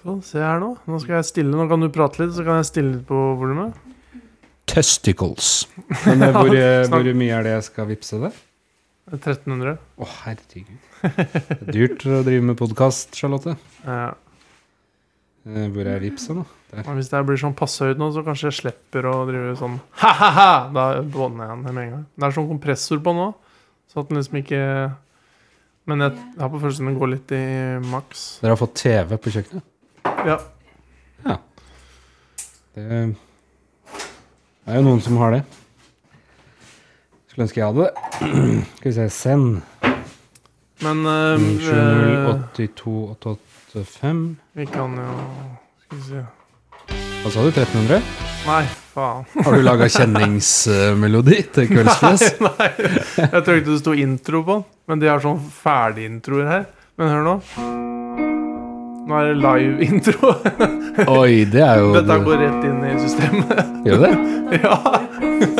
Skal vi se her nå. Nå skal jeg stille, nå kan du prate litt, så kan jeg stille litt på volumet. Testicles. Men eh, hvor, eh, Snakk. hvor mye er det jeg skal vippse det? 1300. Å, herregud. Det er dyrt å drive med podkast, Charlotte. Ja. Eh, Hvor er vipsa nå? Der. Men hvis det her blir sånn passe høyt nå, så kanskje jeg slipper å drive sånn ha-ha-ha! Da bånder jeg den med en gang. Det er sånn kompressor på nå, så at den liksom ikke Men jeg har på følelsen den går litt i maks. Dere har fått TV på kjøkkenet? Ja. Det det er jo noen som har det. Skulle ønske jeg hadde det. Skal vi se Send. Men eh, 708285. vi kan jo Skal vi se Hva sa du? 1300? Nei, faen. Har du laga kjenningsmelodi til Kveldsfjes? Nei, jeg tror ikke det sto intro på den. Men de har sånn ferdigintroer her. Men hør nå. Nå er det live-intro. Oi, det er jo Dette går rett inn i systemet. Gjør det? ja,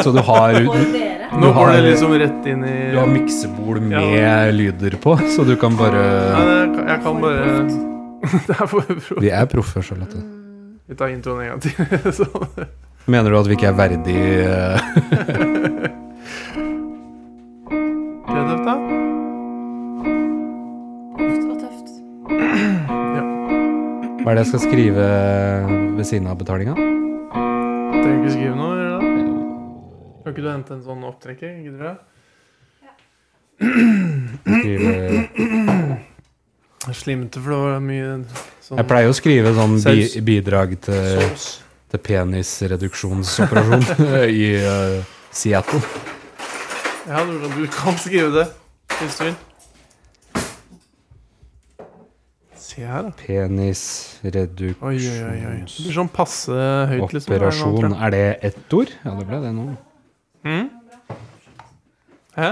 Så du har, For du dere. Nå har- går det liksom rett inn i har miksebol Ja. med lyder på, så du kan Nei, bare jeg, kan- jeg kan bare Det er for proft. Vi er proffe, Mm. Charlotte. Vi tar introen en gang til. sånn. Mener du at vi ikke er verdig eh, Det er tøft, da. Tøft og tøft. Hva er det jeg skal skrive ved siden av betalinga? Trenger ikke skrive noe. gjør du det? Kan ikke du hente en sånn opptrekker? Gidder du det? Skrive- Jeg Slimte, for det var mye sånn Jeg pleier å skrive sånn bi Saus. bidrag til, Saus. til penisreduksjonsoperasjon i eh, Seattle. Ja, du kan, du kan skrive det hvis du vil. Se her, da. Oi, oi, oi. oi. Det blir Penisreduksjonsoperasjon. sånn passe høyt, liksom. her nå, tror jeg. Er det ett ord? Ja, det ble det nå. Mm? Hæ?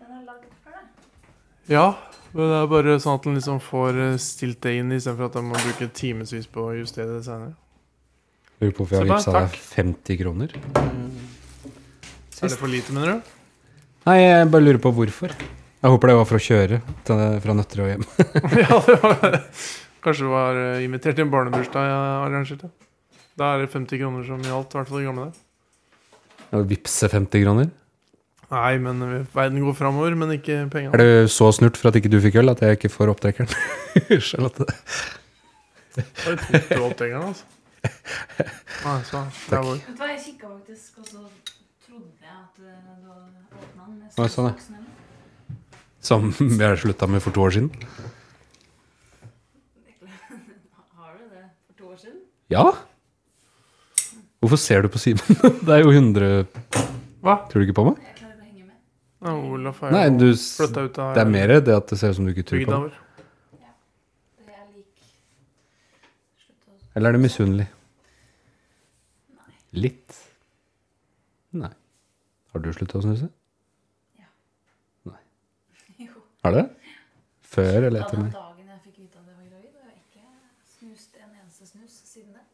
Den er lagd for deg. Ja. Men det er bare sånn at den liksom får eh, stilt det inn, istedenfor at den må bruke timevis på å justere det senere. Lurer på hvorfor jeg har Se på vippsa den, deg 50 kroner. Er det for lite, mener du? Nei, jeg bare lurer på hvorfor. Jeg håper det var for å kjøre til, fra Nøtterøy hjem. ja, det var Kanskje du var eh, invitert til en barnebursdag jeg arrangerte. Da er det 50 kroner som gjaldt, i hvert fall i gamle dager. Og Vippse 50 kroner. Nei, men eh, verden går framover, men ikke Er pengene. du så snurt for at ikke du fikk øl at jeg ikke får opptrekkeren? Charlotte. Det var litt tungt å oppdage den, altså. Nei, så, det er vår. Vet du hva, jeg kikka faktisk, og så trodde jeg at eh, du hadde åpna den. Oi, sånn, ja. Som jeg slutta med for to år siden. Har du det for to år siden? Ja! Hvorfor ser du på Simen? Det er jo 100 Hva? Tror du ikke på meg? Jeg klarer ikke å henge med. Ja, Olaf er Nei, jo du s- flyttet ut av Det er mer det at det ser ut som du ikke tror på bygda meg. vår. Det er lik Slutt å Eller er det misunnelig? Litt. Nei. Har du slutta å snuse? Ja. Nei. Jo. Har du det? Før eller Ja, etter den meg? dagen jeg fikk vite at jeg var gravid, har jeg ikke snust en eneste snus siden det.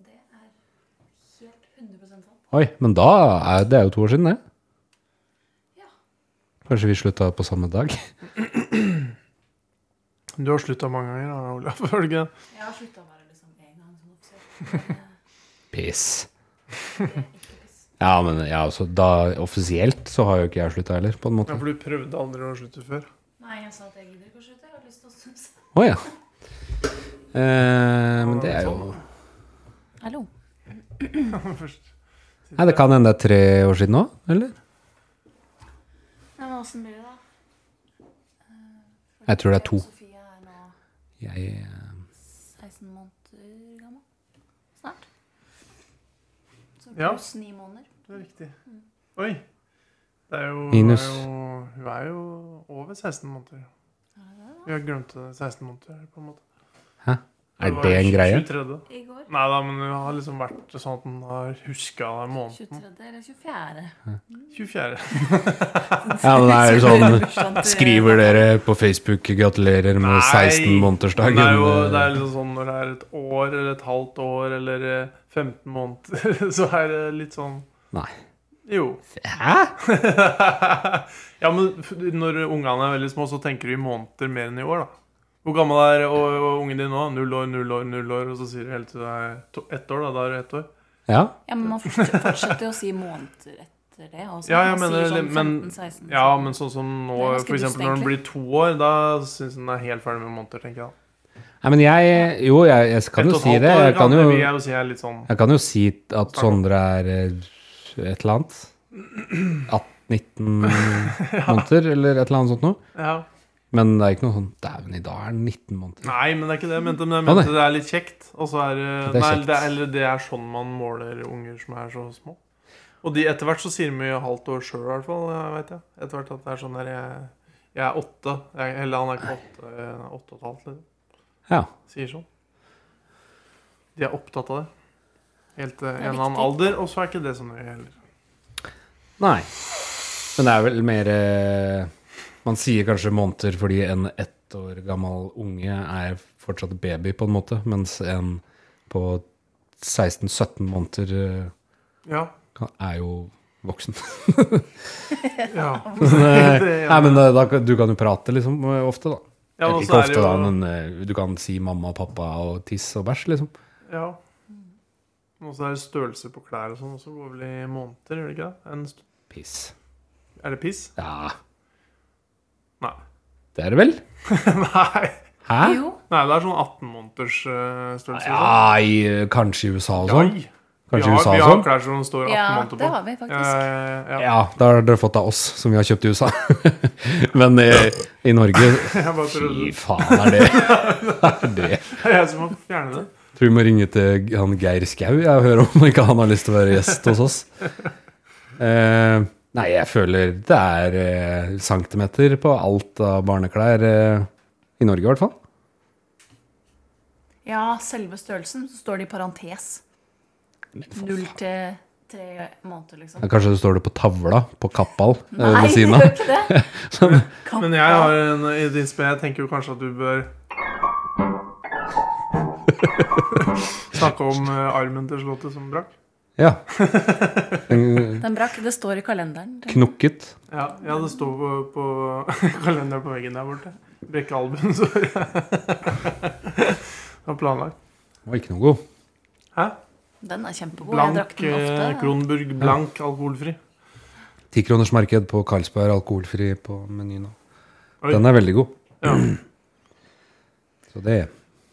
Det er helt 100 sant. Oi, men da er det er jo to år siden, det. Ja. Kanskje vi slutta på samme dag? Du har slutta mange ganger, da, Olaf. Har du ikke det? Jeg har slutta bare liksom én gang som offisiell. Piss. eh, Det er ikke piss. Ja, men ja, altså, da, offisielt så har jo ikke jeg slutta heller, på en Ja, måte. for du prøvde aldri å slutte før. Nei, jeg sa at jeg gidder ikke å slutte. Jeg har lyst til å snuse. Å ja. Eh, men det er jo Hallo. Først. Nei, det kan hende det er tre år siden nå, eller? Nei, men åssen blir det, da? Jeg tror det er to. Sofie er nå Jeg, 16 måneder gammel. Snart. Så Ja. pluss ni måneder. Det er riktig. Oi. Det er jo, Minus. er jo Hun er jo over 16 måneder. Vi har glemt det. 16 måneder, på en måte. er det en greie? 23. I går. Nei da, men hun har liksom vært sånn at hun har huska måneden. 23. eller 24. 24. Ja, men det er jo sånn Bursdagen til- Skriver dere på Facebook 'gratulerer med Eh, Nei, 16-månedersdagen'? men Det er jo eh. det er liksom sånn når det er et år eller et halvt år eller eh, 15 måneder, så er det litt sånn Nei. Jo. Hæ? ja, men f- når ungene er veldig små, så tenker du i måneder mer enn i år, da. Hvor gammel er og, og ungen din nå? Null år, null år, null år. Og så sier du helt til du er to- ett år, da. Da er du ett år. Ja. Ja, men man fortsetter, fortsetter jo å si måneder etter det. Også. Ja, ja, Man men- sier sånn men- 15-16. Ja, men sånn som nå, Det er ganske for dust, eksempel når den egentlig. blir to år, da syns den er helt ferdig med måneder, tenker jeg. da. Nei, men jeg Jo, jeg, jeg Ett kan og jo et si halvt det. år Jeg kan jo, vil jeg jo si er litt sånn jeg kan jo si at Sondre er eh, et eller annet. 18-19 måneder, eller et eller annet sånt noe. Ja. Men det er ikke noe sånn Dæven, i dag er han 19 måneder. Nei, men det er ikke det jeg mente. Men jeg Å, nei. mente det er litt kjekt. Og så er, det- Det er nei, kjekt. det er, eller det er sånn man måler unger som er så små. Og de etter hvert så sier de mye halvt år sjøl, i hvert fall. jeg vet jeg. Etter hvert at det er sånn der Jeg, jeg er åtte. Jeg, eller han er ikke åtte, eh, åtte og et halvt, liksom. Ja. Sier sånn. De er opptatt av det. Helt til en er eller annen viktig. alder, og så er ikke det sånn nøye heller. Nei. Men det er vel mer eh, Man sier kanskje måneder fordi en ett år gammel unge er fortsatt baby, på en måte, mens en på 16-17 måneder eh, Ja. kan- er jo voksen. ja. Nei, Det- nei, men eh, da, kan- du kan jo prate liksom eh, ofte, da. Ja, Eller og ikke så er det ofte, da, jo- men eh, du kan si mamma og pappa og tiss og bæsj, liksom. Ja. Og så er det størrelse på klær og sånn også. Går vel i måneder, gjør det ikke det? En, st- Piss. er det piss? Ja, Nei. det er det vel? Nei. Hæ? Jo, Nei, det er sånn 18 måneders eh, størrelse. Ja, i, eh, kanskje i USA og sånn. sånn. Ja, Kanskje vi i har, USA vi og har sånn. klær som står 18 ja, måneder det på. har vi faktisk. Eh, ja. Ja, da har dere fått av oss, som vi har kjøpt i USA. Men eh, i Norge Jeg bare Fy prøvde faen, er det er det? Det er jeg som må fjerne det. Tror vi må ringe til han Geir Skau jeg, og høre om ikke han har lyst til å være gjest hos oss. Eh, nei, jeg føler det er eh, centimeter på alt av barneklær eh, i Norge, i hvert fall. Ja, selve størrelsen, så står det i parentes. Null til tre måneder, liksom. Ja, Kanskje det står det på tavla på Kappal eh, Nei, ved det siden gjør av. ikke det! Men jeg har en idé. Jeg tenker jo kanskje at du bør Snakke om eh, armen til Slottet som brakk. Ja. En Den brakk. Det står i kalenderen. knokket. Ja, ja, det står på, på kalenderen på veggen der borte. Brekke albuen, så Det var planlagt. Var ikke noe god. Hæ? Den er kjempegod. Jeg Blank drakk den eh, ofte. Kronburg blank alkoholfri. Tikronersmarked på Karlsberg, alkoholfri på menyen. Oi. Den er veldig god. Ja. Så det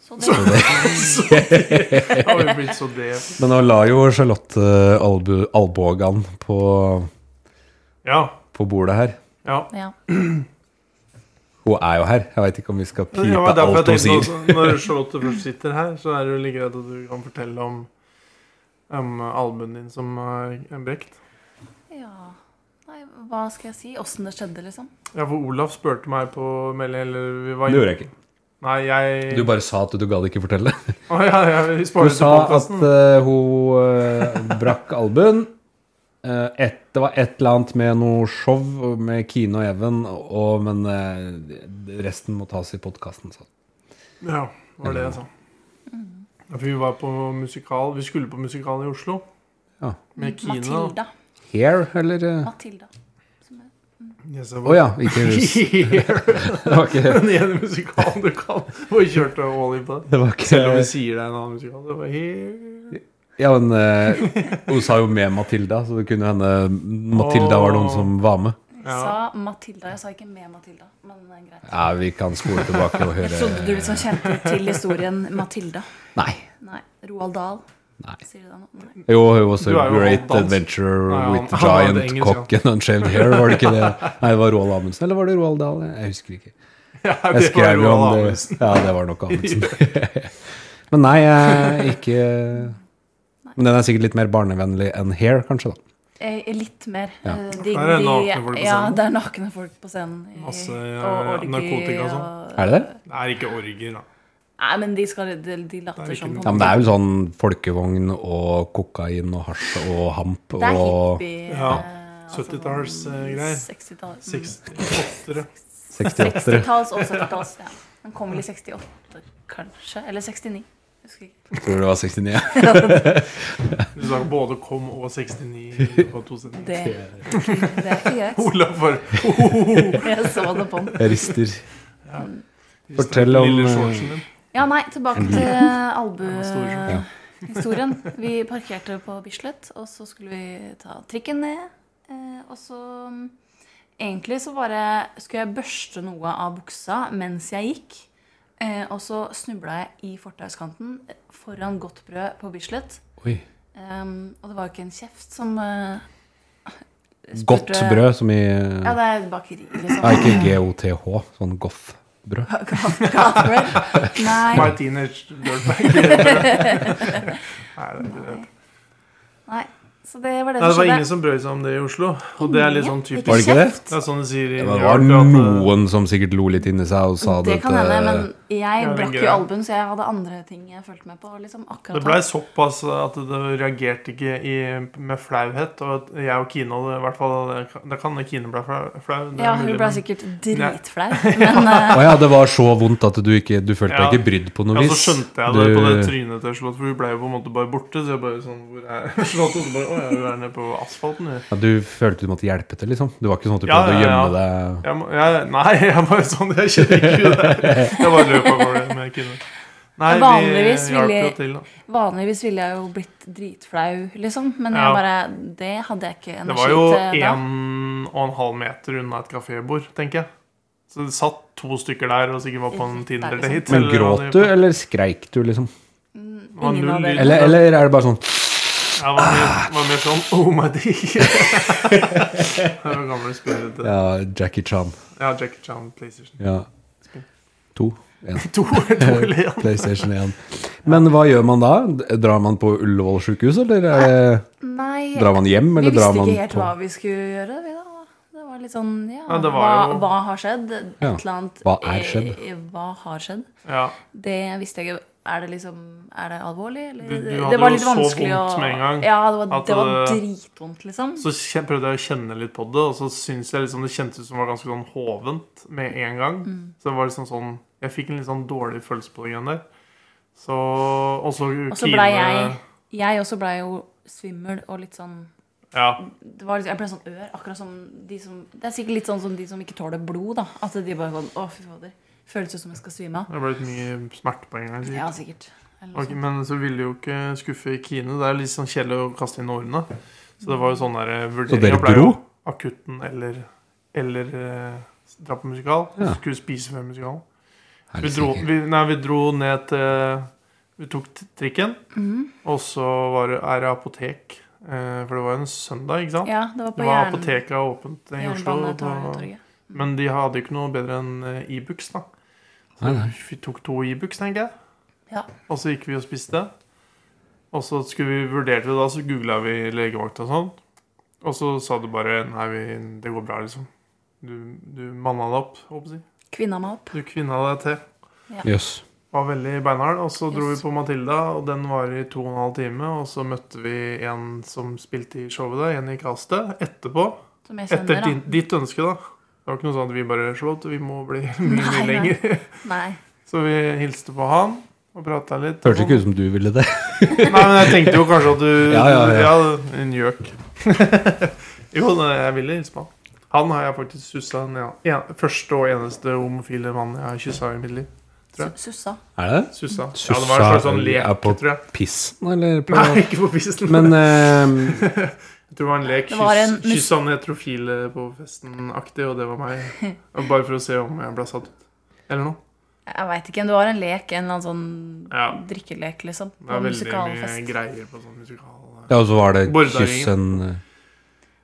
Så det, Har vi blitt så det Men nå la jo Charlotte eh, albu, albuene på, Ja. på bordet her. ja. ja. Hun er jo her. Jeg veit ikke om vi skal Det pipe var derfor jeg alt hun tenkte sier. også, Når Charlotte først sitter her, så er det jo like greit at du kan fortelle om, om albuen din som er brekt. ja. Nei, hva skal jeg si? Åssen det skjedde, liksom? Ja, for Olaf spurte meg på melding Eller vi var Det gjorde jeg ikke. Nei, jeg Du bare sa at du gadd ikke fortelle. Å ja, ja, vi Du sparer til sa at podkasten. eh, hun eh, brakk albuen. Eh, et, det var et eller annet med noe show med Kine og Even, og, men eh, resten må tas i podkasten. Ja, det var det jeg sa. Ja, for vi var på musikal Vi skulle på musikal i Oslo. Ja. Med Kina. Matilda. Hair, eller? eh? Matilda. Som er- Yes, Å ja, ikke rus. Det var ikke, Den ene musikalen du kan. Og vi kjørte all in på det. det var ikke Selv om vi sier det er en annen musikal. Det var helt Ja, men eh, hun sa jo med Matilda, så det kunne hende Matilda var noen som var med. Jeg Ja. sa Matilda. Jeg sa ikke med Matilda, men det er greit. Ja, vi kan spole tilbake og Jeg trodde du høre liksom kjente til historien Matilda. Nei. Nei. Roald Dahl. Nei. Sier du det nå? Nei. Jo, it was a Du er jo great dansk. adventure Nei, han- han with a var det giant engelsk, cock and unshaved hair, var det ikke det? Nei, det var Roald Amundsen, eller var det Roald Dahl? Jeg husker ikke. Ja, Jeg det var skrev jo Roald om det. Amundsen. Ja, det var nok Amundsen. Men nei, eh, ikke Men den er sikkert litt mer barnevennlig enn hair, kanskje, da. Eh, litt mer. Ja. Eh, De, Der er det nakne folk på de, ja, scenen. det er nakne folk på scenen. i- Masse, og eh, narkotika og sånn. og- Er det det? Det er ikke orger, da. Nei, men de, skal, de, de Det er later ikke som. noe. Ja, men det er jo sånn folkevogn og kokain og hasj og hamp Det er og hippie. Ja. eh, altså 70-talls, sånn eh, greier. 60-tall. 68. 68-ere. 60-talls og 70-talls. Ja. Den kom vel i 68, kanskje? Eller 69. Husker ikke. Tror du det var 69? ja. Du sa både kom og 69 på to sekunder. Det, det er ikke greit. Olav var Jeg så det på den. Jeg rister. Fortell om, Lille eh, shortsen din. Ja, nei, tilbake til stor skjorte. albuhistorien. Historien. Vi parkerte på Bislett, og så skulle vi ta trikken ned. eh, Og så mm, Egentlig så bare skulle jeg børste noe av buksa mens jeg gikk. eh, Og så snubla jeg i fortauskanten foran godt brød på Bislett. Oi. Um, og det var jo ikke en kjeft som eh, spurte- Godt brød, som i Ja, det er bakeri, liksom. Nei, ikke GOTH, sånn goth-brød. Gatebrød. Nei. My teenage dirtbag. Nei, det er ikke det. Nei. Så det var det Nei, det som var skjedde. ingen som brøy seg om det i Oslo. Og det er litt sånn Ikke typisk. Var det ikke det? kjeft. Det er sånn de sier i Det New var York, at, eh, noen som sikkert lo litt inni seg og sa eh, Det kan dette- hende, men jeg Ja, den brakk gøy. jo albuen, så jeg hadde andre ting jeg fulgte med på. Liksom, akkurat Det blei da. såpass at det reagerte ikke i, med flauhet. Og at jeg og Kine hadde i hvert fall Da kan hende Kine ble flau. flau, det er Ja, hun mulig, ble men- sikkert dritflau, men eh, Å ja, det var så vondt at du ikke Du følte Ja. deg ikke brydd på Ja, noe vis? så skjønte jeg det på det Du- trynet til Slott, for hun ble jo på en måte bare borte. Så jeg bare sånn Hvor er Slott? Og så bare Å ja, hun er nede på asfalten, hun. ja, du følte du måtte hjelpe til, liksom? Det var ikke sånn at du Ja, prøvde ja, ja. å gjemme deg Jeg må, jeg, nei, jeg bare sånn Jeg kjenner ikke hun der. Jeg bare løp av gårde med Kine. Nei, Vanligvis vi hjalp ville- jo til, da. vanligvis ville jeg jo blitt dritflau, liksom. Men Ja. jeg bare Det hadde jeg ikke Det var energi jo til da. en og en halv meter unna et kafébord, tenker jeg. Så det satt to stykker der og sikkert var på en Rett der, Tinder-date. liksom. Men eller hva gråt de- du, eller skreik du, liksom? var Mm, Ingen null av lyd. dere. Eller, eller er det bare sånn Ja, det var, mer, det var mer sånn Oh my dick! det var gamle spillet. Ja. Ja, Jackie Chan. ja, Jackie Chan, PlayStation Ja. To. En. 2 eller 1. PlayStation 1. Men hva gjør man da? Drar man på Ullevål sjukehus, eller er det, Nei, drar man hjem? vi Eller visste drar man ikke helt på hva vi skulle gjøre, vi da. Det var litt sånn Ja, Ja, det hva, var jo- hva har skjedd? Et Ja. eller annet Hva er eh, skjedd? Hva har skjedd? Ja. Det visste jeg ikke. Er det liksom Er det alvorlig? Eller? Du- du Det- hadde det var jo litt så vanskelig vondt å- med en gang Ja, det var, at det var det- dritvondt, liksom. Så kje- prøvde jeg å kjenne litt på det, og så syns jeg liksom det kjentes ut som det var ganske sånn hovent med en gang. Mm. Så det var liksom sånn Jeg fikk en litt sånn dårlig følelse på det greiene der. Så Og så Og så blei jeg Jeg også blei jo svimmel og litt sånn Ja. det var liksom, Jeg ble sånn ør, akkurat som de som Det er sikkert litt sånn som de som ikke tåler blod, da. At de bare sånn Å, fy fader. Føles ut som jeg skal svime av. Det ble litt mye smerte på en gang. sikkert. Ja, sikkert. Eller sånn. noe Ok, sånt. men så ville jo ikke skuffe Kine. Det er litt sånn kjedelig å kaste inn årene. Så det var jo sånn der eh, vurdering. Så dere Jeg ble jo dro? Akutten eller, eller eh, dra på musikal. Ja. Så Skulle spise før musikalen. Vi dro, Helsike. vi, nei, vi dro ned til Vi tok t- trikken, Mhm. og så var det, er det apotek. Eh, for det var jo en søndag, ikke sant? Ja, det var det på var jern, apoteket åpent i Oslo. og På, Jernbanetorget. men de hadde jo ikke noe bedre enn eh, Ibux, da. Nei, nei. Vi tok to Ibux, tenker jeg. Ja. Og så gikk vi og spiste. Og så skulle vi vurderte vi da, så googla vi legevakt og sånn. Og så sa du bare Nei, vi, det går bra, liksom. Du, du manna deg opp, håper jeg. å si. Kvinna meg opp. Du kvinna deg til. Jøss. Var veldig beinhard. Og så dro vi Yes. på Matilda, og den var i to og en halv time. Og så møtte vi en som spilte i showet der, en i castet, etterpå. Som jeg kjenner, Etter da. din, ditt ønske, da. Det var ikke noe sånn at vi bare Slått, vi må bli mye, mye Nei, nei. lenger. Nei. Så vi hilste på han og prata litt. Hørtes ikke ut som du ville det. Nei, men jeg tenkte jo kanskje at du Ja, ja, ja. en gjøk. jo, nei, jeg ville hilse på han. Han har jeg faktisk sussa den en- en- første og eneste homofile mann jeg har kyssa i mitt liv. Tror jeg. Su- Sussa. Er det det? Sussa. Ja, det var en slags sånn lek, er på tror jeg. pissen, eller? På, Nei, ikke på pissen. men eh, jeg tror det var en lek. Det var en Kyss- Kyssa han heterofile på festen-aktig, og det var meg. Og Bare for å se om jeg ble satt ut. Eller noe. Jeg veit ikke. Det var en lek, en eller annen sånn Ja. drikkelek, liksom. Det er På veldig mye musikalfest. greier på sånn musikal. Ja, og så var det Bordaringen. kyss en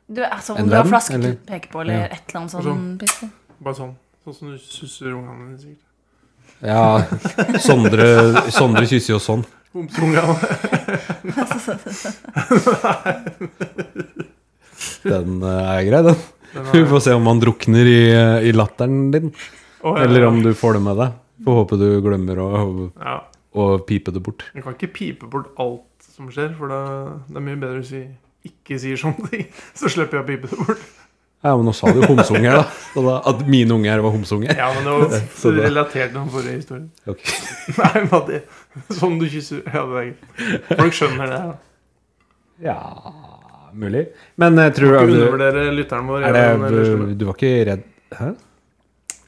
Du, altså, En om du har venn, flaske eller? du peker på, eller Ja. et eller annet Og sånn. liksom. Bare sånn. Sånn som du susser ungene dine, sikkert. eh, Ja, Sondre, Sondre kysser jo sånn. Homseungene. Den eh, er grei, den. Den Vi er- får se om han drukner i, eh, i latteren din, Å, ja, eller ja. om du får det med deg. Får håpe du glemmer å, Ja. å pipe det bort. Du kan ikke pipe bort alt som skjer, for det, det er mye bedre å si ikke sier sånne ting. Så slipper jeg å pipe det bort. Ja, men nå sa du homseunger, da. Så da. At mine unger var homseunger. Ja, men det var Så bra. relatert til den forrige historien. Ok. Nei, men det, Som du kysser Ja, det er greit. Folk skjønner det. da. Ja Mulig. Men jeg tror Ikke er du, undervurdere lytteren vår. er jeg, men, eller, det, du var ikke redd Hæ?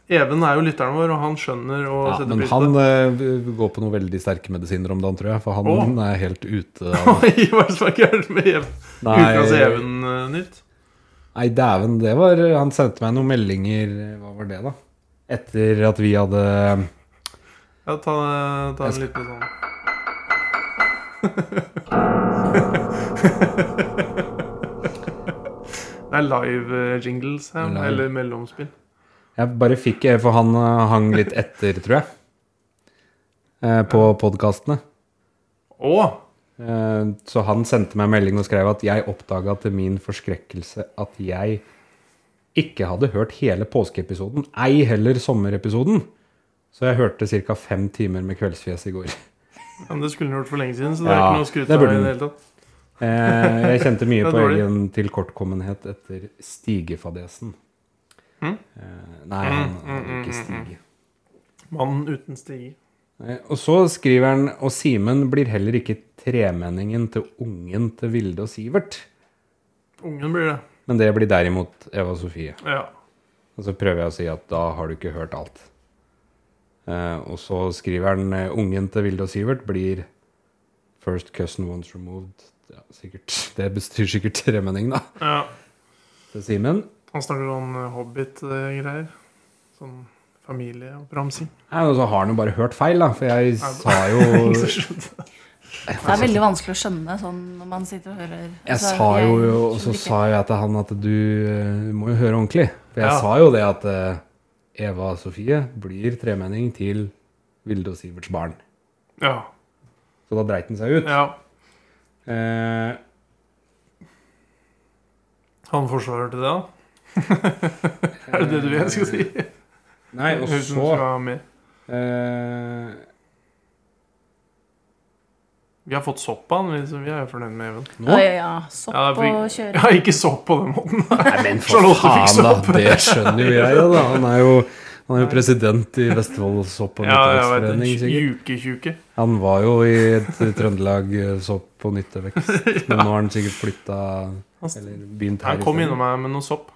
Even er jo lytteren vår, og han skjønner og Ja, setter men pris på han det. eh, går på noen veldig sterke medisiner om dagen, tror jeg. For han Å. er helt ute av Oi, Hva er det som er gærent med Even? Uten å se Even-nytt? nei dæven. Det var Han sendte meg noen meldinger Hva var det, da? Etter at vi hadde Ja, ta, ta en Jeg liten sånn Det er live eh, jingles her, Live. eller mellomspill. Jeg bare fikk For han eh, hang litt etter, tror jeg. eh, På podkastene. Å! Eh, Så han sendte meg en melding og skrev at jeg oppdaga til min forskrekkelse at jeg ikke hadde hørt hele påskeepisoden, ei heller sommerepisoden. Så jeg hørte ca. fem timer med Kveldsfjes i går. ja, Men det skulle han gjort for lenge siden, så det er Ja, ikke noe å skryte det av. burde i det han. hele tatt. Eh, Jeg kjente Det er mye på dårlig. egen tilkortkommenhet etter stigefadesen. Hm? Eh, Nei, han Mm, mm, han ikke mm, mm. stige. Mannen uten stige. Eh, Og så skriver han Og Simen blir heller ikke tremenningen til ungen til Vilde og Sivert. Ungen blir det. Men det blir derimot Eva Sofie. Ja. Og så prøver jeg å si at da har du ikke hørt alt. Eh, og så skriver han eh, ungen til Vilde og Sivert blir first cousin once removed. Ja, sikkert. Det bestyr sikkert tremenning, da. ja. Til Simen. Han snakker sånn eh, hobbit-greier. Sånn familieoppramsing. Nei, men så har han jo bare hørt feil, da. For jeg Ja. sa jo Det er veldig vanskelig å skjønne sånn når man sitter og hører Jeg Altså, sa jo, og så skjønner ikke. sa jeg til han at du eh, må jo høre ordentlig. For jeg Ja. sa jo det at eh, Eva Sofie blir tremenning til Vilde og Siverts barn. Ja. Så da dreit han seg ut. ja. Eh, Han forsvarer til det, da? er det det du vil jeg Eh, skal si? nei, og Høres ut som du så skal ha mer. eh, Vi har fått sopp av han, vi, så vi er jo fornøyd med Even. Nå? Ja, ja, ja. Sopp Ja, for- og kjøre. Ja, ikke sopp på den måten. Nei, men for Charlotte fikk faen, da! sopp. Det skjønner jo jeg, da. Han er jo, han er jo president i Vestfold Sopp- Ja, og jeg vet nyttevekstforening, det. sikkert. Tjuke-tjuke. Han var jo i et Trøndelag eh, Sopp- og nyttevekst, men nå har han sikkert flytta Eller begynt her. Han kom i stedet. innom meg med noe sopp.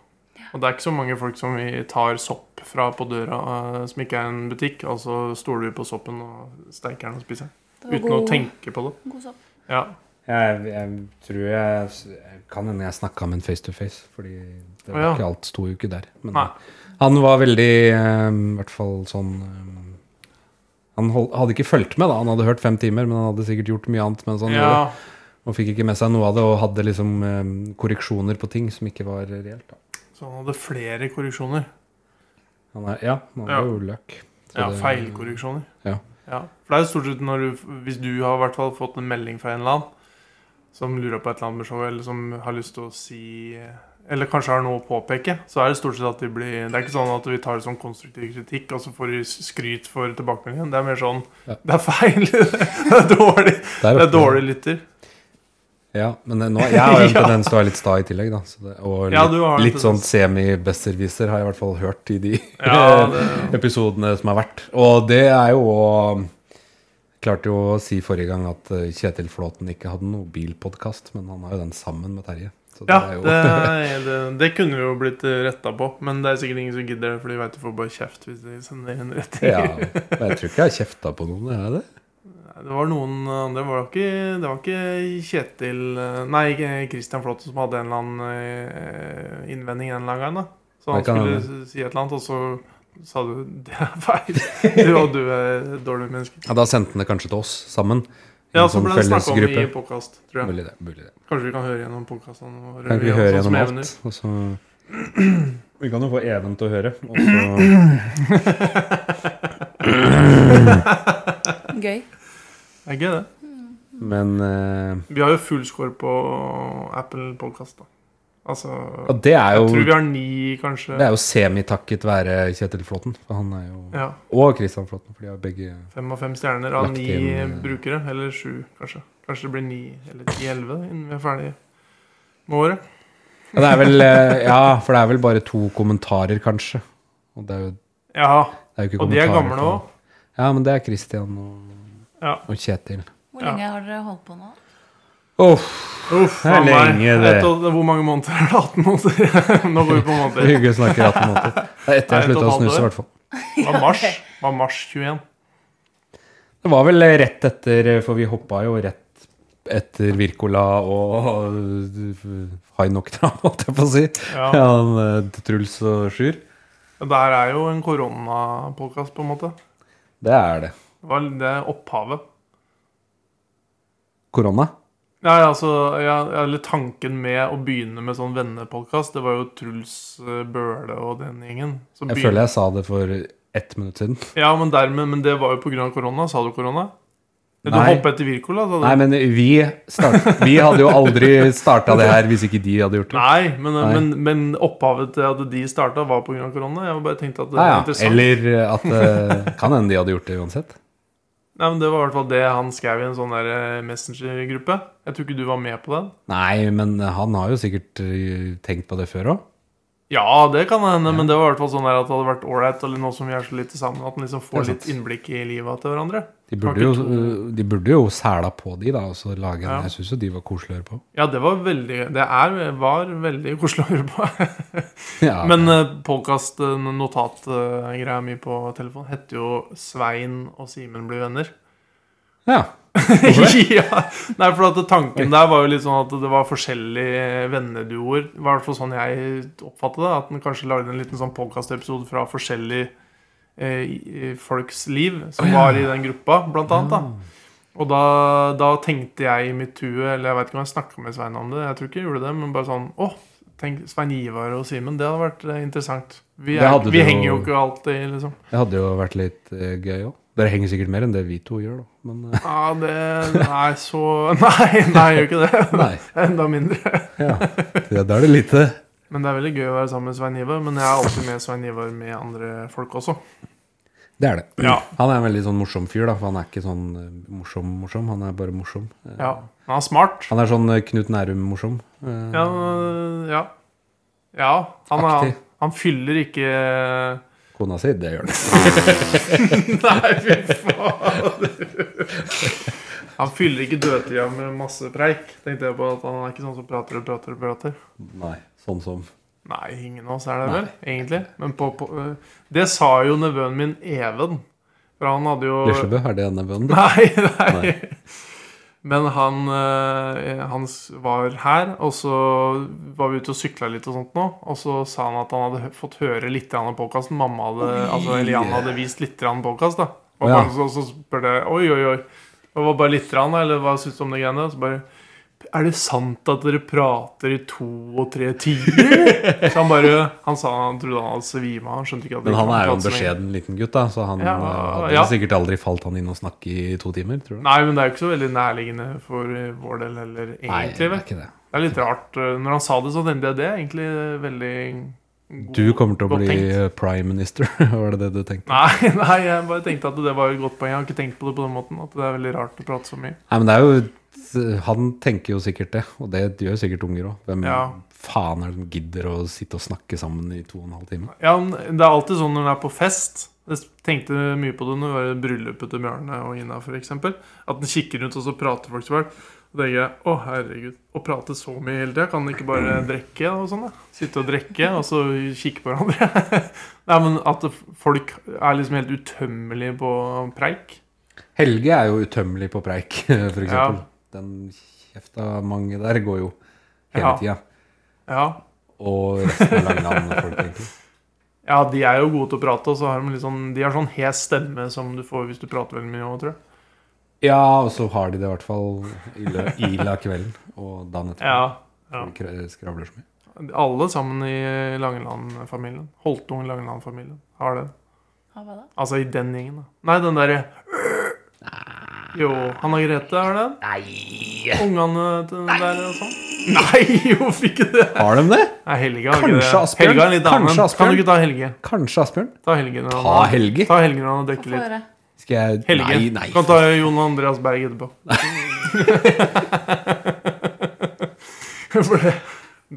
Og det er ikke så mange folk som vi tar sopp fra på døra eh, som ikke er en butikk, og så stoler vi på soppen og steiker den og spiser den. Det var Uten å god- tenke på det. God sopp. Ja. Jeg, jeg tror jeg, jeg kan hende jeg snakka med en face to face, fordi det var Å, ja. ikke alt sto jo ikke der. Men Nei. han var veldig eh, I hvert fall sånn eh, Han hold, hadde ikke fulgt med, da. Han hadde hørt fem timer, men han hadde sikkert gjort mye annet mens han ja. gjorde Sånn det. Og fikk ikke med seg noe av det, og hadde liksom eh, korreksjoner på ting som ikke var reelt. Da. Så han hadde flere korreksjoner. Han er, ja, han hadde Ja. jo løk. Så Ja, det- feilkorreksjoner. Ja. For det er jo stort sett når du Hvis du har i hvert fall fått en melding fra en eller annen som lurer på et eller annet med showet, eller som har lyst til å si eh, Eller kanskje har noe å påpeke, så er det stort sett at de blir Det er ikke sånn at vi tar sånn konstruktiv kritikk, og så får de skryt for tilbakemeldingen. Det er mer sånn Ja. Det er feil! det er dårlig! Der Det oppe. er dårlig lytter. Ja, men det, nå, jeg har jo en Ja. tendens til å være litt sta i tillegg, da. Så det, og litt, Ja, du har en litt sånn tendens. semi-besserwisser har jeg i hvert fall hørt i de Ja, det- episodene som har vært. Og det er jo òg Klarte jo å si forrige gang at eh, Kjetil Flåten ikke hadde noen bilpodkast, men han har jo den sammen med Terje. Så det Ja, er jo det, er- det, det kunne vi jo blitt retta på, men det er sikkert ingen som gidder det, for de veit du får bare kjeft hvis de sender en retting. ja, men Jeg tror ikke jeg har kjefta på noen, har jeg det? Det var noen andre Det var ikke, det var ikke Kjetil eh, Nei, ikke Christian Flåtten som hadde en eller annen eh, innvending en eller annen gang. da Så han Det kan skulle hende. s- si et eller annet, og så sa du det er feil. Du og du er et dårlig menneske. Ja, Da sendte han det kanskje til oss sammen. i Ja, en så sånn ble det snakka om i fellesgruppe. podkast, tror jeg. Mulig det. mulig det. Kanskje vi kan høre gjennom podkastene våre. Kan ikke vi igjen, høre sånn som Even gjennom alt? gjør. Og så Vi kan jo få Even til å høre. Og så Gøy. Det er gøy, det. Men eh, Vi har jo full score på Apple Podcast, da. Altså ja, det er Jeg tror jo, vi har ni, kanskje. det er jo semitakket være Kjetil Flåten. For han er jo Ja. Og Christian Flåten, for de har begge Fem av fem stjerner av Lagt ni inn, eh, brukere. Eller sju, kanskje. Kanskje det blir ni eller ti-elleve innen vi er ferdig med året. ja, det er vel, eh, ja, for det er vel bare to kommentarer, kanskje. Og det er jo, Ja, det er jo ikke og de er kommentarer gamle for- òg. Ja, men det er Christian og, Ja. og Kjetil. Hvor Ja. lenge har dere holdt på nå? Uff, Uff, Det faen er meg. lenge, det. Et og- Hvor mange måneder er det? 18 måneder? Nå går vi på måneder. hyggelig å snakke i 18 måneder. Det er etter Nei, jeg slutta å totalt snuse, i år. hvert fall. Det var mars. Det var mars 21. Det var vel eh, rett etter, for vi hoppa jo rett etter Virkola og eh, Hainoktra, holdt jeg på å si. Ja. Ja, han, eh, Truls og Sjur. Men Det her er jo en koronapodkast, på en måte. Det er det. Det, var, det er opphavet. Korona. Ja, ja, altså, ja, eller tanken med å begynne med sånn vennepodkast, det var jo Truls eh, Bøhle og den gjengen. Så Jeg begyn- føler jeg sa det for ett minutt siden. Ja, men, dermed, men det var jo pga. korona. Sa du korona? Nei. Du Nei. hoppet etter Wirkola? sa du? Nei, men vi, start, vi hadde jo aldri starta det her hvis ikke de hadde gjort det. Nei, men, Nei. Men, men opphavet til at de starta, var pga. korona. Jeg bare tenkte at det Ah, Ja, var ja. interessant. Eller at eh, Kan hende de hadde gjort det uansett. Nei, men Det var i hvert fall det han skrev i en sånn der eh, Messenger-gruppe. Jeg tror ikke du var med på den. Nei, men han har jo sikkert eh, tenkt på det før òg. Ja, det kan hende, men det var i hvert fall sånn der at det hadde vært ålreit eller nå som vi er så lite sammen, at en liksom Det er får litt sant. innblikk i livet til hverandre. De, Kan burde ikke jo, to- eh, de burde jo sæla på de, da, og så lage en Ja. Jeg syns jo de var koselige å høre på. Ja, det var veldig Det er, var veldig koselig å høre på. Ja, men eh, podkast-notat-greia mi på telefon heter jo 'Svein og Simen blir venner'. ja. ja. Nei, for at tanken der var jo litt sånn at det var forskjellige venneduoer. Det var i hvert fall sånn jeg oppfattet det. At den kanskje lagde en liten sånn podkastepisode fra forskjellige eh, i- folks liv som var i den gruppa, blant annet. da og da, da tenkte jeg i mitt hue, eller jeg vet ikke om jeg snakka med Svein om det, jeg tror ikke jeg gjorde det, men bare sånn Å, tenk Svein Ivar og Simen, det hadde vært eh, interessant. Vi, Det er, hadde vi du henger jo jo- ikke alltid, liksom. Det hadde jo vært litt eh, gøy òg. Dere henger sikkert mer enn det vi to gjør, da. Men eh, Ja, det Nei, så Nei, nei, jeg gjør ikke det. Nei. Enda mindre. ja. Det- Da er det lite Men det er veldig gøy å være sammen med Svein Ivar. Men jeg er alltid med Svein Ivar med andre folk også. Det er det. Ja. Han er en veldig sånn morsom fyr, da. For han er ikke sånn eh, morsom-morsom, han er bare morsom. Eh, Ja, Han er smart. Han er sånn eh, Knut Nærum-morsom. Eh, Ja. øh, Ja, ja han, er, Aktiv. han fyller ikke Kona si, det gjør han. Nei, fy fader! Han fyller ikke dødtida med masse preik. Tenkte jeg på at Han er ikke sånn som prater og prater og prater. Nei, sånn som Nei, ingen av oss er det vel, egentlig. Men på, på, øh, det sa jo nevøen min Even. For han hadde jo Lislebø, er det nevøen din? Nei, nei. Men han, eh, han s- var her, og så var vi ute og sykla litt og sånt nå. Og så sa han at han hadde hø- fått høre litt av podkasten. Mamma hadde, altså Eliane hadde vist litt podkast, da. Og Ja. bare, så, så spurte jeg oi, oi, oi. Det var bare litt, grann, da, eller hva syns du om de greiene? Og så bare Er det sant at dere prater i to og tre timer? så han bare Han sa han trodde han hadde svima. Han skjønte ikke at de Men han kunne er jo en prate så lenge. beskjeden liten gutt, da, så han Ja, eh, hadde ja. sikkert aldri falt han inn og snakke i to timer, tror du? Nei, men det er jo ikke så veldig nærliggende for eh, vår del heller, egentlig. det er vel? ikke det. Det er litt rart. eh, Når han sa det, så tenkte jeg det er egentlig veldig god- Du kommer til å godt bli tenkt. eh, prime minister, var det det du tenkte? Nei, nei, jeg bare tenkte at det var et godt poeng. Jeg har ikke tenkt på det på den måten. At det er veldig rart å prate så mye. Nei, men det er jo eh, Han tenker jo sikkert det, og det gjør sikkert unger òg. Hvem Ja. faen er det som gidder å sitte og snakke sammen i to og en halv time? Ja, men Det er alltid sånn når en er på fest. Jeg tenkte mye på det når det var i bryllupet til Bjarne og Ina. For eksempel, at en kikker rundt, og så prater folk så fælt. Og tenker jeg, å herregud, å prate så mye hele tida, kan en ikke bare drikke og sånn? da? Sitte og drikke, og så kikke på hverandre? Nei, men at folk er liksom helt utømmelige på preik. Helge er jo utømmelig på preik, for eksempel. Ja. Den kjefta mange der går jo hele Ja. tida. Ja. Og resten av Langeland-folk, egentlig. ja, de er jo gode til å prate, og så har de litt sånn, de har sånn hes stemme som du får hvis du prater veldig mye òg, tror jeg. Ja, og så har de det i hvert fall i lø- i la kvelden og dagen etter. Ja, ja. For de kra- Skravler så mye. Alle sammen i Langeland-familien. Holtung Langeland-familien har det. Ja, hva da? Altså i den gjengen, da. Nei, den derre Jo, Hanna Grete har den. Nei Ungene til den der og sånn. Nei, hvorfor ikke det? Har de det? Nei, Helge har Kanskje ikke det. Asbjørn? Helge er en litt annen. Kanskje Asbjørn? Kan du ikke ta Helge? Kanskje, Asbjørn? Ta Helge når Ta Helge? Ta Helge når han har Få dekket litt. høre. Skal jeg Helge. Nei, nei. Kan ta Jon Andreas Berg etterpå. For det,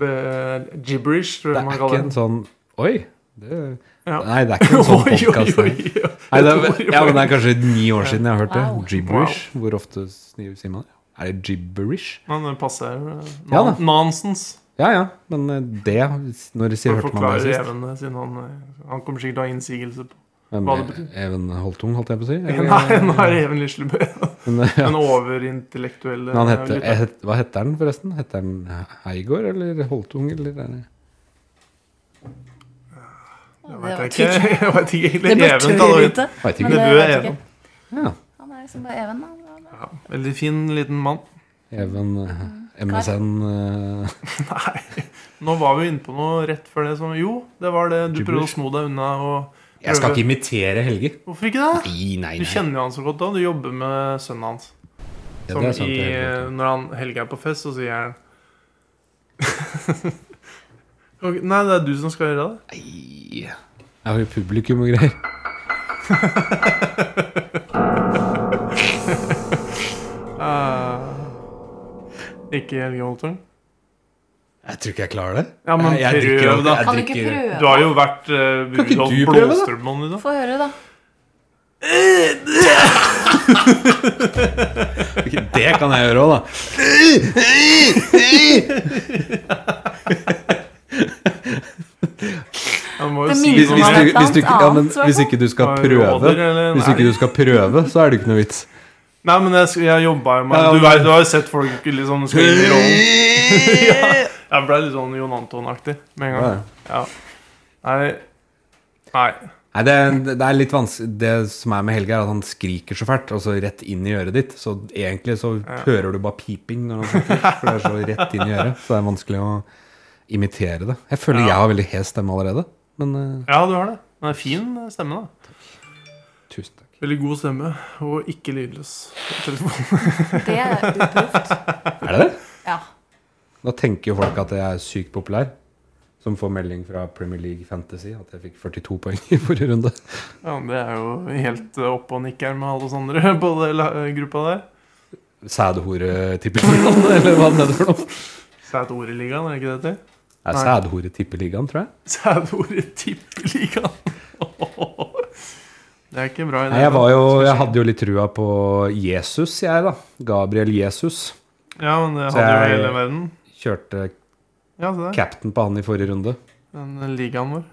det er gibberish, tror jeg Det er man ikke kaller en det. sånn Oi! Det, Ja. Nei, det er ikke en sånn Oi, oi, podkast. oi, oi. Nei, det er, ja, men det er kanskje ni år siden jeg har hørt det. Wow. Gibberish. Hvor ofte sni- sier man det? Er det gibberish? Men det passer. eh, Ja non- da. Nonsens. Ja ja, men eh, det Når sier For å hørte man forklare det sist? Even det, siden han, eh, han kommer sikkert til å ha innsigelse på Men, Hva det betyr? Even Holtung, holdt jeg på å si? eller? Nei, nå er det Even Lislebø. Men, ja. Den overintellektuelle Men han heter, lytteren. het, hva heter han forresten? Heter han eh, Heigård eller Holtung? Eller? eh, er det- Jeg Det vet vet ikke. Jeg vet ikke egentlig. Det bør Even, Tør da. vite. Vet Men ikke. det- Bø er det vet jeg Even. ikke. Ja. Han er liksom bare Even, da. Ja, veldig fin liten mann. Even Mm. eh, MSN eh, Nei. Nå var vi inne på noe rett før det som Jo, det var det. Du prøvde å Gibberish. sno deg unna og Jeg skal ikke imitere Helge. Hvorfor ikke det? Nei, nei, Du kjenner jo han så godt da. Du jobber med sønnen hans. Ja, Som det er sant, i, det er helt når han Helge er på fest, så sier han Ok, Nei, det er du som skal gjøre det. Nei. Jeg har jo publikum og greier. Eh, Ah. ikke Helge Holtung. Jeg tror ikke jeg klarer det. Ja, men Jeg- jeg prøv, drikker jo- da. jeg Kan du ikke drikker- prøve? Du har jo vært uh, Kan ikke Rudolf du prøve, da? Blåstrømmann, liksom. Få høre, da. Ok, Det kan jeg gjøre òg, da. Han må jo Det si minner Hvis, noe om hvis, mer. han du, er et hvis, du, ikke- ja, men, annet, så er hvis det ikke du skal Var det råder, prøve, eller? hvis ikke du skal prøve, så er det ikke noe vits. Nei, men jeg, sk- jeg jobba jo med Ja, Du, men- vet- du har jo sett folk liksom skal inn i rollen. ja, jeg ble litt sånn Jon Anton-aktig med en Ja, gang. ja. Ja. Nei. Nei. Nei, det, er- det er litt vanskelig Det som er med Helge, er at han skriker så fælt, og så rett inn i øret ditt. Så egentlig så Ja. hører du bare piping når han snakker, for det er så rett inn i øret. Så det er vanskelig å imitere det. Jeg føler Ja. jeg har veldig hes stemme allerede, men eh, Ja, du har det. Den er fin stemme, da. tusen takk. Veldig god stemme, og ikke lydløs. Telefon. Det er uproft. Er det det? Ja. Da tenker jo folk at jeg er sykt populær. Som får melding fra Premier League Fantasy at jeg fikk 42 poeng i forrige runde. Ja, men det er jo helt eh, oppe og nikker med alle oss andre på den la- gruppa der. Sædhore-tippeligaen, eller hva det heter for noe. Sædordligaen, er det ikke det det heter? Det er Nei. Sædhore-tippeligaen, tror jeg. Sædordtippeligaen. Det er ikke bra. i Nei, det, jeg, var da. jo, jeg hadde jo litt trua på Jesus, jeg, da. Gabriel Jesus. Ja, men det Så hadde jo jeg- hele verden. Kjørte Ja, se der. captain på han i forrige runde. Den ligaen vår.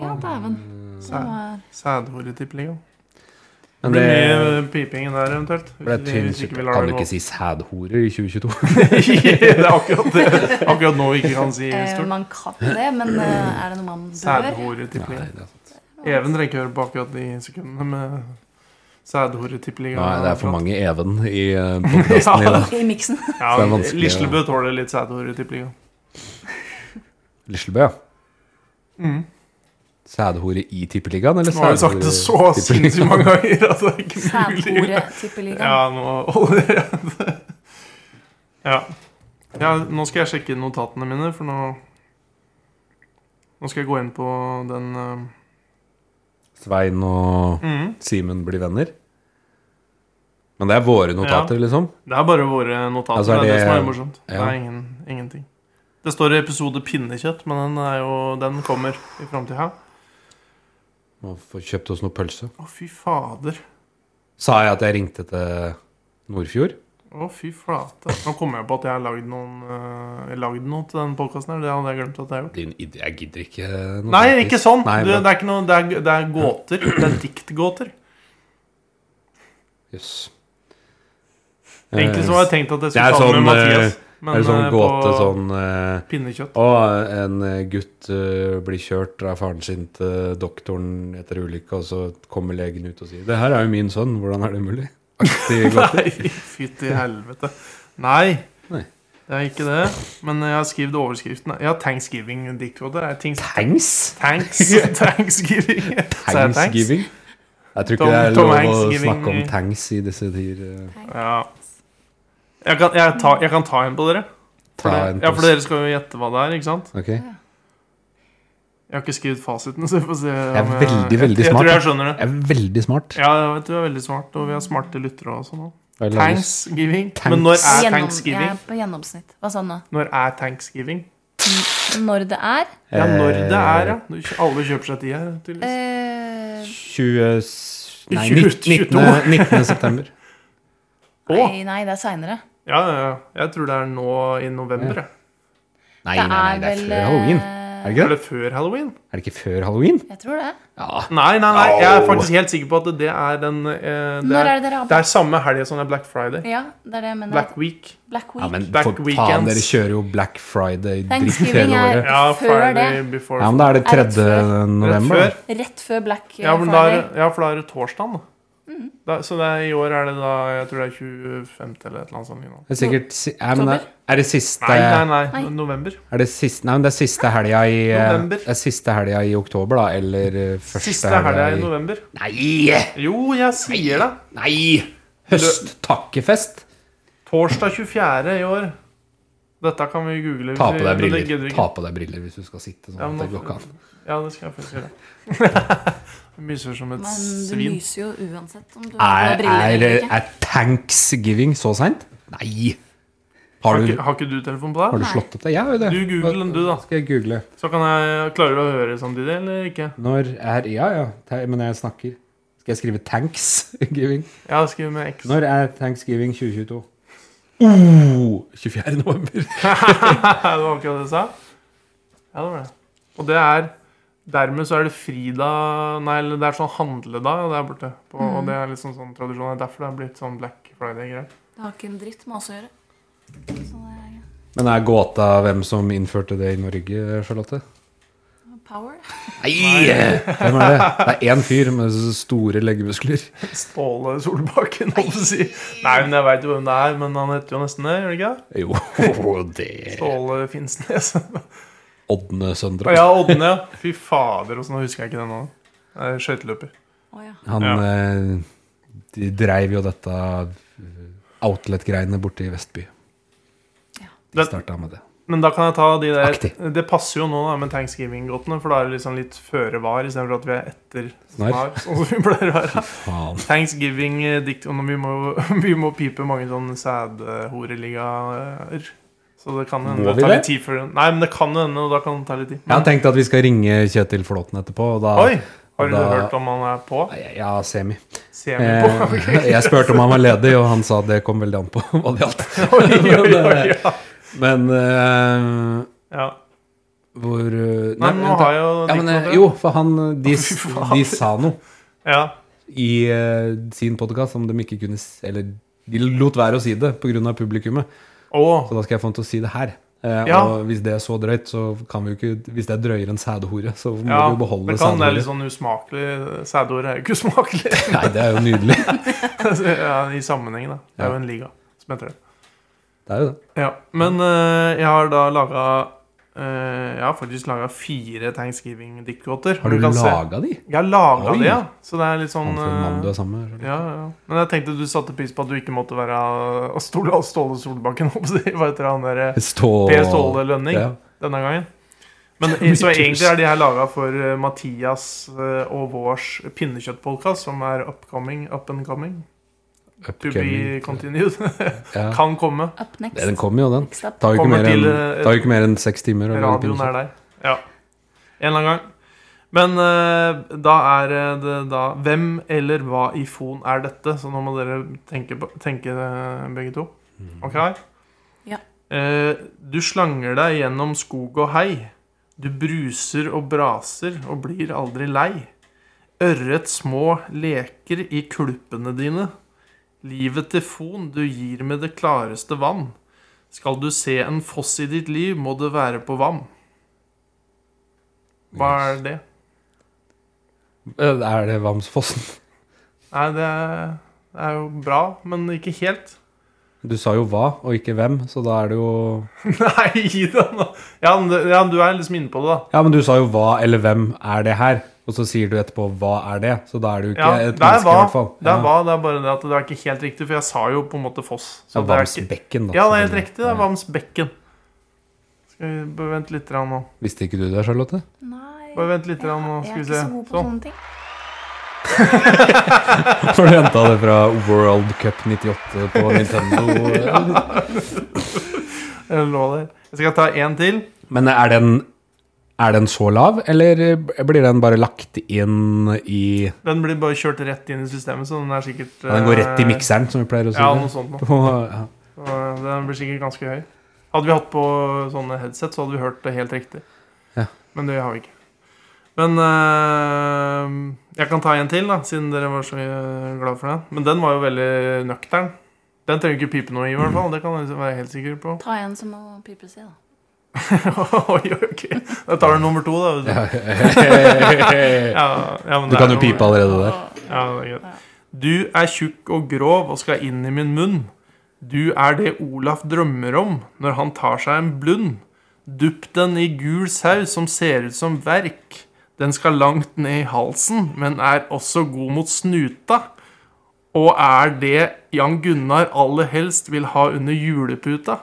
Ja, dæven. Det Sæd- var- Sædhoretippeligaen. Det Men blir det mye pipingen der, eventuelt. ble Hvis vi- tynn hvis ikke vi lar Kan det du gå. ikke si sædhore i 2022? det er akkurat det. Akkurat nå vi ikke kan si Eh, stort. man kan det, men eh, er det noe man bør? Nei, Sædhoretippeligaen. det er sant. Even trenger ikke høre på akkurat de sekundene med sædhoretippeligaen. Nei, det er for mange Even i podkasten i dag. I miksen. Ja, Så det er vanskelig å- Lislebø tåler litt sædhoretippeligaen. Lislebø, ja. Mm. Sædhore i tippeligaen, eller Nå har vi sagt det så tippeligaen? sinnssykt mange ganger at det er ikke mulig. Sædhore tippeligaen. Ja, nå allerede. Ja. ja. Nå skal jeg sjekke notatene mine, for nå Nå skal jeg gå inn på den Svein eh, og Mm. mhm. Simen blir venner. Men det er våre notater, liksom. Det er bare våre notater. Altså, er det, er det det- som er morsomt. Det ja. er ingen, ingenting. Det står episode pinnekjøtt, men den, er jo, den kommer i framtida. Må få kjøpt oss noe pølse. Å, fy fader. Sa jeg at jeg ringte til Nordfjord? Å, fy flate. Nå kommer jeg på at jeg har lagd noen, eh, lagd noe til denne podkasten her. Det hadde jeg glemt at jeg har gjort. Din id- jeg gidder ikke noe Nei, sånt. ikke sånn! Nei, du, men- det, er ikke noe, det, er, det er gåter. Det er diktgåter. Jøss. Egentlig så Eh, har jeg tenkt at jeg det skulle er ta det sånn, med Mathias. eh, Men er det sånn eh, gåte på sånn eh, pinnekjøtt Å, en eh, gutt eh, blir kjørt av faren sin til doktoren etter ulykka, og så kommer legen ut og sier 'Det her er jo min sønn, hvordan er det mulig?' Aktig gåte. Nei, fytti helvete. Nei. Nei. Det er ikke det. Men jeg har skrevet overskriften. Ja, Thanksgiving-diktgåter. er Thanks, Tanks? thanks, Thanksgiving. Sa jeg thanks? Thanksgiving? Jeg tror ikke Tom- det er Tom lov å Hanksgiving. snakke om tanks i disse tider. eh, Ja. Jeg kan, jeg, ta, jeg kan ta en på dere. For Ta det- en ja, for pose. dere skal jo gjette hva det er. ikke sant? Ok. Jeg Jeg har ikke skrevet fasiten. så vi får se om er veldig, jeg, veldig jeg smart. tror jeg skjønner det. er veldig smart. Ja, jeg vet du er veldig smart, og vi har smarte lyttere også nå. Jeg lager- Thanksgiving. Thanks. Men når er Gjennom, jeg thanksgiving? er på gjennomsnitt. Hva sa du nå? Når er thanksgiving? Når det er? Ja, når det er, ja. Eh, Du- Alle kjøper seg tid her. tydeligvis. Eh, 20... Nei, 22. 19. 19. september. nei, nei, det er seinere. Ja, ja, ja. Jeg tror det er nå i november. jeg. Nei, nei, nei, det er før halloween. Er det Er det før halloween? ikke det? Er det ikke før halloween? eh, Jeg tror det. Ja. Nei, nei, nei, jeg er faktisk helt sikker på at det er den eh, det, Når er, er det dere har det er samme helg som det er Black Friday. Ja, det er det jeg mener. Black Week. Black Week. ja, men Back for faen, weekends. dere kjører jo Black Friday-dritt Thanksgiving hele er året. Ja, før Friday det. before Ja, men da er det Er det 3. før? Rett november. før. da. Rett før Black eh, Ja, men da er, Friday. Mm. det- ja, for da er det torsdagen, da. da så det er, i år er det da Jeg tror det er 25. eller et eller annet sånt. nå. Det er sikkert si- ja, men Oktober? er- Er det siste Nei, nei, nei, Nei. november. Er det siste, nei, men det er siste helga i eh, November. Det er siste helga i oktober, da, eller eh, første Siste helga i i november. Nei! Jo, jeg sier det. Nei! Høsttakkefest. Torsdag 24. i år. Dette kan vi google. hvis Ta vi- på men deg det gidder briller vi ikke. Ta på deg briller hvis du skal sitte sånn. Ja, at men det nå- går ikke an. Ja, det skal jeg faktisk gjøre. Jeg myser som et Men du svin. lyser jo uansett om du har Er, på briller er, eller ikke. er thanksgiving så seint? Nei! Har Har du, ikke, har ikke du telefon på har deg? du slått opp det? Jeg har jo det. Du googler den, du, da. Skal jeg google. Så kan jeg, Klarer du å høre samtidig, eller ikke? Når er Ja, ja. te- Men jeg snakker. Skal jeg skrive thanksgiving? Ja, skriv med X. Når er thanksgiving 2022? Oh, 24. november. det var akkurat det jeg sa. Ja, det var det. Og det er Dermed så er det fridag Nei, eller det er sånn handledag der borte. På, Og det er liksom sånn tradisjon. Det er derfor det er blitt sånn Black Friday-greier. Det har ikke en dritt med oss å gjøre. Så det er Men er gåta hvem som innførte det i Norge, Charlotte? power. Nei! Hvem er det? Det er én fyr med så store leggemuskler. Ståle Solbakken, holdt jeg på å si. Nei, men jeg veit jo hvem det er, men han heter jo nesten det, gjør det ikke? det? Jo, det Ståle Finnsnes. Ådne Søndre. Og ja, Ådne. ja. Fy fader, åssen husker jeg ikke det nå? Det er Skøyteløper. Å ja. Han Ja. eh, de dreiv jo dette eh, outlet-greiene borte i Vestby. De Det- starta med det. Men da kan jeg ta de der Aktiv. Det passer jo nå da med thanksgiving-godtene, for da er det liksom litt føre var istedenfor at vi er etter Snar. snar, sånn som vi pleier å være. Faen. Thanksgiving-dikt og Vi må, vi må pipe mange sånne sædhoreligaer. Så det kan hende Må vi tar det? litt tid før Nei, men det kan hende, og da kan det ta litt tid. Jeg har tenkt at vi skal ringe Kjetil Flåten etterpå. Og da, Oi! Har du Da- hørt om han er på? Ja, semi. Ser vi på? Eh, jeg spurte om han var ledig, og han sa det kom veldig an på hva det gjaldt. Oi, oi, oi, ja. Men eh, ja. hvor eh, Nei, men nå vent da. har jeg jo ja, men, diktene. eh, Jo, for han eh, De, Fy faen. de sa noe. Ja. i eh, sin podkast om de ikke kunne s- Eller de lot være å si det pga. publikummet. Å, Så da skal jeg få han til å si det her. Eh, Ja. Og hvis det er så drøyt, så kan vi jo ikke Hvis det er drøyere enn sædhore, så må ja. vi jo beholde Det kan, det er sædhore. litt sånn usmakelig. Sædhår er jo ikke usmakelig. Nei, det er jo nydelig. ja, I sammenheng, da. Det er jo en liga som heter det. Det er jo det. Ja, Men eh, jeg har da laga eh, Jeg har faktisk laga fire Thanksgiving-diktgåter. Har du kan se- laga de? Jeg har laga Oi. det, ja. Så det er litt sånn Han for en mann du eh, er sammen med? ja, ja. Men jeg tenkte du satte pris på at du ikke måtte være eh, Ståle, Ståle Solbakken. holdt jeg på å si. Hva heter han der? eh, Stå... Per Ståle Lønning Ja. denne gangen. Men i- Så egentlig er de her laga for eh, Mathias eh, og vårs pinnekjøttpodkast, som er upcoming, up and coming. To be Upcoming. continued. Ja. Kan komme. Up next. Det, Den kommer jo, den. Next up. Tar jo ikke Kommer mer til, enn- eh, tar jo ikke mer enn seks timer. å lage Radioen pinnekjøtt. er der. Ja. En eller annen gang. Men eh, da er det da Hvem eller hva i fon er dette? Så nå må dere tenke, på, tenke eh, begge to. OK? Ja. Eh, du slanger deg gjennom skog og hei. Du bruser og braser og blir aldri lei. Ørret små leker i kulpene dine. Livet til fon du gir med det klareste vann. Skal du se en foss i ditt liv, må det være på vann. Hva er det? Eh, Er det Vamsfossen? Nei, det er, det er jo bra, men ikke helt. Du sa jo hva, og ikke hvem, så da er det jo Nei, gi deg nå. Ja, men det- ja, du er liksom inne på det, da. Ja, men du sa jo hva eller hvem er det her? Og så sier du etterpå hva er det? Så da er du ikke Ja, et det er menneske, i hva. hvert fall. Det er Ja. hva, det er bare det at det er ikke helt riktig, for jeg sa jo på en måte foss. Ja, Så det er ikke... Vamsbekken, da. Ja, det er helt selvfølgelig. riktig. Det er Ja. Vamsbekken. Skal vi bare vente litt grann nå. Visste ikke du det, Charlotte? Nei, Bare vent litt jeg, grann nå, jeg skal vi er se. ikke så god på Sånn. sånne ting. For du henta det fra World Cup 98 på Nintendo. Jeg lå der. Jeg skal ta en til. Men er den, er den så lav, eller blir den bare lagt inn i ja, Den blir bare kjørt rett inn i systemet, så den er sikkert Den går rett i eh, mikseren, som vi pleier å si. Ja, noe sånt nå. Ja. Så eh, Den blir sikkert ganske høy. Hadde vi hatt på sånne headset, så hadde vi hørt det helt riktig. Ja. Men det har vi ikke. Men eh, jeg kan ta en til, da, siden dere var så eh, glad for den. Men den var jo veldig nøktern. Den trenger ikke pipe noe i, i hvert fall. Det kan jeg liksom være helt sikker på. Ta en som må pipes i, da. Oi, ok. Da tar du nummer to, da. Hvis du... Du ja, ja, men det er kan jo pipe allerede der. Og- Ja, det er greit. Du er tjukk og grov og skal inn i min munn. Du er det Olaf drømmer om når han tar seg en blund. Dupp den i gul saus som ser ut som verk. Den skal langt ned i halsen, men er også god mot snuta. Og er det Jan Gunnar aller helst vil ha under juleputa.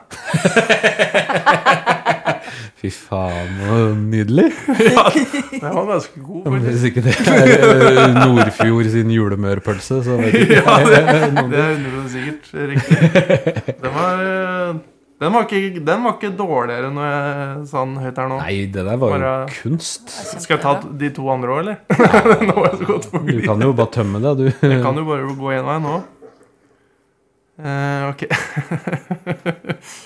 Fy faen, så nydelig. Det var ganske god, Men faktisk. Hvis ikke det er eh, Nordfjord sin julemørpølse, så vet ikke Ja, det, jeg. det er 100 sikkert riktig. Den var, eh, den, var ikke, den var ikke dårligere når jeg sa den høyt her nå. Nei, det der var jo Bare- kunst. Skal jeg ta Kjempebra. de to andre òg, eller? nå har jeg så godt forbi. Du kan jo bare tømme det, du. Jeg kan jo bare gå én vei nå. Eh, ok.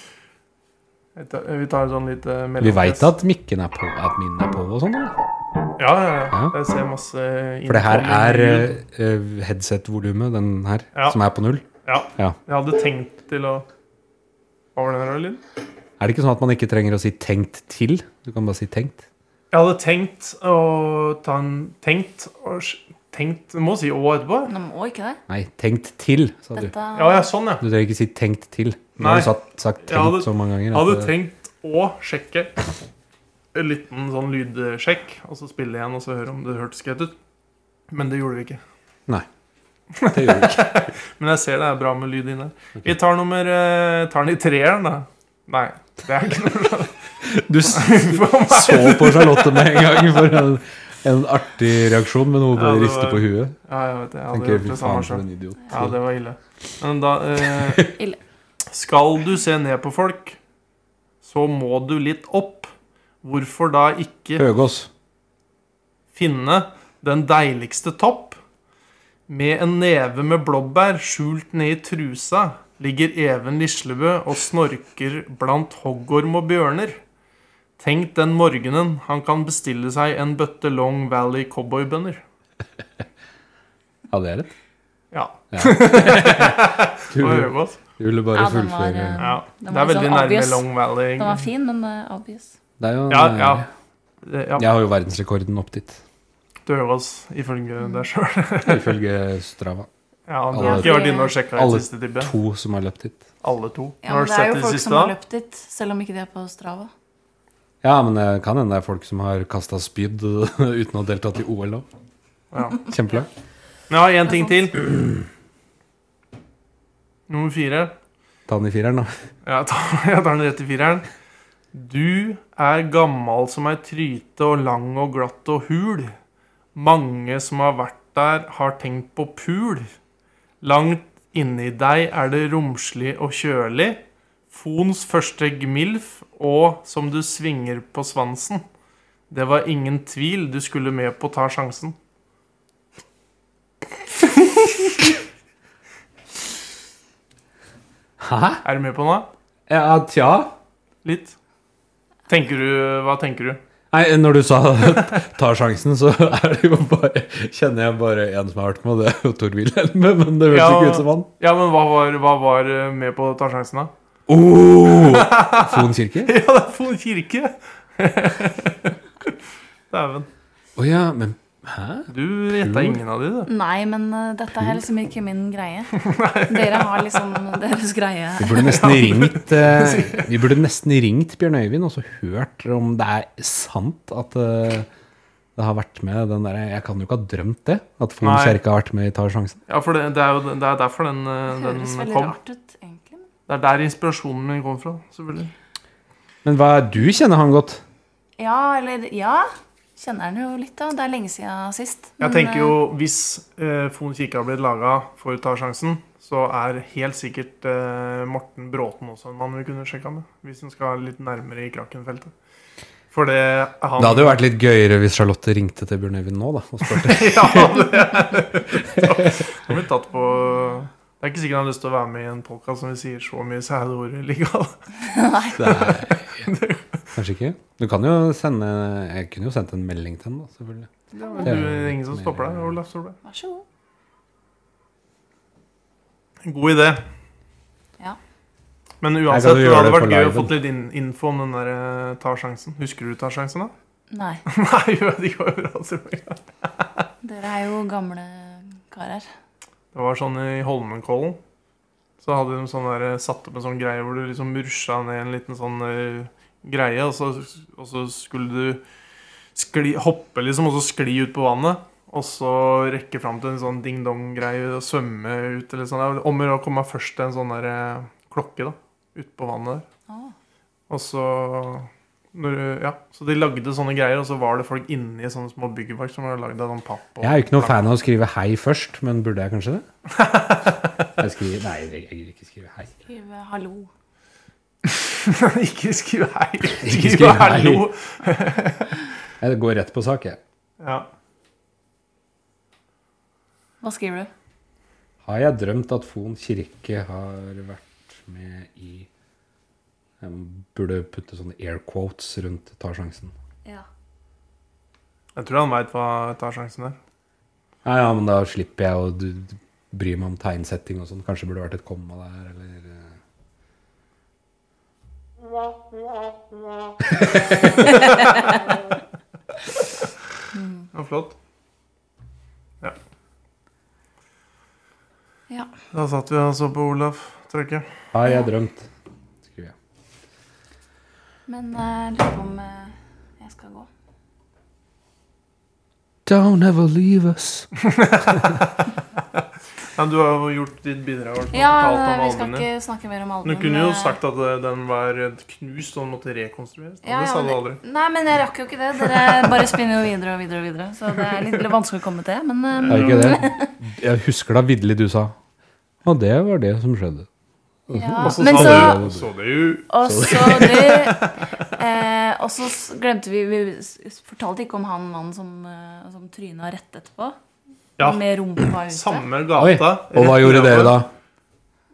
Jeg tar- Vi tar en sånn lite mellom... Vi veit at mikken er på, at min er på og sånn, da. Ja, ja, ja. Ja. Jeg ser masse For det her innkommende er lyd. eh, headset-volumet, den her, Ja. som er på null. Ja. ja. Jeg hadde tenkt til å Hva var den her, Linn? Er det ikke sånn at man ikke trenger å si 'tenkt til'? Du kan bare si 'tenkt'. Jeg hadde tenkt å ta en Tenkt og s- Tenkt Du må si å etterpå. Nå må ikke det. Nei, 'tenkt til', sa du. Dette Ja, ja, sånn, ja. Du trenger ikke si 'tenkt til'. Nå Nei. har du sagt, sagt 'tenkt' Jeg hadde- så mange ganger. Jeg hadde at- tenkt å sjekke en liten sånn lydsjekk, og så spille igjen og så høre om det hørtes greit ut. Men det gjorde vi ikke. Nei. Det gjorde du ikke. Men jeg ser det er bra med lyd inne. Vi tar nummer eh, Tar den i treeren, da. Nei, det er ikke noe Du s- for meg. så på Charlotte med en gang for en, en artig reaksjon med noe Ja, å det riste var- på huet. Ja, jeg vet det. Jeg hadde Tenker gjort fy det samme faen for sjøl. en idiot. Ja, det var ille. Men da eh, Ille. Skal du se ned på folk, så må du litt opp. Hvorfor da ikke Høgås. Finne den deiligste topp. Med en neve med blåbær skjult ned i trusa ligger Even Lislebø og snorker blant hoggorm og bjørner. Tenk den morgenen han kan bestille seg en bøtte Long Valley cowboybønner. Ja, det er det. Ja, Du, det var Høgås. du ville bare Ja, den var, fullføre eh, Ja, det Den er var veldig liksom nærme obvious. Long Valley. Den var fin, men eh, obvious. Det er jo eh, Ja, ja. Det- Jeg ja. har jo verdensrekorden opp dit, Du Høgås, ifølge Mm. deg sjøl. ifølge Strava. Ja, du har Alle- ikke vært inne og sjekka i Alle siste tippet? To som har løpt dit. Alle to. Ja, har men du det er sett jo de folk siste, som har da? løpt dit, selv om ikke de er på Strava. Ja, men det kan hende det er folk som har kasta spyd uten å ha deltatt i OL òg. Ja. Kjempelangt. Ja, én ting til. Nummer fire. Ta den i fireren, da. Jeg tar, jeg tar den rett i fireren. Du er gammal som ei tryte og lang og glatt og hul. Mange som har vært der, har tenkt på pul. Langt inni deg er det romslig og kjølig. Fons første gmilf, og som du svinger på svansen. Det var ingen tvil du skulle med på Ta sjansen. Hæ? Er du med på noe? Ja, tja. Litt. Tenker du, Hva tenker du? Nei, når du sa 'ta sjansen', så er det jo bare Kjenner jeg bare én som har vært med, og det er jo Tor Wilhelm, men det høres Ja. ikke ut som han. Ja, men hva var, hva var eh, med på å ta sjansen, da? Oh! Fon kirke? Ja, det er Fon kirke! Dæven. Å ja, men hæ? Du gjetta ingen av de, du. Nei, men eh, dette er liksom ikke min greie. Dere har liksom deres greie. Vi burde nesten ringt eh, Vi burde nesten ringt Bjørn Øyvind og så hørt om det er sant at eh, det har vært med den derre Jeg kan jo ikke ha drømt det. At Fon Nei. kirke har vært med i Tar sjansen. Ja, for det, det er jo det er derfor den, eh, Det den høres veldig kom. rart ut, egentlig. Det men er der inspirasjonen min kom fra. selvfølgelig. Men hva du kjenner han godt? Ja, eller Ja. Kjenner den jo litt, da. Det er lenge siden sist. Jeg men, tenker jo, eh, hvis eh, Fon kirke har blitt laga for Ta sjansen, så er helt sikkert eh, Morten Bråten også en mann vi kunne sjekka med. Hvis hun skal litt nærmere i Kraken-feltet. For det han Det hadde jo vært litt gøyere hvis Charlotte ringte til Bjørn Øyvind nå da, og spurte. Ja, det Han blir tatt på Det er ikke sikkert han har lyst til å eh, være med i en podcast som vi sier så mye sæde ord i ligaen. Det er, Kanskje ikke. Du kan jo sende Jeg kunne jo sendt en melding til henne, da, selvfølgelig. Det er vel du, ingen som stopper deg, Olaf Solberg. Vær så god. God idé. Ja. Men Jeg kan uansett, jo det gjøre hadde det vært på gøy å liven. få litt in info om den der eh, Ta sjansen. Husker du Ta sjansen, da? Nei, Nei, jo, det går jo bra. selvfølgelig. dere er jo gamle karer. Det var sånn i Holmenkollen. Så hadde de sånn der, eh, satt opp en sånn greie hvor du liksom rusja ned en liten sånn eh, greie, og så, og så skulle du skli, hoppe, liksom, og så skli ut på vannet. Og så rekke fram til en sånn ding-dong-greie og svømme ut. eller sånn. Det var Om å gjøre å komme først til en sånn der, eh, klokke da, ute på vannet der. Ah, Og så når, Ja, så de lagde sånne greier, og så var det folk inni sånne små byggeverk som var lagd av sånn papp. Og, Jeg er jo ikke noe fan av å skrive hei først, men burde jeg kanskje det? Jeg skriver, nei, jeg gidder ikke skrive hei. skriv eh, hallo. ikke skriv hei! Ikke Skriv skriv hei. hallo! Jeg går rett på sak, jeg. Ja. Hva skriver du? Har jeg drømt at Fon kirke har vært med i Jeg burde putte sånne air quotes rundt Ta sjansen. Ja. Jeg tror han veit hva tar sjansen er. Ja, ja, men da slipper jeg å d- d- bry meg om tegnsetting og sånn. Kanskje burde det vært et komma der, eller eh. Ja, flott. Ja. Da satt vi og så på Olaf trykke. Har jeg drømt? Skriver jeg. Men jeg lurer på om eh, jeg skal gå. Don't ever leave us. Ja, du har jo gjort ditt bidrag. og Ja, fortalt om vi skal albumen din. ikke snakke mer om Men albumet. Du kunne jo sagt at eh, den var knust og den måtte rekonstrueres. Ja, det ja, sa men du aldri. Nei, men jeg rakk jo ikke det. Dere bare spinner jo videre og videre. og videre Så det er litt vanskelig å komme til. Men eh, Er det ikke det? Jeg husker da vidderlig du sa Og det var det som skjedde. ja. Og så Men Altså, sa så du og så det jo Og så det eh, Og så s- glemte vi Vi s- s- fortalte ikke om han mannen som, eh, som tryna rett etterpå. Ja. Med rumpa ute. Samme Oi, gata. og hva rett gjorde nedover. dere da?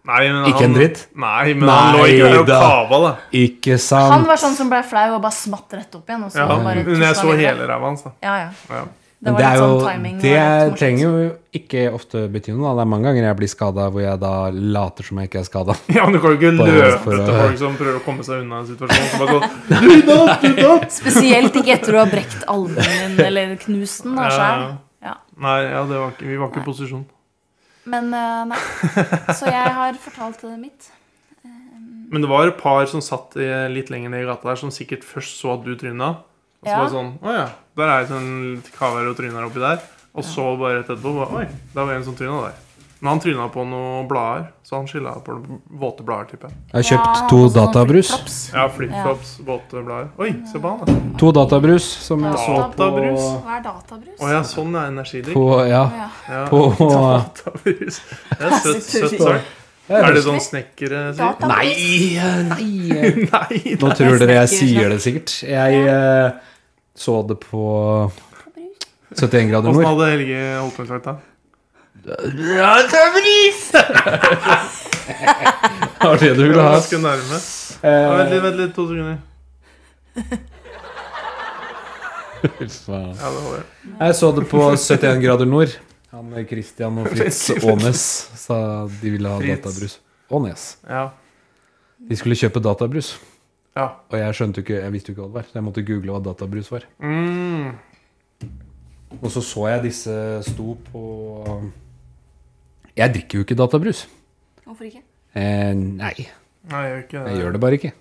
Nei, men Ikke han, en dritt? Nei, men han lå Nei ikke der og da. kava, da. Ikke Han sant? var sånn som ble flau og bare smatt rett opp igjen. Og så Ja, bare men jeg tusla så videre. hele ræva hans, da. Ja, ja. Ja. Det var det litt er jo, sånn timing. det var litt morsomt. trenger jo ikke ofte bety noe. da. Det er mange ganger jeg blir skada hvor jeg da later som jeg ikke er skada. ja, men du kan jo ikke Bare løpe for å- etter folk som prøver å komme seg unna en situasjon. Som bare sånn, du datt, du datt! Spesielt ikke etter du har brekt albuen din eller knust den. da, Ja, skjær. ja. Ja. Nei, ja, det var ikke, vi var ikke i posisjon. Men eh, nei. Så jeg har fortalt det mitt. Men det var et par som satt eh, litt lenger ned i gata der, som sikkert først så at du tryna. Og så Ja. var det sånn Å ja, der er det sånn litt kaver og tryner oppi der. Og så bare rett etterpå bare, Oi, der var en som tryna der. Men han tryna på noen blader, så han skylda på våte blader, tipper jeg. Jeg har Ja, sånn han kjøpt to hadde sånne databrus. flip-flops. Ja, flipflops, våte blader. Oi, se på han, da. To databrus som jeg så på Databrus. Hva er databrus? Å ja, sånn er energidrikk. på, ja, Å ja. Ja. på Databrus. Det er søtt, søtt sagt. Er det sånn snekkere sier? Databrus? nei. Nei, Nå tror dere jeg snekker, sier det sikkert. Jeg eh, så det på 71 grader Åssen nord. hadde Helge holdt kontakt da? Det var det du ville ha. Ganske nærme. Ja, Eh, vent litt, vent litt, to sekunder. Ja, det faen. holder. Jeg så det på 71 grader nord. Han eh, Christian og Fritz Aanes sa de ville ha Fritz. databrus. Aanes. Ja. De skulle kjøpe databrus, ja. og jeg skjønte jo ikke, jeg visste jo ikke hva det var. Så jeg måtte google hva databrus var. Mm. Og så så jeg disse sto på Jeg drikker jo ikke databrus. Hvorfor ikke? Eh, nei, Nei, jeg gjør ikke jeg det. gjør det bare ikke.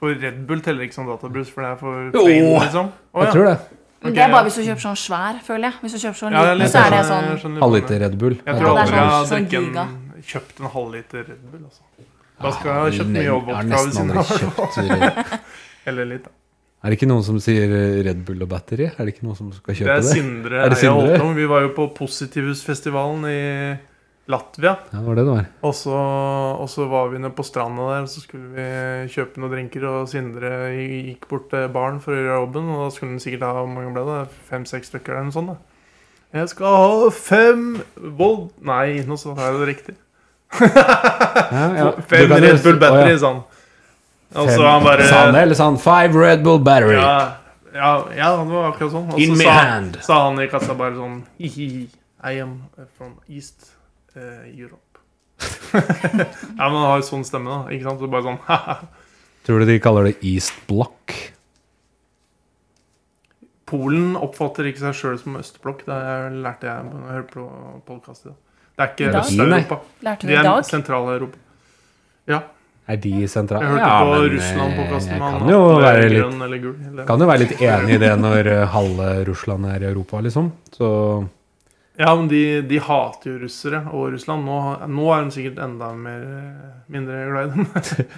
For Red Bull teller ikke som databrus, for det er for Jo. plain, liksom. Å, Jeg ja. tror det. Men Ok, det er bare ja. hvis du kjøper sånn svær, føler jeg. Hvis du kjøper sånn Ja, jeg liten, litt- så er det jeg sånn skjønner litt Halvliter Red Bull. Jeg tror det er aldri jeg har sånn- sånn drukket en, kjøpt en halvliter Red Bull, altså. Da skal jeg ha kjøpt mye Jeg har vodka ved nesten siden aldri av. i hvert fall. kjøpt Red- Eller litt, da. Er det ikke noen som sier Red Bull og battery? Er det ikke noen som skal Det kjøpe er det? Sindre Er det Eia Sindre? Holtom. Vi var jo på Positivusfestivalen i Latvia. Ja, det var det det var. Og så, og så var vi nede på stranda der, og så skulle vi kjøpe noen drinker. Og Sindre gikk bort til baren for å gjøre jobben, og da skulle han sikkert ha hvor mange ble det? fem-seks stykker eller noe sånt. da. Jeg skal ha fem vold... Nei, nå sa jeg det riktig. Ja, ja. Du Fem kan jo Red si- Bull Å, ja. Battery, sa han. Og så han bare Sa han det, eller sa han 'Five Red Bull Battery'? Ja, ja, ja, det var akkurat sånn. Og In så my sa, hand. sa han i kassa bare sånn «Hihihi, I am from East eh, Europe. ja, men han har jo sånn stemme, da. Ikke sant? Så bare sånn haha. Tror du de kaller det East Block? Polen oppfatter ikke seg sjøl som østblokk. Det lærte jeg når jeg hørte på podkast i dag. Det er I dag? ikke Øst-Europa. sånn- Lærte du De i er sånn- dag? Sentral-Europa. Er de sentrale? Jeg hørte på Russland-podkasten. eh, jeg med han kan jo, Atle være litt, Grønn eller Gul, eller- kan jo være litt enig i det når eh, halve Russland er i Europa, liksom. Så Ja, men de, de hater jo russere og Russland. Nå, nå er de sikkert enda mer, eh, mindre glad i dem. Tror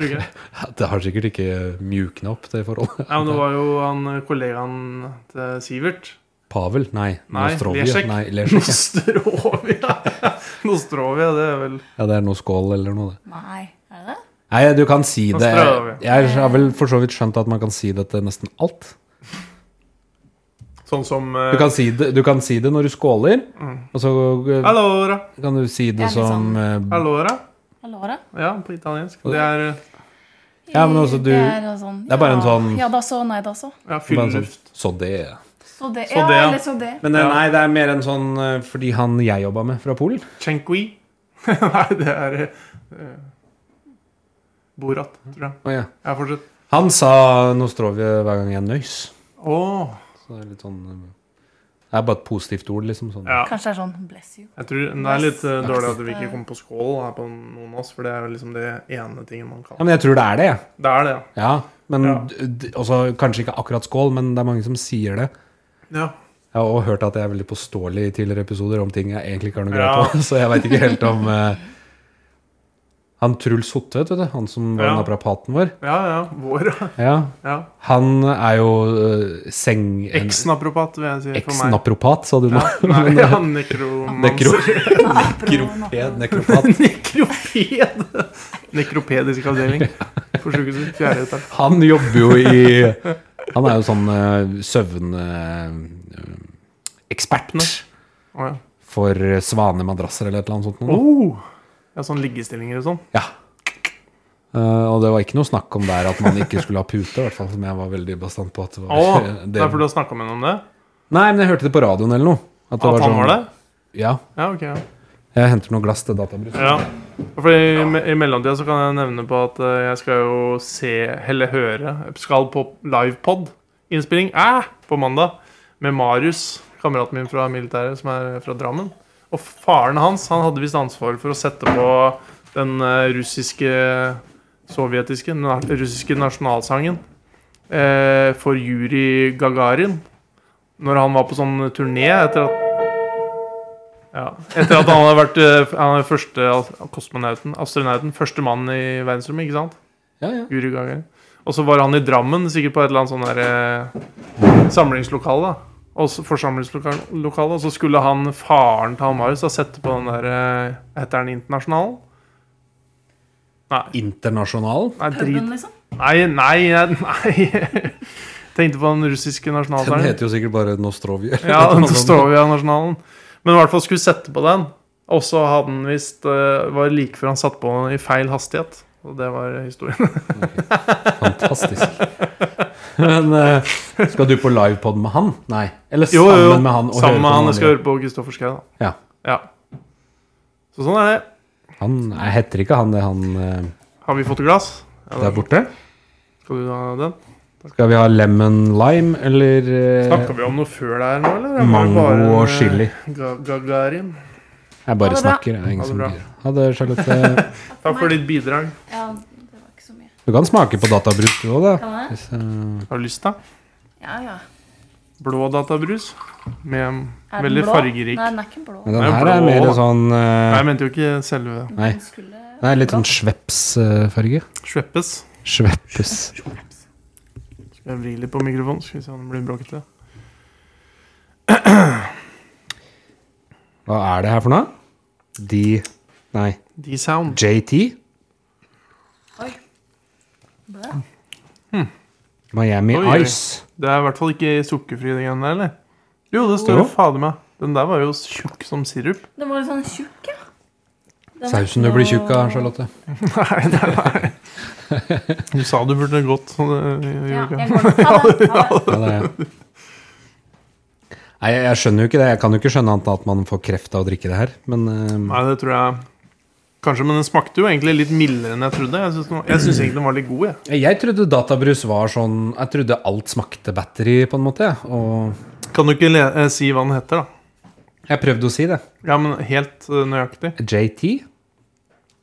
ikke jeg. det har sikkert ikke mjukna opp, det forholdet. Ja, men det var jo han eh, kollegaen til Sivert. Pavel? Nei. Nei, Nostrovia? Lesjek. Nei, Lesjek. ja. Nostrovia! Nostrovia, det er vel Ja, det er noe skål eller noe, det. Nei. Er det det? Nei, du kan si det. Nostrovia. Jeg har vel for så vidt skjønt at man kan si det til nesten alt. sånn som Du eh, kan si det, du kan si det når du skåler, Mm. og så eh, Allora, kan du si Det er det litt som sånn- eh, allora. Allora? Ja, på italiensk. Det er eh, Ja, men altså, du- Det er, jo sånn, det er bare en ja, sånn- Ja da så, nei da så. ja, bare en sånn- fylleluft. Så det Så det, Så ja, det, ja. eller så det. Men eh, Ja. nei, det er mer en sånn eh, fordi han jeg jobba med fra Polen. Chenkui. Nei, det er eh, Borat, tror jeg. Å, ja. Ja, fortsett. Han sa Nostrovje hver gang jeg nøys. Å! Så det er litt sånn eh, Det er bare et positivt ord, liksom. Sånn. Ja. Kanskje det er sånn bless you. Jeg tror Det er litt eh, dårlig at vi ikke kom på skål her på noen av oss, for det er jo liksom det ene tingen man Ja, kan. men jeg tror det er det, jeg. Det er det, ja. Ja. Men Ja. d- d- også kanskje ikke akkurat skål, men det er mange som sier det. ja. Jeg har også hørt at jeg er veldig påståelig i tidligere episoder om ting jeg egentlig ikke har noe Ja. greie på. Så jeg veit ikke helt om eh, Han Truls Hotvedt, vet du. Han som var Ja. naprapaten vår. Ja, ja. Vår, Ja. ja. Han er jo eh, seng... en- Eksnapropat, vil jeg si for meg. Eksnapropat, sa du nå. Ja, nei, Men, eh, ja, nekromanser. Nekro nekroped, nekropat. Nekroped! Nekropedisk avdeling på sjukehuset. Fjerde etasje. Han jobber jo i Han er jo sånn uh, søvnekspert Å, ja. for eh, svanemadrasser eller et eller annet sånt. Noe. Oh, ja, sånn liggestillinger og sånn. Ja. Eh, og det var ikke noe snakk om der at man ikke skulle ha pute, i hvert fall som jeg var veldig bastant på at Å, det var det er fordi du har snakka med henne om det? Nei, men jeg hørte det på radioen eller noe. At, At sånn- han var sånn- det? Ja. Ja, ok. Ja. Jeg henter noe glass til databrus. Ja. For i, I mellomtida så kan jeg nevne på at eh, jeg skal jo se, eller høre, skal på livepod-innspilling eh, på mandag med Marius, kameraten min fra militæret, som er fra Drammen. Og faren hans han hadde visst ansvar for å sette på den eh, russiske sovjetiske, na, russiske nasjonalsangen eh, for Juri Gagarin når han var på sånn turné etter at ja. Etter at han hadde vært eh, han er første as- kosmonauten, astronauten, første mann i verdensrommet, ikke sant? Ja, ja. Guri Gagarin. Og så var han i Drammen, sikkert på et eller annet sånn der, eh, samlingslokale. da. Og så- Forsamlingslokale. Og så skulle han, faren til han Marius, da sette på den der eh, Heter den Internasjonalen? Nei. Internasjonal. Nei, Puben, drit. liksom. Nei, nei, nei. Tenkte på den russiske Den nasjonalsangen. heter jo sikkert bare Nostrovje. Ja, Nostrovia-nasjonalen. Men i hvert fall skulle sette på den. Og så hadde han visst eh, var like før han satte på den i feil hastighet. Og det var historien. Fantastisk. Men eh, skal du på livepod med han? Nei. Eller Jo, sammen jo, jo. med han? og høre Sammen på med han. noen Jeg skal andre? høre på Kristoffer Schou, da. Ja. Så sånn er det. Han jeg heter ikke han det han eh, Har vi fått glass? Ja, der borte? Skal du ha den? Skal vi ha lemon lime eller eh, Snakka vi om noe før det her nå, eller? Det var jo mango bare en, og eh, chili? Ga- Gagarin. Jeg Ha bare det bra. snakker. jeg er Ha Ingen det som bra. gir. Ha det, Charlotte. Takk for ditt bidrag. Ja, det var ikke så mye. Du kan smake på databrus du òg, da. Kan jeg? Hvis, eh, Har du lyst, da? Ja, ja. Blå databrus. Med Er den veldig blå? fargerik Nei, Nei, den er ikke blå. Men den Nei, her er blå, mer da. sånn eh, jeg mente jo ikke selve Nei. Den skulle Nei, litt sånn svepsfarge. Sveppes. Sveppes. Skal jeg vri litt på mikrofonen? Skal vi se om den blir bråkete. Hva er det her for noe? De Nei. D-sound. JT? blå. Miami Hm. Oi, oi. Ice. Det er i hvert fall ikke sukkerfri, den greien der, eller? Jo, det står Jo. jo fader meg. Den der var jo tjukk som sirup. Den var litt sånn tjukk, ja. Den var Sausen ikke du blir noe- tjukk av, Charlotte. Nei, nei, nei. Du sa du burde gått. Så det gjorde Ja, ikke. jeg går nok. Ha det. Ja, Ha det. det er. Nei, jeg- jeg skjønner jo ikke det. Jeg kan jo ikke skjønne annet enn at man får kreft av å drikke det her. Men eh, Nei, det tror jeg Kanskje, men den smakte jo egentlig litt mildere enn jeg trodde. Jeg syns den var- jeg syns egentlig den var litt god, jeg. jeg trodde databrus var sånn Jeg trodde alt smakte battery, på en måte. jeg. Og Kan du ikke le eh, si hva den heter, da? jeg prøvde å si det. Ja, men helt eh, nøyaktig. JT?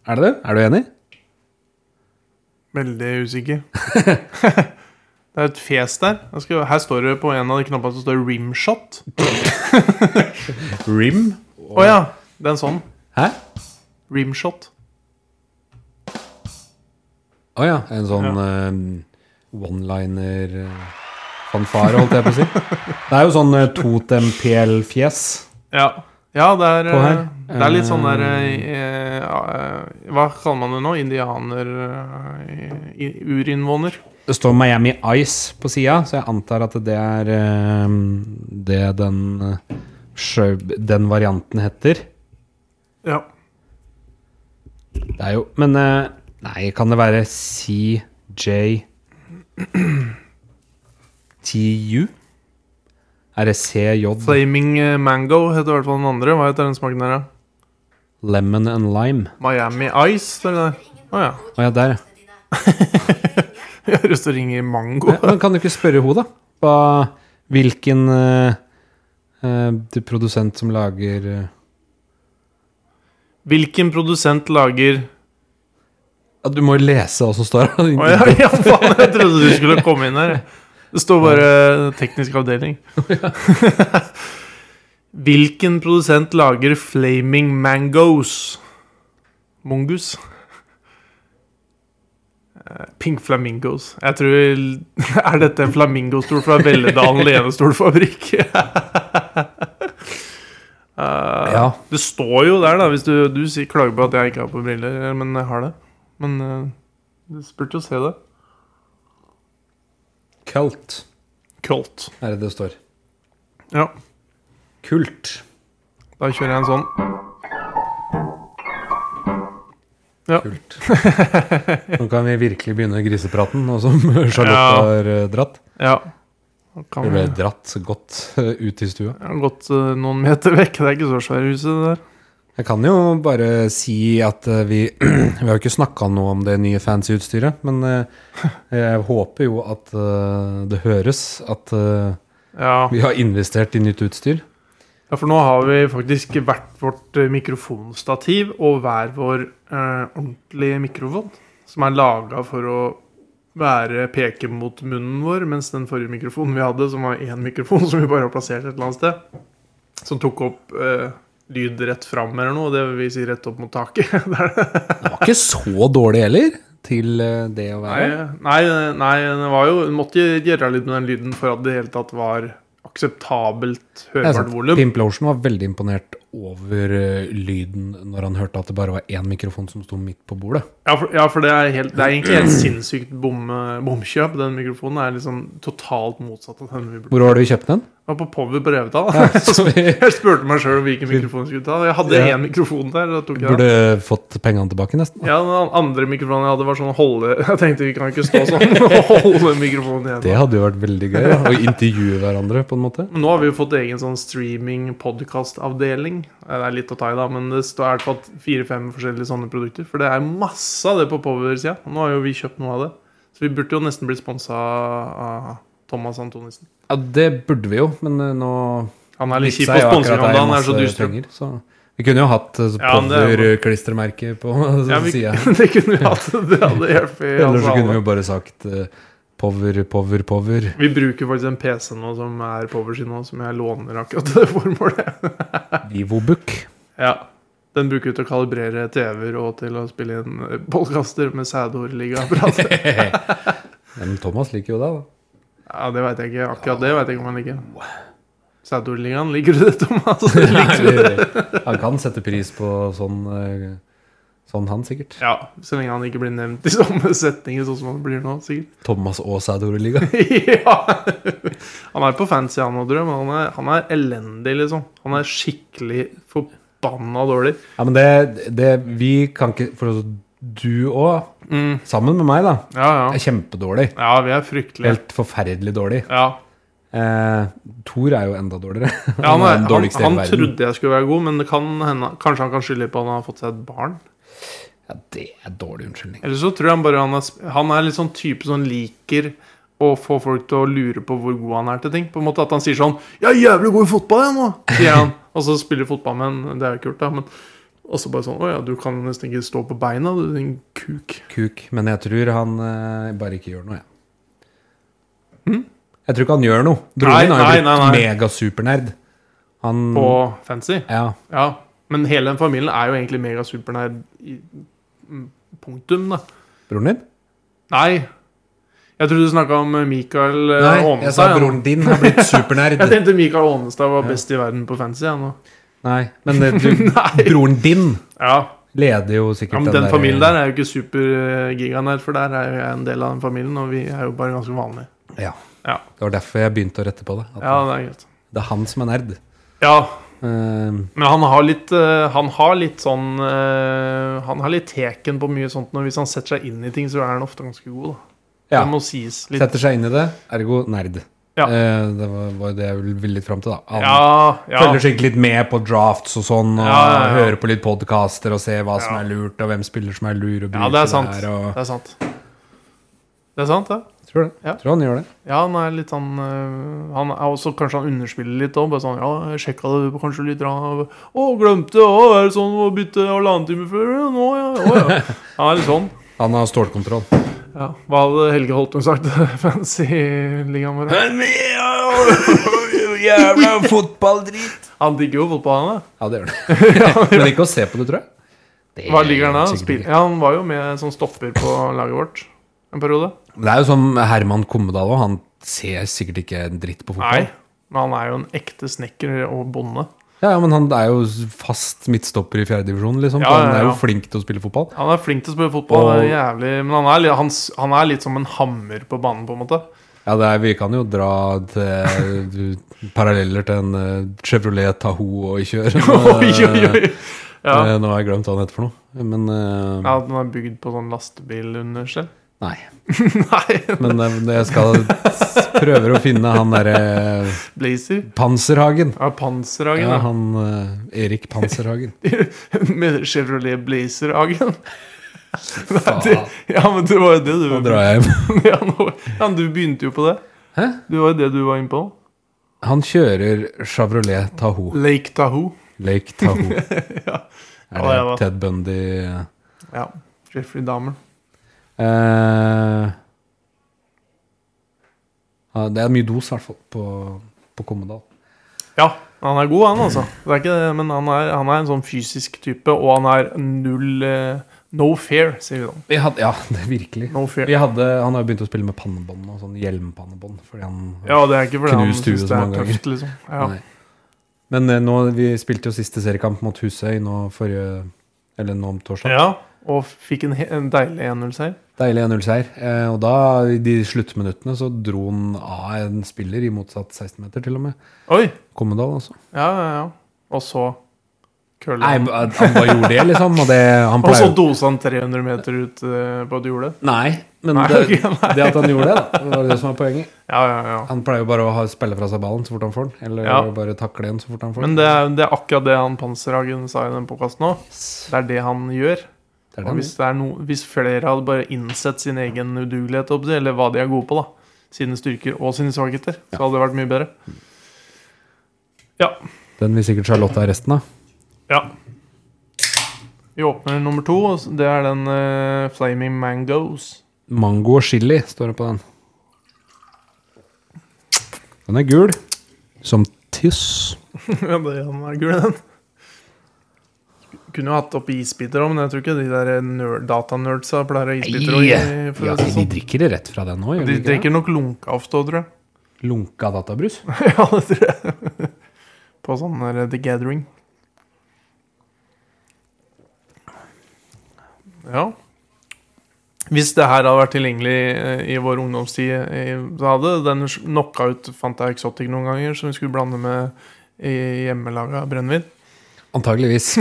Er det det? Er du enig? Veldig usikker. det er et fjes der. Jeg skal, her står det på en av de knappene som står 'rimshot'. Rim? Å ja! Det er en sånn. Hæ? Rimshot. Å ja. En sånn eh, one-liner-fanfare, holdt jeg på å si. Det er jo sånn eh, totem-PL-fjes. Ja. Ja, det er, På her. eh, det er litt sånn der Eh. eh, eh, Hva kaller man det nå? Indianer... eh, i- urinnvåner. Det står Miami Ice på sida, så jeg antar at det er eh, det den eh, sjø... Den varianten heter. Ja. Det er jo Men eh, nei, kan det være CJ TU? Er det CJ? Flaming eh, Mango heter i hvert fall den andre. Hva heter den smaken der, da? Lemon and lime. Miami Ice? det er det der. Å ja. Å ja, der, ja. Jeg har lyst til å ringe Mango. Ja, Men kan du ikke spørre henne, da? Hva, hvilken eh, eh, du produsent som lager eh, Hvilken produsent lager ja, Du må jo lese hva som står her. Å ja, ja, faen! Jeg trodde du skulle komme inn her. Det står bare teknisk avdeling. Hvilken produsent lager Flaming Mangoes? Mongus? Eh, Pink Flamingos. Jeg tror Er dette en flamingostol fra Velledalen lenestolfabrikk? Eh, Ja. Det står jo der, da, hvis du, du sier, klager på at jeg ikke har på briller, men jeg har det. Men eh, du spurte å se det. Kult, Kult. er det det står. Ja, Kult. da kjører jeg en sånn. Kult. Nå kan vi virkelig begynne grisepraten, nå som Charlotte Ja. har eh, dratt. Ja. Da Kan Hun vi, ble dratt godt eh, ut i stua. jeg har gått eh, noen meter vekk. Det er ikke så svært huset, det der. Jeg kan jo bare si at eh, vi, vi har jo ikke snakka noe om det nye fancy utstyret, men eh, jeg håper jo at eh, det høres at eh, Ja. vi har investert i nytt utstyr. ja, for nå har vi faktisk hvert vårt eh, mikrofonstativ og hver vår eh, ordentlige mikrofon, som er laga for å være peke mot munnen vår, mens den forrige mikrofonen vi hadde, som var én mikrofon som vi bare har plassert et eller annet sted, som tok opp eh, lyd rett fram eller noe, det vil si rett opp mot taket. Det er Det var ikke så dårlig heller, til eh, det å være. Nei, nei, nei det var jo Hun måtte gjøre litt med den lyden for at det i hele tatt var akseptabelt Det er sant. hørbart volum. Pimp Lotion var veldig imponert over eh, lyden når han hørte at det bare var én mikrofon som sto midt på bordet. Ja, for, ja, for det, er helt, det er egentlig helt sinnssykt bom, bomkjøp. Den mikrofonen er liksom totalt motsatt av den vi burde Hvor har du kjøpt den? Det var på Power på Revetal. Så vi Jeg spurte meg sjøl hvilken mikrofon jeg skulle ta. Jeg hadde Ja. én mikrofon der. Da tok jeg den. burde fått pengene tilbake, nesten. Ja, Den andre mikrofonen jeg hadde, var sånn holde Jeg tenkte vi kan ikke stå sånn og holde mikrofonen igjen. Det hadde jo vært veldig gøy da, å intervjue hverandre, på en måte. Men Nå har vi jo fått egen sånn streaming-podkast-avdeling. Eh, Det er litt å ta i, da, men det står i hvert fall fire-fem forskjellige sånne produkter. For det er masse av det på Power-sida. Nå har jo vi kjøpt noe av det. Så vi burde jo nesten blitt sponsa av Thomas Antonissen. Ja, det burde vi jo, men eh, nå Han er litt kjip på Vipsa jo akkurat sponsing om deg dagen, han er masse så dyster. penger, så vi kunne jo hatt eh, Ja, men det er jo- Power-klistremerke på Ja, vi, sida. det kunne vi hatt. Det hadde hjulpet. Eller altså så kunne vi alle. jo bare sagt eh, Power, Power, Power. Vi bruker faktisk en PC nå som er Power sin nå, som jeg låner akkurat til det formålet. Vivobook. Ja. Den bruker vi til å kalibrere TV-er og til å spille inn podkaster med sædhårligaapparat. men Thomas liker jo deg, da. Ja, det veit jeg ikke. Akkurat det veit jeg ikke om han liker. Sædordligaen, liker du det, Thomas? Liker du det? Han kan sette pris på sånn, eh, sånn han, sikkert. Ja, så lenge han ikke blir nevnt i samme setninger sånn som han blir nå, sikkert. Thomas og Saudi-Liga. Ja! Han er på fancy, han og Drøm. Han er, han er elendig, liksom. Han er skikkelig forbanna dårlig. Ja, men det, det Vi kan ikke For du òg Mm. Sammen med meg, da. Ja, ja. Er kjempedårlig. Ja, vi er fryktelige. Helt forferdelig dårlig. Ja. Eh, Thor er jo enda dårligere. Ja, han, er er, den han, dårligste i han hele verden. trodde jeg skulle være god, men det kan hende, kanskje han kan skylde på at han har fått seg et barn. Ja, det er dårlig unnskyldning. Eller så tror jeg han bare han er, sp- han er litt sånn type som liker å få folk til å lure på hvor god han er til ting. På en måte At han sier sånn 'Jeg er jævlig god i fotball, jeg, nå', sier han. Og så spiller fotball med en Det er jo kult, da, men også bare sånn 'Å ja, du kan nesten ikke stå på beina, du, din kuk'. Kuk. Men jeg tror han eh, bare ikke gjør noe, jeg. Jeg tror ikke han gjør noe. Hm? Nei, Broren min har nei, nei, jo blitt nei. megasupernerd. Han På fancy. Ja. Ja. Men hele den familien er jo egentlig megasupernær i mm, punktum, da. Broren din? Nei. Jeg trodde du snakka om Mikael eh, Nei, jeg sa Aanestad. ja. broren din har blitt Jeg supernerd. tenkte Mikael Aanestad var best i verden på fancy. Ja, nå. Nei, men eh, du, Nei. broren din Ja. leder jo ja, sikkert men Den der- eh, familien der er jo ikke supergiganær, for der er jo jeg en del av den familien, og vi er jo bare ganske vanlige. Ja. Ja. Det var derfor jeg begynte å rette på det. At Ja, det er greit. Det er han som er nerd. Ja, Eh, men han har litt eh, Han har litt sånn eh, Han har litt teken på mye sånt, og hvis han setter seg inn i ting, så er han ofte ganske god, da. ja. Det må sies litt. Setter seg inn i det, ergo nerd. Ja. Eh, det var, var jo det jeg ville litt fram til, da. Han Ja, ja. følger sikkert litt med på drafts og sånn, og Ja, ja, ja. hører på litt podkaster og ser hva som Ja. er lurt, og hvem spiller som er lur, og Ja, det er sant. der, og Det er sant. Det er sant, ja. Jeg Tror det. Ja. Jeg Tror han gjør det. Ja, han er litt sånn øh, Han er også Kanskje han underspiller litt òg. Bare sånn Ja, jeg sjekka det kanskje litt rann. Å, glemte det! Å, er det sånn å bytte halvannen time før? Ja, nå, ja. Å, ja. Han er litt sånn. Han har stålkontroll. Ja. Hva hadde Helge Holtung sagt? Fancy-ligaen vår. Jævla fotballdrit! Han digger jo fotball, han. da. Ja, det gjør han. Men ikke å se på det, tror jeg. Det Hva ligger han da? sikkert Spill- ikke. Ja, han var jo med som stopper på laget vårt en periode. Men Det er jo som Herman Kommedal òg, han ser sikkert ikke en dritt på Nei. fotball. Men han er jo en ekte snekker og bonde. Ja, ja, men han er jo fast midtstopper i fjerdedivisjon, liksom. Ja, så ja, Han er ja. jo flink til å spille fotball. Han er flink til å spille fotball, Og- det er jævlig, men han er, li- han, s- han er litt som en hammer på banen, på en måte. Ja, det er, Vi kan jo dra til, du, paralleller til en eh, Chevrolet Tahoe og i kjør. Oi, oi, oi. Ja. Eh, Nå har jeg glemt hva han heter for noe. Men, eh, ja, den er bygd på sånn lastebilunderstell. Nei. Nei, men eh, jeg skal s- prøver å finne han derre eh, Blazer. Panserhagen. Ja, Panserhagen. Ja, Ja, han eh, Erik Panserhagen. Med Chevrolet Blazer-hagen. Faen, Ja, men det var jo det du nå drar jeg hjem. ja, nå- ja, men du begynte jo på det. Hæ? Det var jo det du var inne på. Han kjører Chevrolet Tahoe. Lake Tahoe. Lake Tahoe. Ja, Er det var- det Ted Bundy eh, Ja. Jeffrey Dahmer. Eh, ja, det er mye dos, i hvert fall, på, på Kommedal. Ja, han er god, han altså. Det er ikke det, men han er, han er en sånn fysisk type, og han er null eh, No fair, sier vi da. Vi hadde, ja, det er virkelig. No fair. Vi hadde, han har jo begynt å spille med pannebånd og sånn hjelmpannebånd. Fordi han, Ja, det er ikke fordi han Knust huet synes så det er mange ganger. tøft, liksom. Ja. Nei. Men eh, nå, vi spilte jo siste seriekamp mot Husøy nå forrige Eller nå om torsdag. ja, og fikk en, he- en deilig 1-0-seier. Deilig 1-0-seier. Eh, og da, i de sluttminuttene, så dro han av en spiller i motsatt 16-meter, til og med. Oi! Kommedal, altså. Ja, ja, ja. Og så kølla Nei, han. men eh, han bare gjorde det, liksom. Og det, han Og pleier så dosa han 300 meter ut eh, på et jorde. Nei, men Nei, det, ok, nei. det at han gjorde det, da, det var det som var poenget. Ja, ja, ja. Han pleier jo bare å ha, spille fra seg ballen så fort han får den, eller Ja. bare takle den så fort han får Men den. det er, det er akkurat det han Panserhagen sa i den podkasten òg. Yes. Det er det han gjør. Det er Og det. hvis, det er no, hvis flere hadde bare innsett sin egen udugelighet, holdt jeg på å si, eller hva de er gode på, da, sine styrker og sine svakheter, så hadde det vært mye bedre. Ja. Den vil sikkert Charlotte ha resten av. Ja. Vi åpner nummer to. og s- Det er den eh, Flaming Mangoes. Mango og chili står det på den. Den er gul. Som tyss. ja, det er den er gul, den. Kunne jo hatt oppi isbiter òg, men jeg tror ikke de der nerd, datanerdsa pleier å ha isbiter. Og, for Ja, å si de, det de sånn. drikker det rett fra den òg, gjør de de ikke det? drikker nok lunka ofte òg, tror jeg. Lunka databrus. ja, det tror jeg. På sånn der The Gathering. Ja. Hvis det her hadde vært tilgjengelig eh, i vår ungdomstid, eh, så hadde den sj- knocka ut Fanta Exotic noen ganger, som vi skulle blande med i hjemmelaga brennevin. Antageligvis.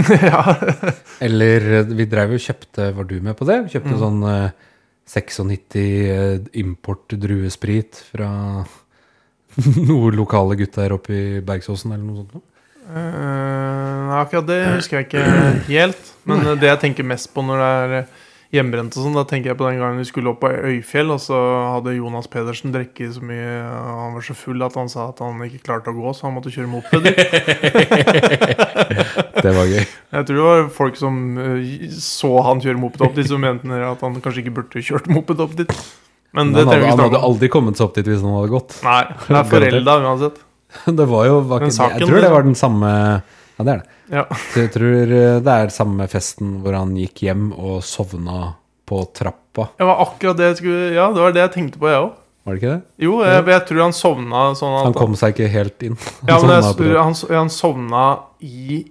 Eller eh, vi drev jo og kjøpte Var du med på det? Vi Mm. Kjøpte sånn eh, 96 eh, import druesprit fra noen lokale gutter her oppe i Bergsåsen eller noe sånt. noe. Eh, Nei, Eh, akkurat det husker jeg ikke helt. Men eh, det jeg tenker mest på når det er eh, hjemmebrent og sånn, da tenker jeg på den gangen vi skulle opp på Øyfjell, og så hadde Jonas Pedersen drukket så mye og han var så full at han sa at han ikke klarte å gå, så han måtte kjøre moped. Det var gøy. Jeg tror det var folk som eh, så han kjøre moped opp dit, som mente at han kanskje ikke burde kjørt moped opp dit. Men Men det trenger vi han, hadde, han ikke hadde snakke om. aldri kommet seg opp dit hvis han hadde gått. Nei, det er forelda uansett. Det var jo var Men ikke, saken- Jeg tror det var den samme Ja, det er det. Ja. Så Jeg tror eh, det er samme festen hvor han gikk hjem og sovna på trappa. Det var akkurat det jeg skulle Ja, det var det jeg tenkte på, jeg òg. Var det ikke det? Jo, jeg, jeg tror han sovna sånn at Han kom seg ikke helt inn. Sånn Ja, men sovna jeg, på trappa. han, han sovna i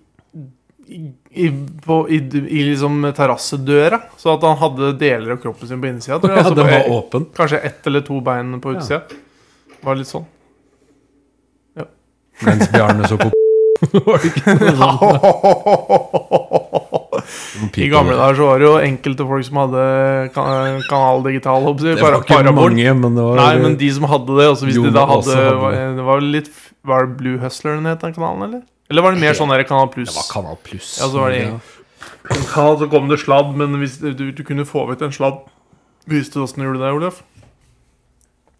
i, i, på, i, i liksom terrassedøra. Så at han hadde deler av kroppen sin på innsida. Tror jeg. Ja, Altså den var på- åpen. kanskje ett eller to bein på Ja. utsida. Var litt sånn. Mens Bjarne så på Var sånn. det ikke noe sånt? I gamle dager så var det jo enkelte folk som hadde kan, Kanal Digital. håper jeg, Det var para- ikke parabol. mange, men det var Nei, men de som hadde det, også hvis de da Jonas hadde, også hadde Det var litt Var det Blue Hustler den het, den kanalen, eller? Eller var det mer sånn der Kanal Pluss? Det var Kanal Pluss. Ja, så var det- Ja, så kom det sladd, men hvis du, du kunne få vekk en sladd Visste du åssen du gjorde det, Olaf?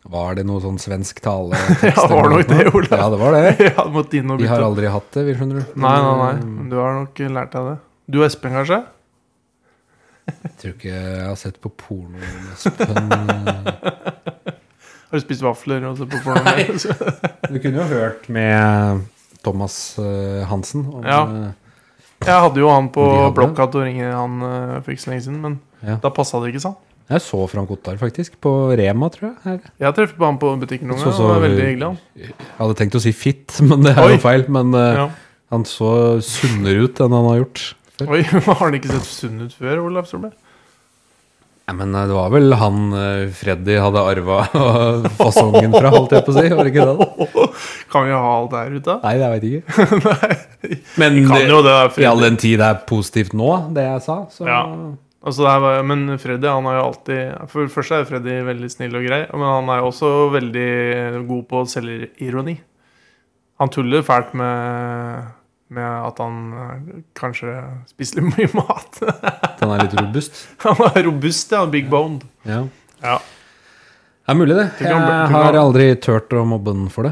Var det noe sånn svensk tale? Ja, var nok det, Olav. Ja, det var det. Ja, du måtte inn og Vi har bytte. aldri hatt det, vi skjønner du. Mm. Nei, nei, nei. Men Du har nok lært deg det. Du og Espen, kanskje? Jeg tror ikke jeg har sett på porno med Espen. eh. Har du spist vafler og sett på porno? med? Du kunne jo hørt med Thomas eh, Hansen. Om, Ja. eh, Jeg hadde jo han på De hadde. blokka til å ringe han eh, for ikke så lenge siden, men Ja. da passa det ikke, sant? Jeg så Frank Ottar faktisk, på Rema, tror jeg. Her. Jeg traff på han på butikken noen Så- ganger. så- Han var veldig hyggelig, han. Jeg hadde tenkt å si fitt, men det er Oi. jo feil. Men eh, Ja. han så sunnere ut enn han har gjort. før. Oi, har han ikke sett sunn ut før, Olaf Solberg? Nei, men eh, det var vel han eh, Freddy hadde arva fasongen fra, holdt jeg på å si. Var det ikke det? da? Kan vi ha alt der ute? Nei, det veit jeg ikke. Men Kan jo det, det, i all Freddy. den tid det er positivt nå, det jeg sa, så Ja. Altså, det her var, men Freddy han har jo alltid For det første er Freddy veldig snill og grei, men han er jo også veldig god på selvironi. Han tuller fælt med, med at han eh, kanskje spiser litt mye mat. den er litt robust. Han er robust, ja. Big boned. Ja. Ja. Det er mulig, det. Tror ikke Jeg han- tror ikke har han- aldri turt å mobbe den for det.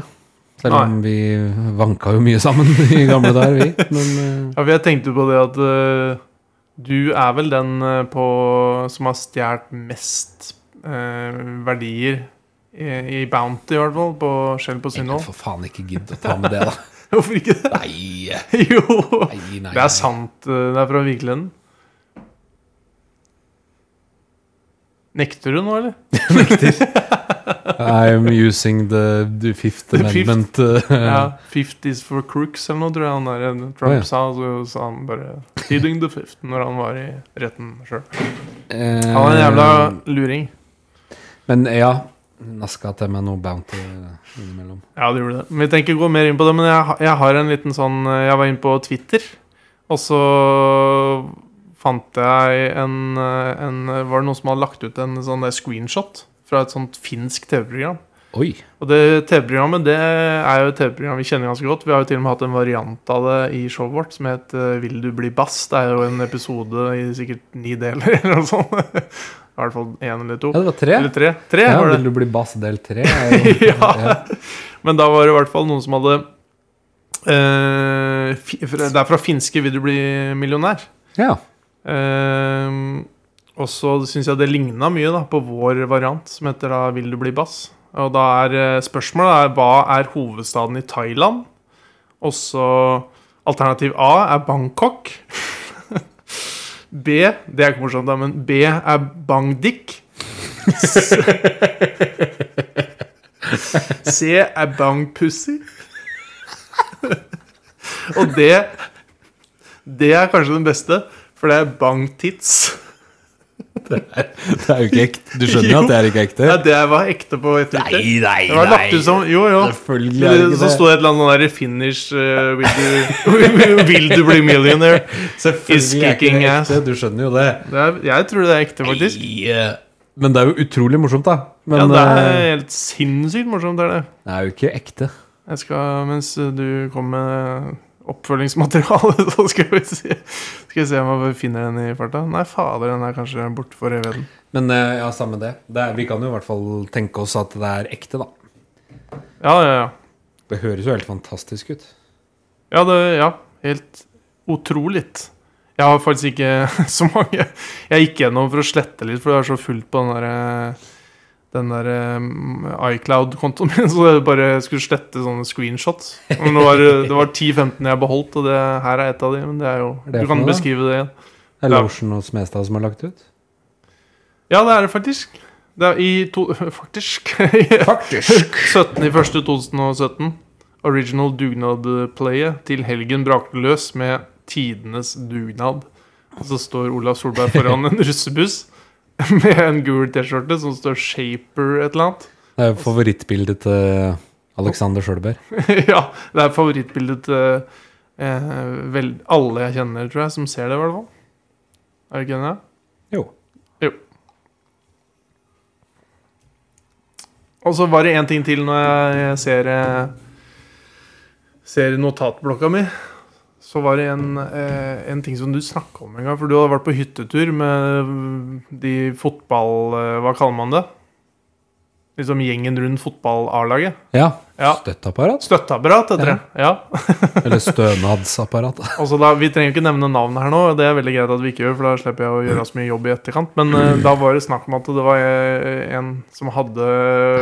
Selv om vi vanka jo mye sammen i gamle dager, vi. Men eh, ja, for jeg tenkte på det at eh, du er vel den eh, på, som har stjålet mest eh, verdier i, i Bounty, i hvert fall. På, selv på jeg kan Synnøve. for faen ikke gidde å ta med det, da. Hvorfor ikke det? Nei, Jo! nei, nei. Det er sant. eh, Det er fra virkeligheten. Nekter du nå, eller? I'm eh, using the, the fifth The amendment. eh, Ja. Fifth is for crooks, eller noe, tror jeg han der eh, Trump Å, ja. sa. Så sa han bare 'Heading the fifth' når han var i retten sjøl. eh, Han er en jævla luring. Men ja, naska til meg noe Bounty innimellom. Ja, det gjorde det. Men Vi tenker gå mer inn på det, men jeg, ha- jeg har en liten sånn eh, Jeg var inne på Twitter, og så fant jeg en, eh, en Var det noen som hadde lagt ut en sånn der screenshot fra et sånt finsk TV-program? Oi. Og det TV-programmet det er jo et TV-program vi kjenner ganske godt. Vi har jo til og med hatt en variant av det i showet vårt som het eh, 'Vil du bli bass?' Det er jo en episode i sikkert ni deler eller noe sånt. I hvert fall én eller to. Ja, det var tre. Eller tre. Tre Ja, var det. vil du bli bass del tre? er jo- Ja. Men da var det i hvert fall noen som hadde eh, fi- Det er fra finske 'Vil du bli millionær'. ja. Eh, og så syns jeg det ligna mye da, på vår variant, som heter da 'Vil du bli bass'? Og da er eh, spørsmålet er, hva er hovedstaden i Thailand? Og så alternativ A er Bangkok. B Det er ikke morsomt, da, men B er Bangdik. S- C er Bangpussy. Og det Det er kanskje den beste, for det er Bangtits. Det er jo ikke ekte. Du skjønner jo at det er ikke ekte? Nei, det var ekte på et Nei, Twitter. nei, Det var lagt ut som Jo, jo. Selvfølgelig er det Det- ikke Så det. sto det et eller annet sånn der finish eh, will, du, will du bli millionaire? Is Selvfølgelig er ikke kicking det ass. ekte. Du skjønner jo det. Det er, jeg tror det er ekte, faktisk. Nei, eh, Men det er jo utrolig morsomt, da. Men Ja, det eh, er helt sinnssykt morsomt, det er det. det er jo ikke ekte. Jeg skal, mens du kommer med oppfølgingsmateriale, så skal vi se, skal vi se om jeg finner den i farta. Nei, fader, den er kanskje borte for evigheten. Men eh, ja, samme det. det er, vi kan jo i hvert fall tenke oss at det er ekte, da. Ja, ja, ja. Det høres jo helt fantastisk ut. Ja, det, ja. helt utrolig. Jeg har faktisk ikke så mange. Jeg gikk gjennom for å slette litt, for det er så fullt på den der, eh, den der um, iCloud-kontoen min, så jeg bare skulle slette sånne screenshots. Men det var, det var 10-15 jeg beholdt, og det her er et av de. Men det er jo Er det Du for kan noe, da? beskrive det igjen. Det er Ja. Larsen og Smestad som har lagt ut? Ja, det er det faktisk. Det er i to, Faktisk. Faktisk! 17.01.2017. Original dugnad-playet til helgen brakte løs med tidenes dugnad. Og så står Olav Solberg foran en russebuss med en gul T-skjorte som står 'Shaper' et eller annet. Det er jo favorittbildet til Alexander Sjølberg. ja, det er favorittbildet til eh, vel, alle jeg kjenner, tror jeg, som ser det, i hvert fall. Er du ikke enig? Jo. Jo. Og så var det én ting til når jeg ser, eh, ser notatblokka mi. Så var det en, eh, en ting som du snakka om en gang. For du hadde vært på hyttetur med mm, de fotball... eh, Hva kaller man det? Liksom gjengen rundt fotball-A-laget. Ja. Ja. Støtteapparat. Støtteapparat, heter det. Ja. Eller stønadsapparat. Altså da, Vi trenger ikke nevne navnet her nå, det er veldig greit at vi ikke gjør, for da slipper jeg å gjøre så mye jobb i etterkant. Men eh, da var det snakk om at det var eh, en som hadde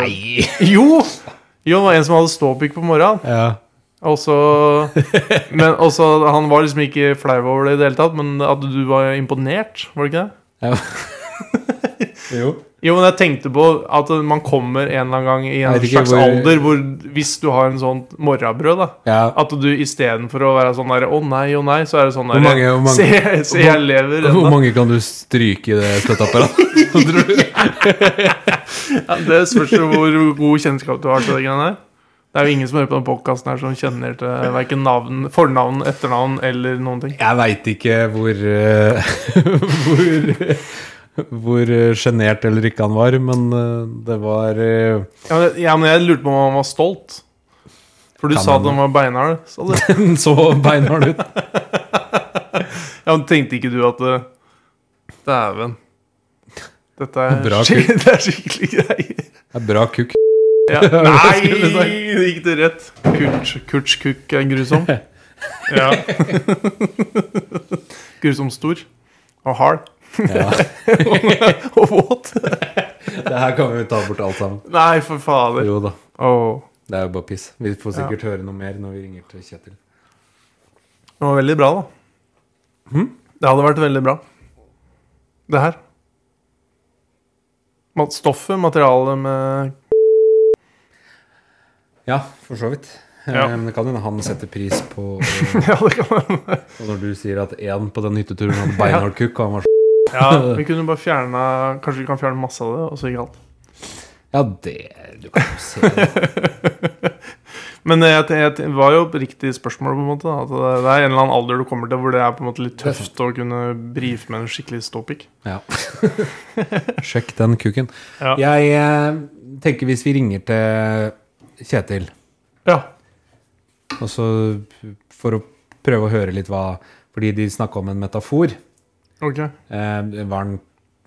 Nei! Jo! Jo, det var en som hadde ståpikk på morgenen. Ja. Og så Men også, han var liksom ikke flau over det i det hele tatt, men at du var imponert, var det ikke det? ja. jo. Jo, men jeg tenkte på at man kommer en eller annen gang i en Jeg vet ikke slags hvor- alder hvor hvis du har en sånn morrabrød, da Ja. at du istedenfor å være sånn der Å nei, å nei, så er det sånn der Hvor mange- hvor mange- Se, se jeg lever Hvor ennå. mange kan du stryke i det støtteapparatet? tror du? Ja, det spørs jo hvor god kjennskap du har til det greiene her. Det er jo ingen som hører på den podkasten her som kjenner til verken navn, fornavn, etternavn eller noen ting. Jeg veit ikke hvor eh, Hvor hvor eh, sjenert eller ikke han var, men eh, det var eh, Ja, men jeg- ja, men jeg lurte på om han var stolt. For du Kan sa at hende. han var beinhard. sa du. Den så beinhard ut. Ja, men tenkte ikke du at eh, Dæven. Dette er, Bra skik- det er skikkelig greier. Det er bra kukk. Ja. Nei, det gikk det rett. Kurt, Kurts kukk er grusom. Ja. grusom stor. Og hard. Ja, Og våt. det her kan vi ta bort alt sammen. Nei, for fader. Jo da. Åh, Det er jo bare piss. Vi får sikkert høre noe mer når vi ringer til Kjetil. Det var veldig bra, da. Det hadde vært veldig bra. Det her. Mat- Stoffet, materialet med Ja, for så vidt. Eh, Ja. Men det kan hende han setter pris på Ja, det kan være. Og når du sier at én på den hytteturen hadde beinhard kukk, og han var så Ja, vi kunne bare fjerna Kanskje vi kan fjerne masse av det, og så ikke alt. Ja, det Du kan jo se det. Men jeg, jeg, det var jo et riktig spørsmål, på en måte. da. At det, det er en eller annen alder du kommer til hvor det er på en måte litt Det er tøft å kunne brife med en skikkelig ståpikk. Ja. Sjekk den kukken. Ja. Jeg eh, tenker hvis vi ringer til Kjetil, Ja. og så for å prøve å høre litt hva Fordi de snakka om en metafor. Ok. Eh, en varm,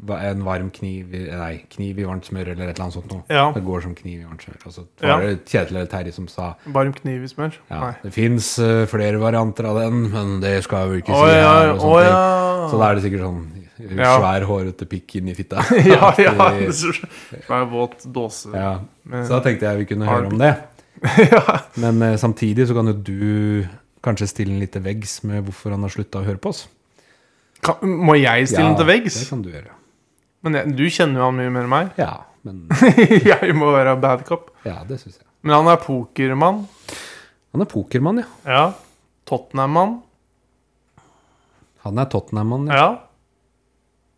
va- en varm kniv i- Nei, kniv i varmt smør, eller et eller annet sånt noe. Ja. Det går som kniv i varmt smør. Og så Ja. var det Kjetil eller Terje som sa Varm kniv i smør? ja, Nei. det fins flere varianter av den, men det skal vi ikke Å si ja, her. Og å sånne ting. Så da ja. er det sikkert sånn Ja. svær, hårete pikk inni fitta. Ja, ja. Det er så- det er en våt dåse. Sånn ja. med- Så da tenkte jeg vi kunne Hard høre om det. Men eh, samtidig så kan jo du kanskje stille en lite veggs med hvorfor han har slutta å høre på oss. Kan, må jeg stille den til Det veggs? kan du gjøre. Men jeg, du kjenner jo han mye mer enn meg. Ja, men, jeg må være bad cop. ja det syns jeg. Men han er pokermann. Han er pokermann, ja. Ja. Tottenham-mann. Han er Tottenham-mann. Ja. Ja.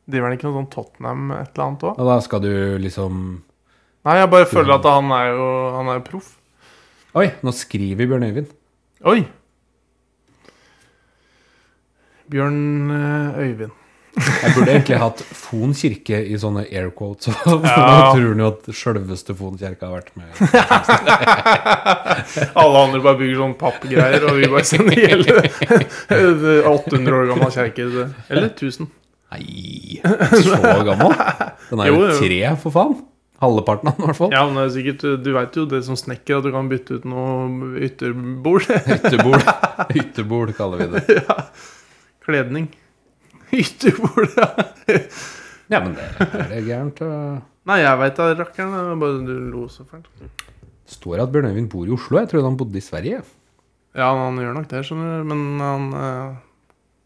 Driver han ikke noe sånn Tottenham et eller annet òg? Og da skal du liksom Nei, jeg bare føler at han er jo Han er jo proff. Oi, nå skriver Bjørn Øyvind. Oi! Bjørn eh, Øyvind. Jeg burde egentlig hatt Fon kirke i sånne air quotes. For Ja. da tror han jo at sjølveste Fon kirke har vært med. Alle andre bare bygger sånn pappgreier, og vi bare sender hele 800 år gammel kjerke. Eller 1000. Nei, så gammel? Den er jo Jo, jo. tre, for faen. Halvparten av den, i hvert fall. Ja, men det er sikkert, eh, Du veit jo det som snekker, at du kan bytte ut noe ytterbord. Hyttebol. Hyttebol kaller vi det. Kledning. Ytterbord, ja. Ja, men det er det gærent. øh. Nei, jeg veit det, rakkeren. det var Bare du lo så fælt. Står at Bjørn Øyvind bor i Oslo. Jeg trodde han bodde i Sverige. Ja, han gjør nok det, skjønner du. Men han eh,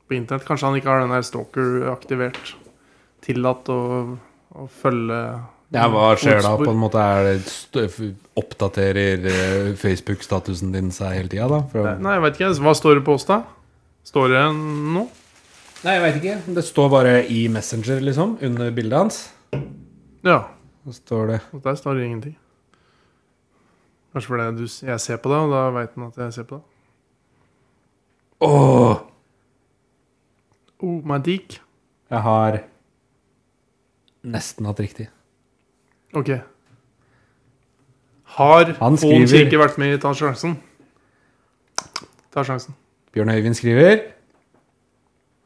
på internett Kanskje han ikke har den der stalker aktivert. Tillatt å, å følge Ja, Hva skjer da? fotspor. på en måte er det stø- Oppdaterer eh, Facebook-statusen din seg hele tida, da? Fra- Nei, jeg vet ikke. Hva står det på oss, da? Står det noe? Nei, jeg veit ikke. Det står bare i Messenger, liksom, under bildet hans. Ja. Så står det Og der står det ingenting. Kanskje fordi du, s- jeg ser på det, og da veit han at jeg ser på det. Åh, Oh, my dick. jeg har nesten hatt riktig. Ok. Har Han Fon kirke skriver- vært med i Ta sjansen? Ta sjansen. Bjørn Øyvind skriver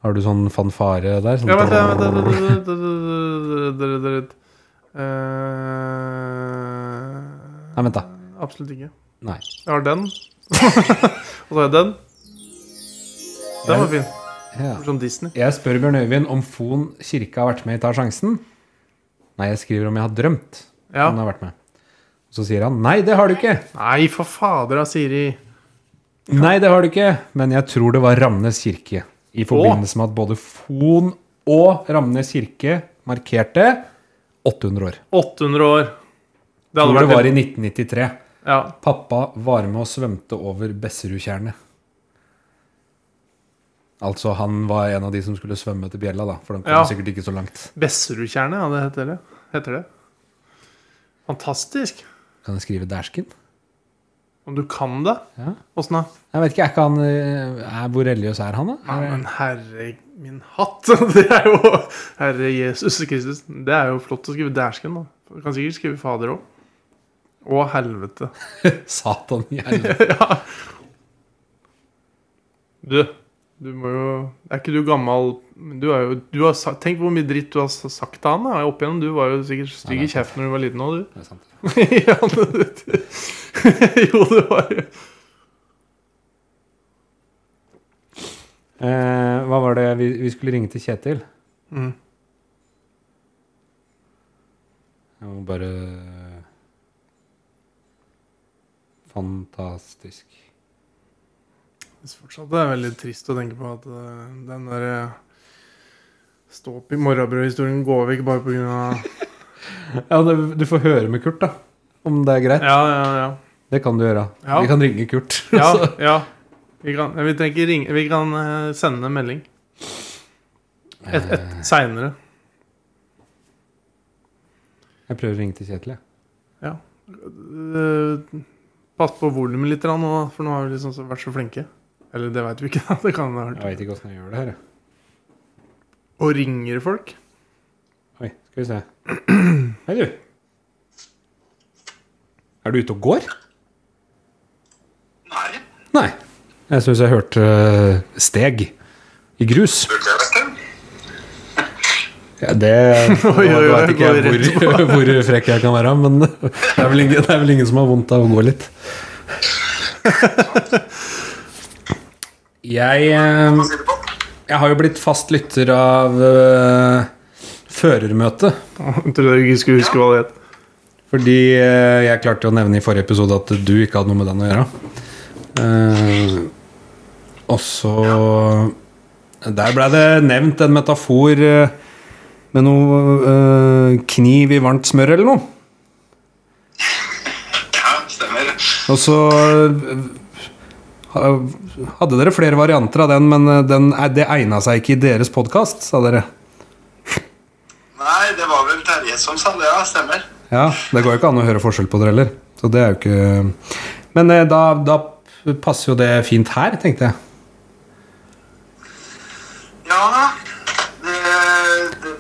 Har du sånn fanfare der? Sånn Ja, vent, vent, vent, vent, vent, vent, vent, vent. Eh, Nei, vent, da. Absolutt ikke. Nei. Jeg har den. Og så har jeg den. Den var fin. Ja. Som Disney. Jeg spør Bjørn Øyvind om Fon kirke har vært med i Ta sjansen. Nei, jeg skriver om jeg har drømt Ja. om den har vært med. Så sier han nei, det har du ikke. Nei, for fader av Siri. Nei, det har du ikke. Men jeg tror det var Ramnes kirke. I forbindelse med at både Fon og Ramnes kirke markerte 800 år. 800 år. Det Tror hadde det var vært i 1993. Ja. Pappa var med og svømte over Besserudtjernet. Altså, han var en av de som skulle svømme til bjella, da. For den kom Ja. sikkert ikke så langt. Besserudtjernet, ja, det heter det. Heter det. Fantastisk. Kan jeg skrive dæsken? Om du kan det? Ja. Åssen da? Jeg vet ikke, er ikke han eh, er, Hvor religiøs er han, da? Ja, Er, men herre min hatt! Det er jo Herre Jesus Kristus. Det er jo flott å skrive dæsken, da. Du kan sikkert skrive fader òg. Å, helvete. Satan i helvete. ja. Du, du må jo Er ikke du gammel Du er jo du har, sa- Tenk hvor mye dritt du har s- sagt til han da, opp igjennom. Du var jo sikkert stygg Nei, i kjeften når du var liten òg, du. Det er sant. ja, det, jo, det var jo Eh, hva var det vi, vi skulle ringe til Kjetil? Mm. Jeg må bare Fantastisk. Jeg synes fortsatt det er veldig trist å tenke på at eh, den der eh, stå opp i morgenbrød-historien går vekk bare på grunn av Ja, du, du får høre med Kurt, da. Om det er greit. Ja, ja, ja. Det kan du gjøre. Ja. Vi kan ringe Kurt. ja, Så- ja. Vi kan, vi trenger ikke ringe Vi kan eh, sende en melding. Et, et Eh. seinere. Jeg prøver å ringe til Kjetil, jeg. Eh, pass på volumet litt grann nå, da, for nå har vi liksom så- vært så flinke. Eller det veit vi ikke, da. Det kan ha Jeg hørt. veit ikke åssen jeg gjør det her. jeg. Og ringer folk. Oi, skal vi se. Hei, du. Er du ute og går? Nei, Nei. Jeg syns jeg hørte øh, steg i grus. burde jeg vært det? Ja, det Oi, oi, Jeg oi, vet ikke går jeg hvor, hvor frekk jeg kan være, men det er, vel ingen, det er vel ingen som har vondt av å gå litt. Jeg, eh, Sier du på? jeg har jo blitt fast lytter av eh, Førermøtet. Jeg trodde jeg ikke skulle huske hva det het. Fordi eh, jeg klarte jo å nevne i forrige episode at du ikke hadde noe med den å gjøre. Eh, og så Der ble det nevnt en metafor eh, med noe eh, kniv i varmt smør eller noe. Ja, stemmer. Og så eh, ha- hadde dere flere varianter av den, men eh, den, eh, det egna seg ikke i deres podkast, sa dere. Nei, det var vel Terje som sa det, ja. Stemmer. Ja, det går jo ikke an å høre forskjell på dere heller. Så det er jo ikke Men eh, da, da passer jo det fint her, tenkte jeg. Ja da. Det, det,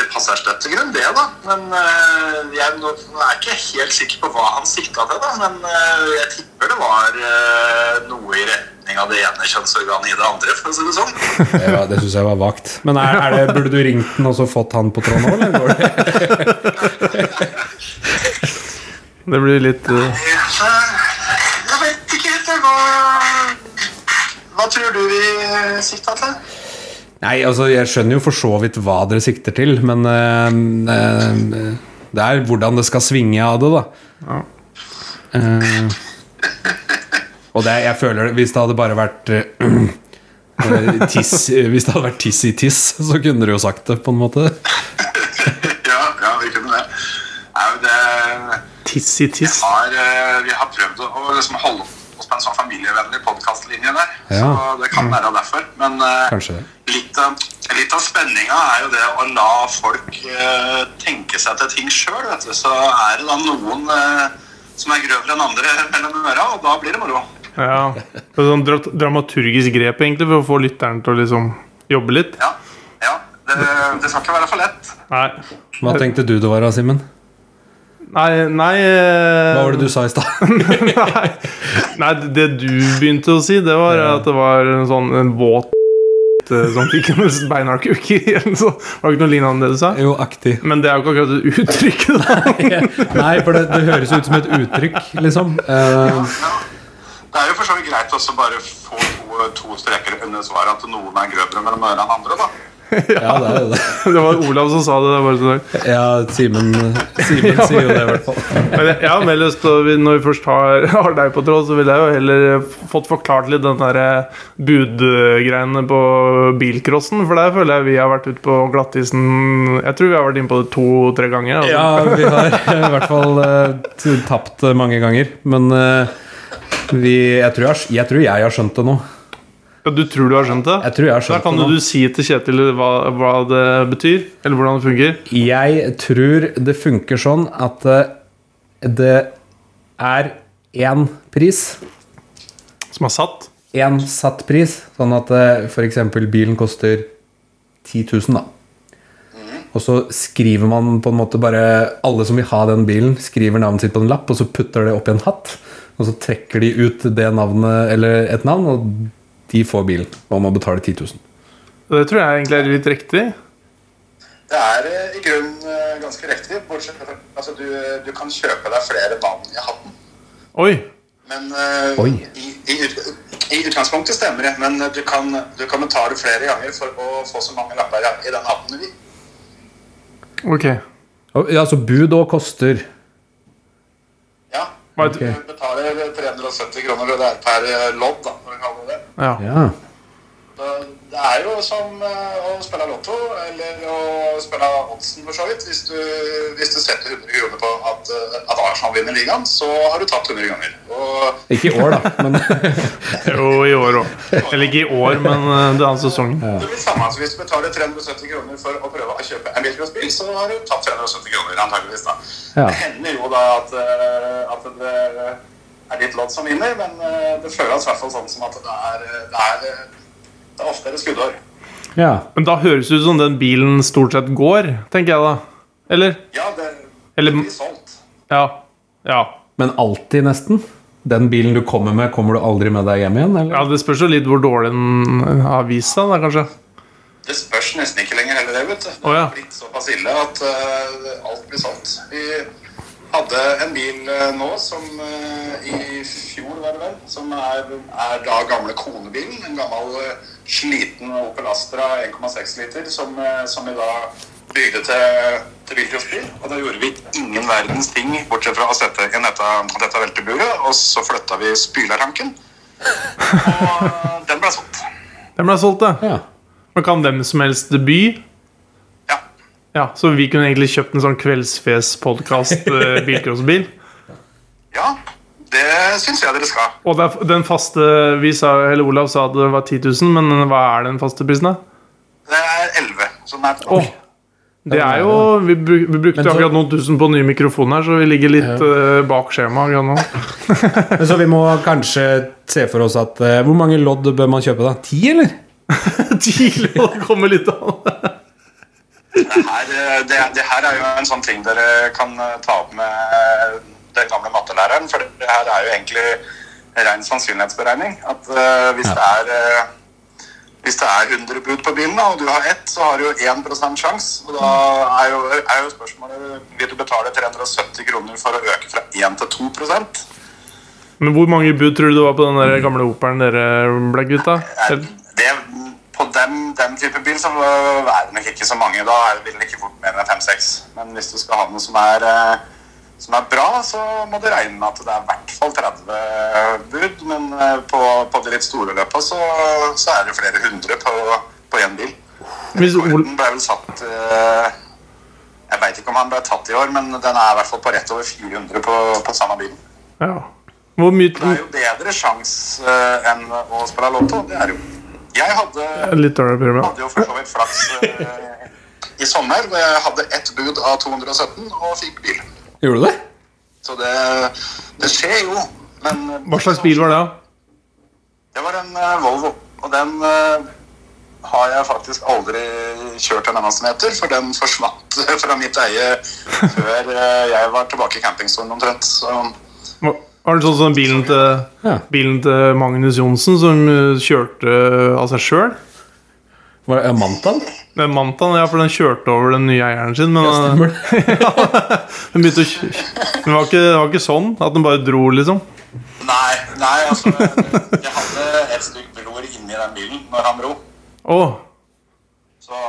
det passer støtt til grunn, det, da. Men eh, jeg nå- nå er jeg ikke helt sikker på hva han sikta til, da. Men eh, jeg tipper det var eh, noe i retning av det ene kjønnsorganet i det andre, for å si det sånn. Det, var- det syns jeg var vagt. Men er, er det, burde du ringt den og så fått han på tråden nå, eller? Går det? Det blir litt eh, Så jeg vet ikke helt, jeg. Hva, hva tror du vi sikta til? Nei, altså, jeg skjønner jo for så vidt hva dere sikter til, men eh, eh, det er hvordan det skal svinge av det, da. Eh, og det, jeg føler det Hvis det hadde bare vært eh, tiss, Hvis det hadde vært tiss i tiss, så kunne dere jo sagt det, på en måte. Ja, ja, vi kunne det. Nei, men det tiss i tiss. har, eh, vi har prøvd å, å liksom holde oss på en sånn familievennlig podkastlinje der. Ja. Så det kan være derfor. Men eh, Kanskje det. litt av, litt av spenninga er jo det å la folk eh, tenke seg til ting sjøl. Så er det da noen eh, som er grøvere enn andre mellom øra, og da blir det moro. Ja. Det er sånn dra- dramaturgisk grep, egentlig, for å få lytteren til å liksom jobbe litt. Ja, ja det, det skal ikke være for lett. Nei, Hva tenkte du det var, da, Simen? nei, nei eh, Hva var det du sa i stad? nei, nei, det du begynte å si, det var at det var en sånn en våt eh, som fikk en beinhardkuk i en sånn. Var det ikke noe lignende enn det du sa? Jo, aktig. Men det er jo ikke akkurat et uttrykk. Da. Nei, for det, det høres ut som et uttrykk, liksom. Eh, Ja. Det er jo for så vidt greit også bare få to, to streker under svaret at noen er grøvere mellom øra enn andre, da. ja, det er jo det. Det var Olav som sa det. det er bare sånn. Ja, Simen Simen sier jo det, i hvert fall. Men jeg, jeg har mer lyst til, å- når vi først har, har deg på tråd, så ville jeg jo heller eh, fått forklart litt den der eh, budgreiene på bilcrossen. For der føler jeg vi har vært ute på glattisen Jeg tror vi har vært inne på det to-tre ganger. Altså. Ja, vi har i hvert fall eh, t- tapt eh, mange ganger. Men eh, vi, jeg, tror jeg, har- jeg tror jeg har skjønt det nå. Ja, Du tror du har skjønt det? Jeg tror jeg har Da skjønt kan det du, nå. du si til Kjetil hva, hva det betyr, eller hvordan det fungerer. Jeg tror det funker sånn at eh, det er én pris. Som er satt. Én satt pris. Sånn at f.eks. bilen koster 10 000, da. Og så skriver man på en måte bare Alle som vil ha den bilen, skriver navnet sitt på en lapp, og så putter det opp i en hatt. Og så trekker de ut det navnet, eller et navn, og de får bilen. Og må betale 10 000. Det tror jeg egentlig er litt riktig. Det er eh, i grunnen eh, ganske riktig. Bortsett fra altså, du, du kan kjøpe deg flere navn i hatten. Oi! Men eh, Oi. i, i, ut- i utgangspunktet stemmer det. Men eh, du kan, du kan betale flere ganger for å få så mange lapper i- i den hatten du vil. Ok. Og, ja, så bud òg koster. Ja. Hva Du heter- betaler 370 kroner og det er per eh, lodd, da, når vi kaller det det. Ja. Ja. Da- Det er jo som eh, å spille lotto, eller å spille oddsen for så vidt. Hvis du, hvis du setter 100 kroner på at, eh, at Arsenal vinner ligaen, så har du tapt 100 ganger. Og Ikke i år, da, men Jo, i år òg. Eller ikke i år, men eh, det er annen sesong. det blir samme som hvis du betaler 370 kroner for å prøve å kjøpe en bilcrossbil, så har du tapt 370 kroner antageligvis da. Ja. Det hender jo da at, eh, at det er ditt lodd som vinner, men eh, det føles i hvert fall sånn som at det er, det er, eh, det er oftere skuddår. ja. Men da høres det ut som den bilen stort sett går, tenker jeg da. Eller? Ja, det, Eller- det blir solgt. Ja. Ja. Men alltid, nesten. Den bilen du kommer med, kommer du aldri med deg hjem igjen? ja Eller? det spørs jo litt hvor dårlig den har vist seg, da, kanskje. Det spørs nesten ikke lenger heller, det, vet du. Det Å, ja. har blitt såpass ille at eh, alt blir solgt. Vi hadde en bil eh, nå som eh, i fjor, var det vel, som er, er da gamle konebilen. En gammel eh, sliten Opel Astra 1,6 liter som, eh, som vi da bygde til, til bilcrossbil. Og da gjorde vi ingen verdens ting bortsett fra å sette inn dette, dette velteburet, og så flytta vi spylertanken. Og den ble solgt. Den ble solgt, det. Ja. Men kan hvem som helst by? Ja. Ja, Så vi kunne egentlig kjøpt en sånn eh, kveldsfjes-podkast-bilcrossbil. Ja, det syns jeg dere skal. Og det er den faste vi sa, eller Olav sa at det var 10 000, men hva er den faste prisen, da? Det er 11. Så den er Åh, Det er jo, vi, bru- vi brukte Men så- akkurat noen tusen på nye mikrofoner her, så vi ligger litt eh, bak skjemaet akkurat nå. Men Så vi må kanskje se for oss at eh, Hvor mange lodd bør man kjøpe, da? Ti, eller? Tidlig å komme litt av det. Det her, eh, det, det her er jo en sånn ting dere kan eh, ta opp med eh, den gamle mattelæreren, for det her er jo egentlig ren sannsynlighetsberegning. At eh, hvis, det er, eh, hvis det er 100 bud på bilen, da, og du har ett, så har du jo 1 sjanse. Og da er jo, er jo spørsmålet vil du betale 370 kroner for å øke fra 1 til 2 Men hvor mange bud tror du det var på den der gamle operen dere ble, gutta? Er- Eh, det, på den, den type bil så øh, er det nok ikke så mange. Da er det- vil det ikke fort mer enn fem-seks. Men hvis du skal ha noe som er, eh, som er bra, så må du regne med at det er i hvert fall 30 bud. Men eh, på, på de litt store løpa så, så er det jo flere hundre på, på én bil. Hvis Ol Rekorden ble vel satt eh, Jeg veit ikke om han ble tatt i år, men den er i hvert fall på rett over 400 på, på samme bilen. ja. Hvor Det mye er jo bedre sjans eh, enn å spille lotto. Det er det jo. Jeg hadde Litt dårlig å prøve. hadde jo for så vidt flaks eh, i sommer. hvor Jeg hadde ett bud av 217 og fikk bil. Gjorde du det? Så det, det skjer jo. Men eh, Hva slags bil var det, da? Det var en eh, Volvo. Og den eh, har jeg faktisk aldri kjørt en eneste meter, for den forsvant fra mitt eie før eh, jeg var tilbake i campingstolen omtrent. Så Var- Var det sånn som bilen til, Ja. bilen til Magnus Johnsen som eh, kjørte av seg sjøl? Var det Amantaen? Den Mantaen, ja, for den kjørte over den nye eieren sin. Men eh, Stemmer det? den begynte å kj- Men det var ikke, det var ikke sånn at den bare dro, liksom. nei, nei, altså Jeg hadde et stykk bror inni den bilen når han dro. Å, Så,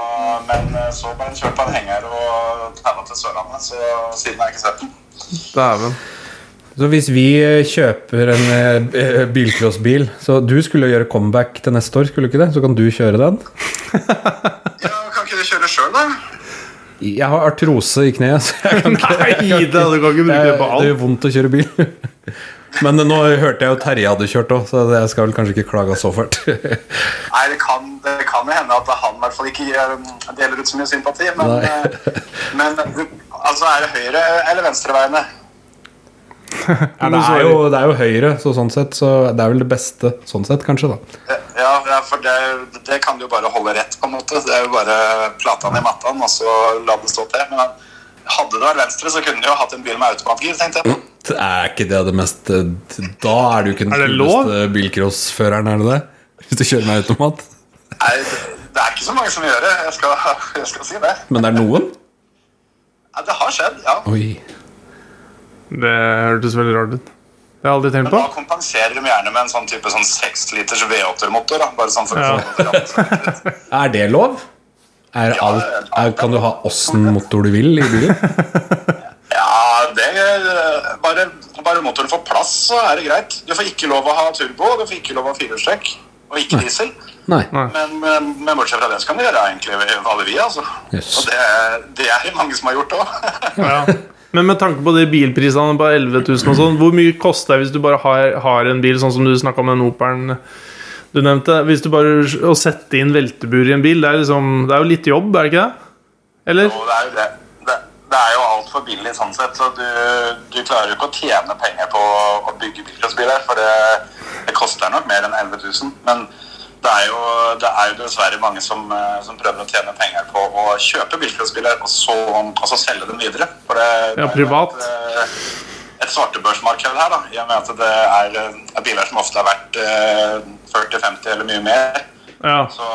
men eh, så ble den kjørt på en henger og tæla til Sørlandet, så siden har jeg ikke sett den. dæven. Så hvis vi eh, kjøper en eh, eh, bilcrossbil Så du skulle jo gjøre comeback til neste år, skulle du ikke det? Så kan du kjøre den? Ja, Kan ikke du kjøre sjøl, da? Jeg har artrose i kneet, så jeg kan ikke Nei, Ida, du kan ikke bruke det jeg, på Det alt. gjør vondt å kjøre bil. Men eh, nå hørte jeg jo Terje hadde kjørt òg, så jeg skal vel kanskje ikke klage så fælt. Nei, det kan, det kan jo hende at han i hvert fall ikke eh, deler ut så mye sympati. Men, Nei. eh, men du- altså, er det høyre- eller venstreveiene? Ja, det, er jo, det er jo høyre, så sånn sett, så det er vel det beste sånn sett, kanskje, da. Eh, Ja, ja, for det, det kan du jo bare holde rett, på en måte. Det er jo bare plata ned i mattaen, og så la det stå til. Men hadde det vært venstre, så kunne du jo hatt en bil med automatgir, tenkte jeg. Det er ikke det det mest eh, Da er du ikke den Er det lov? kuleste bilcrossføreren, er det det? Hvis du kjører med automat. Nei, det- det er ikke så mange som gjør det. Jeg skal, jeg skal si det. Men det er noen? Ja, det har skjedd, ja. Oi. Det hørtes veldig rart ut. Det har jeg aldri tenkt Men på. da kompenserer de gjerne med en sånn type sånn 6 liters V8-motor. da, Bare sånn for å få det til. Er det lov? Er alt, er, kan du ha åssen motor du vil i bilen? Ja, det er bare, bare motoren får plass, så er det greit. Du får ikke lov å ha turbo, du får ikke lov å ha firehjulstrekk. Og ikke diesel. Nei. Men, men, men bortsett fra det så kan du gjøre egentlig hva du vil, altså. Yes. Og det, det er det mange som har gjort òg. Ja. Men med tanke på de bilprisene på 11 000 og sånn, hvor mye koster det hvis du bare har, har en bil, sånn som du snakka om den Operen du nevnte? Hvis du bare Å sette inn veltebur i en bil, det er, liksom, det er jo litt jobb, er det ikke det? Eller? Og det er jo det. Det, det er jo altfor billig sånn sett, så du, du klarer jo ikke å tjene penger på å- å bygge bilcrossbiler, for det, det koster nok mer enn 11 000. Men det er jo, det er jo dessverre mange som, eh, som prøver å tjene penger på å kjøpe bilcrossbiler, og, så- og så selge dem videre. For det, Ja, det er jo privat. Et, eh, et svartebørsmarked her, da, i og med at det er, eh, biler som ofte er verdt eh, 40-50 eller mye mer. Ja. Så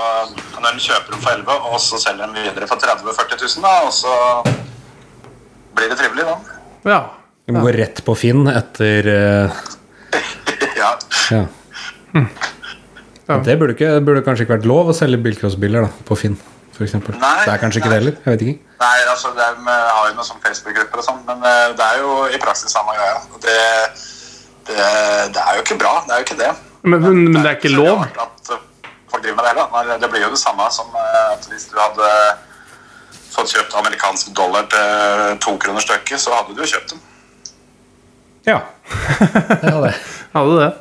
når de kjøper dem for 11, og så selger de videre for 30 000-40 000, da, og så blir det trivelig, da. ja. Du må gå rett på Finn etter eh, ja. Ja. Hm. Det burde, ikke, burde kanskje ikke vært lov å selge bilcrossbiler da, på Finn, f.eks. Nei, Det er kanskje ikke nei. det heller? Jeg vet ikke. Nei, altså, de har jo noen sånn Facebook-grupper og sånn, men eh, det er jo i praksis samme greia. Og Det, det, det er jo ikke bra. Det er jo ikke det. Men, men, men det er ikke så lov? rart At eh, folk driver med det, da. Men det blir jo det samme som eh, at hvis du hadde fått kjøpt amerikansk dollar til eh, to kroner stykket, så hadde du jo kjøpt dem. Ja. ja det. Ja, det er det.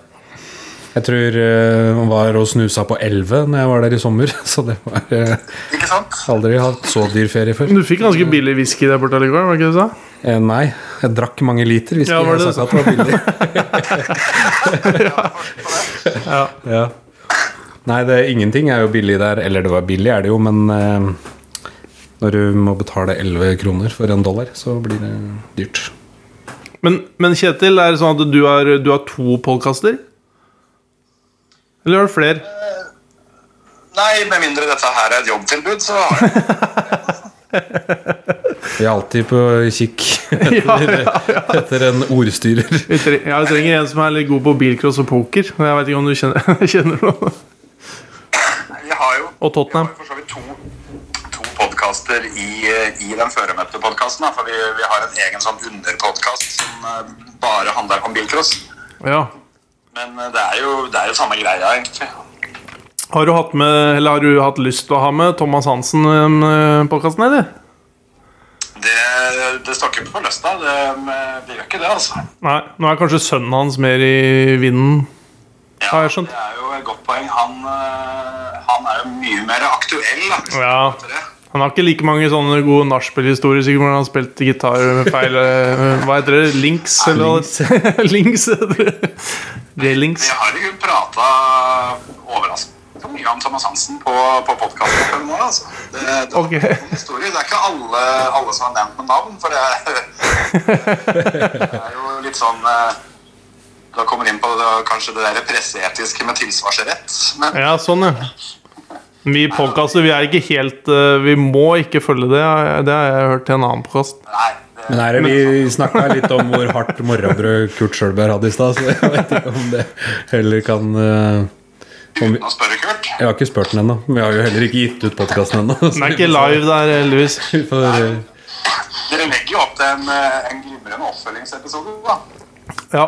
Jeg tror eh, han var og snusa på 11 når jeg var der i sommer, så det var eh, Ikke sant? Aldri hatt så dyr ferie før. Men Du fikk ganske billig whisky der borte allikevel, var det ikke det du sa? Eh, nei, jeg drakk mange liter. Hvis Ja, ikke var jeg det hadde sagt at det var billig. ja. Nei, det, ingenting er jo billig der. Eller det var billig, er det jo, men eh, når du må betale 11 kroner for en dollar, så blir det dyrt. Men, men Kjetil, er det sånn at du har, du har to podkaster? Eller har du flere? Nei, med mindre dette her er et jobbtilbud, så har jeg Vi er alltid på kikk etter, etter en ordstyrer. Vi tre- Ja, vi trenger en som er litt god på bilcross og poker. Men Jeg vet ikke om du kjenner, kjenner noen. Vi har jo Og Tottenham. Vi har jo for så vidt to, to podkaster i, eh, i den føremøtte podkasten. For vi, vi har en egen sånn underpodkast som eh, bare handler om bilcross. Ja. Men eh, det er jo, det er jo samme greia, egentlig. Har du hatt med, eller har du hatt lyst til å ha med Thomas Hansen i den podkasten, eller? Det, det står ikke på lysta. Det, men det gjør ikke det, altså. Nei. Nå er kanskje sønnen hans mer i vinden. Ja, Har jeg skjønt. Det er jo et godt poeng. Han, eh, han er jo mye mer aktuell, da. hvis Ja. du vet det. Han har ikke like mange sånne gode nachspielhistorier sikkert hvor han har spilt gitar med feil eh, Hva heter det? Links? Eller hva? Links heter det. J-links. Vi har jo prata overraskende mye om Thomas Hansen på, på podkasten før nå, altså. Det, det, Ok. historie. Det er ikke alle, alle som har nevnt med navn, for det er, det er jo litt sånn eh, Da kommer inn på det, kanskje det der presseetiske med tilsvarsrett. Men Ja, sånn, ja. Vi i podkaster, vi er ikke helt eh, Vi må ikke følge det. Det har jeg hørt til en annen podkast. nei, det, Men her er vi snakka litt om hvor hardt morrabrød Kurt Schølberg hadde i stad, så jeg vet ikke om det heller kan eh, om vi, nå spør du Kurt. Jeg har ikke spurt den ennå. Vi har jo heller ikke gitt ut podkasten ennå. så Den er ikke live der, heldigvis. vi får, eh, Dere legger jo opp til en, eh, en glimrende oppfølgingsepisode, da. Ja.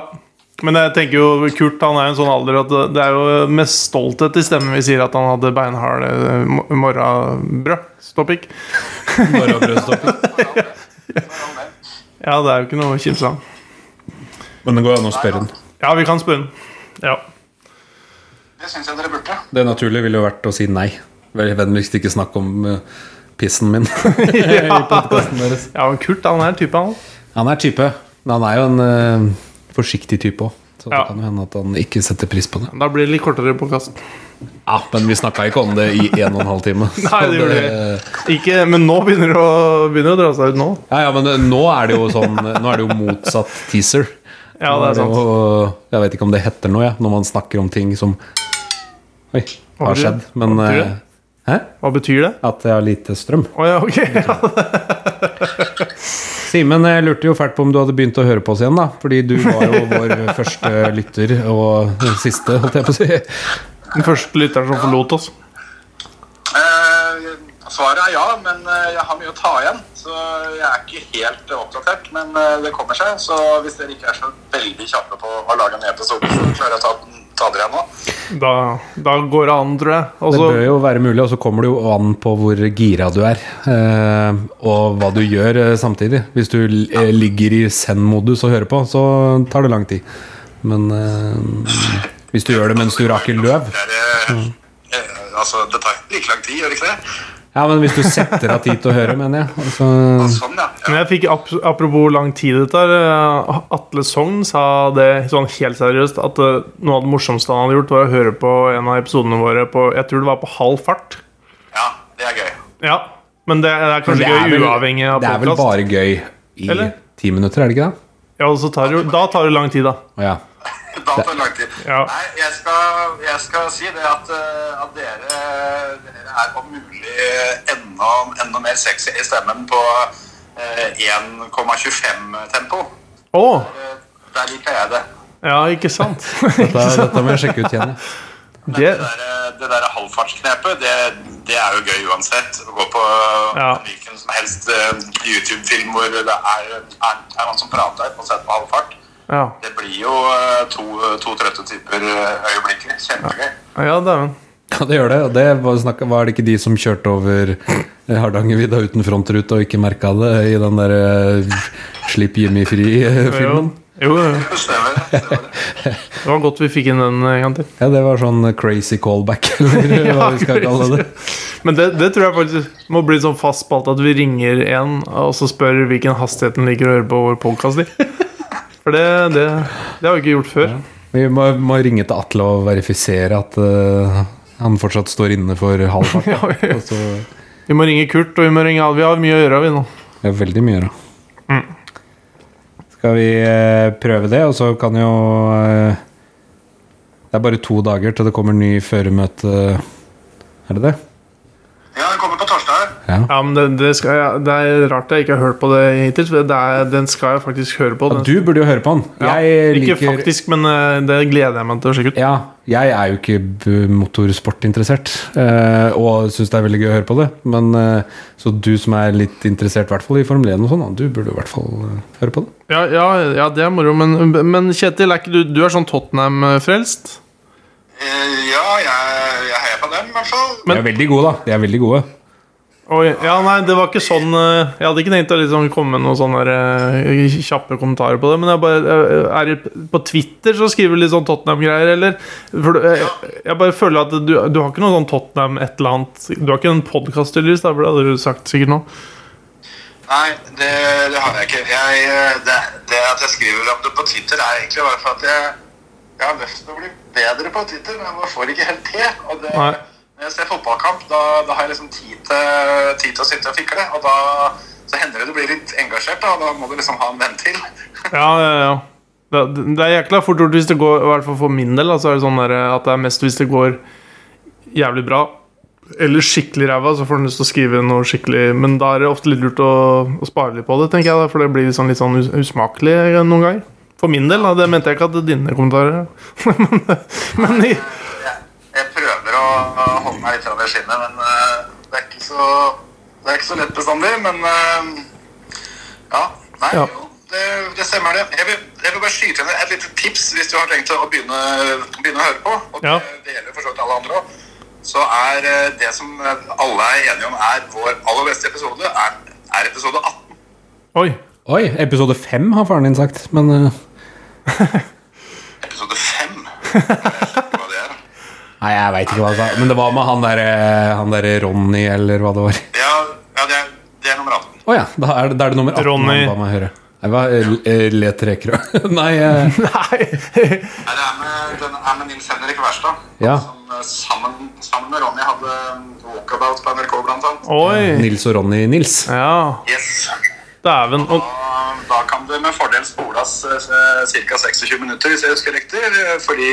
Men jeg tenker jo Kurt han er jo en sånn alder at det- det er jo med stolthet i stemmen vi sier at han hadde beinharde eh, mo- morrabrød. Stoppikk. morrabrødstopping. Spør om det. Ja, det er jo ikke noe å kimse av. Men det går an å spørre den. Ja, vi kan spørre den. Ja. Det syns jeg dere burde. Det naturlige ville jo vært å si nei. Vel, Vennligst ikke snakk om eh, pissen min. I podcasten deres. ja, men Kurt han er en type, han. Han er type. Men han er jo en eh, forsiktig type òg. Så det Ja. kan jo hende at han ikke setter pris på det. Da blir det litt kortere podkast. Ja, Men vi snakka ikke om det i en og en halv time. så Nei, det gjorde vi Ikke, men nå begynner det å, begynner det å dra seg ut nå. Ja, ja, men det- nå er det jo sånn Nå er det jo motsatt teaser. Ja, det er Nå sant. jo- jeg vet ikke om det heter noe, jeg, når man snakker om ting som Oi, Hva har betyr det? skjedd. Men Hva betyr eh, Hæ? Hva betyr det? At jeg har lite strøm. Å ja, ok. Ja, Simen, jeg lurte jo fælt på om du hadde begynt å høre på oss igjen, da. Fordi du var jo vår første lytter, og den siste, holdt jeg på å si. Den første lytteren som forlot oss. Eh, Svaret er ja, men eh, jeg har mye å ta igjen. Så jeg er ikke helt eh, oppdatert, men eh, det kommer seg. Så hvis dere ikke er så veldig kjappe på å lage en ny episode, så klarer jeg å ta, den- ta dere igjen nå. Da, da går det an, tror jeg. Altså, Og Det så bør jo være mulig, og så kommer det jo an på hvor gira du er. eh, Og hva du gjør eh, samtidig. Hvis du eh, ligger i send-modus og hører på, så tar det lang tid. Men eh, hvis du gjør det mens du raker løv Mm. Det, er, eh, eh, altså, det tar like lang tid, gjør det ikke det? Ja, men hvis du setter av tid til å høre, mener jeg. Altså, Sånn, ja. Men ja. jeg fikk, ap- apropos lang tid dette her eh, Atle Sogn sa det sånn helt seriøst at eh, noe av det morsomste han hadde gjort, var å høre på en av episodene våre på Jeg tror det var på halv fart. ja. Det er gøy. Ja, men det er kanskje det, er gøy vel, uavhengig av det er vel podkast. bare gøy i Eller? ti minutter, er det ikke det? Ja, og så tar det jo- da tar det lang tid, da. Å Ja. Da tar det lang tid. Ja. Nei, jeg skal, jeg skal si det at, eh, at dere, dere er om mulig enda, enda mer sexy i stemmen på eh, 1,25-tempo. Å! Eh, Der liker jeg det. Ja, ikke sant? Dette, dette må jeg sjekke ut igjen. jeg. Men Det, det der, det der halvfartsknepet, det, det er jo gøy uansett. Å gå på Ja. hvilken som helst eh, YouTube-film hvor det er, er, er noen som prater og setter på halvfart. ja, Det blir jo eh, to, to trøtte typer eh, øyeblikkelig. Kjempegøy. ja dæven. Ja, det gjør det. Og det var, snakk, var det ikke de som kjørte over eh, Hardangervidda uten frontrute og ikke merka det i den der eh, Slipp Jimmy Jo. fri-filmen? Jo, jo. Stemmer det. stemmer det. Det var godt vi fikk inn den eh, en gang til. Ja, det var sånn crazy callback, eller hva vi skal kalle det. Men det, det tror jeg faktisk må bli sånn fast spalte at vi ringer en og så spør hvilken hastighet den liker å høre på vår podkast i. For det, det, det har vi ikke gjort før. Vi må, må ringe til Atle og verifisere at eh, han fortsatt står inne for halv fart. da. Og så det Vi må ringe Kurt, og vi må ringe Al. Vi har mye å gjøre, vi nå. er veldig mye, da. Skal vi eh, prøve det, og så kan jo eh, Det er bare to dager til det kommer ny føremøte. Er det det? Ja, den kommer på torsdag. Ja, men det, det, skal jeg, det er rart jeg ikke har hørt på det hittil. For det er, den skal jeg faktisk høre på. Ja, Den. du burde jo høre på han. Ja, Jeg ikke liker faktisk, men eh, det gleder jeg meg til å sjekke ut. Ja, jeg er jo ikke b- motorsportinteressert, eh, og syns det er veldig gøy å høre på det. Men eh, så du som er litt interessert, i hvert fall i Formel 1 og sånn, da, du burde i hvert fall eh, høre på det. Ja, ja, ja det er moro, men, men Kjetil, er ikke du, du er sånn Tottenham-frelst? Eh, Ja, jeg, jeg heier på dem, i hvert fall. Men- De er veldig gode, da. De er veldig gode. Oi, ja, nei, det var ikke sånn eh, Jeg hadde ikke tenkt å liksom komme med noen sånne eh, kjappe kommentarer på det, men jeg bare, eh, er det på Twitter så skriver du litt sånn Tottenham-greier, eller? For, du- jeg, jeg bare føler at du, du har ikke noe sånn Tottenham et eller annet Du har ikke en podkast, tydeligvis, da, for det hadde du sagt sikkert nå. Nei, det, det har jeg ikke. Jeg, eh, det, det at jeg skriver om det på Twitter, er egentlig bare for at jeg, jeg har lyst til å bli bedre på Twitter, men jeg får ikke helt til. Og det, Nei. når jeg ser fotballkamp, da, da har jeg liksom tid til, tid til å sitte og fikle. Og da så hender det du blir litt engasjert, da, og da må du liksom ha en venn til. Ja, ja, ja. Det, det er jækla fort gjort hvis det går, i hvert fall for min del, da, så er det sånn der, eh, at det er mest hvis det går jævlig bra. Eller skikkelig ræva, så får du lyst til å skrive noe skikkelig Men da er det ofte litt lurt å, å spare litt på det, tenker jeg. da, For det blir litt sånn, litt sånn us usmakelig noen ganger. For min del, da. Det mente jeg ikke at dine kommentarer Men, men i, Jeg, jeg prøver å, å holde meg litt fra det skinnet, men eh, det, er ikke så, det er ikke så lett bestandig. Men eh, ja. Nei, Ja. jo. Det, det stemmer, det. Jeg vil, jeg vil bare skyte inn et lite tips hvis du har tenkt å begynne, begynne å høre på. Og Ja. det, det gjelder for så vidt alle andre òg. Så er eh, det som alle er enige om er vår aller beste episode, er, er episode 18. Oi. Oi, episode fem har faren din sagt, men eh, Episode 5. Jeg vet ikke hva det er. Nei, jeg veit ikke hva han sa. Men det var med han derre han der Ronny, eller hva det var. Ja, ja det, er, det er nummer 18. Å ja, da er, det- da er det nummer 18 Ronny. han ba meg høre. Nei, hva? eh, Le Trekerø? Nei, eh, Nei. Nei, det er med, den er med Nils Henrik Wærstad. Ja. Som eh, sammen, sammen med Ronny hadde mm, walkabout på NRK, blant annet. Oi. Nils og Ronny Nils. Ja, Yes. dæven. Og Og eh, da kan du med fordel spoles ca. 26 minutter, hvis jeg husker riktig. eh, Fordi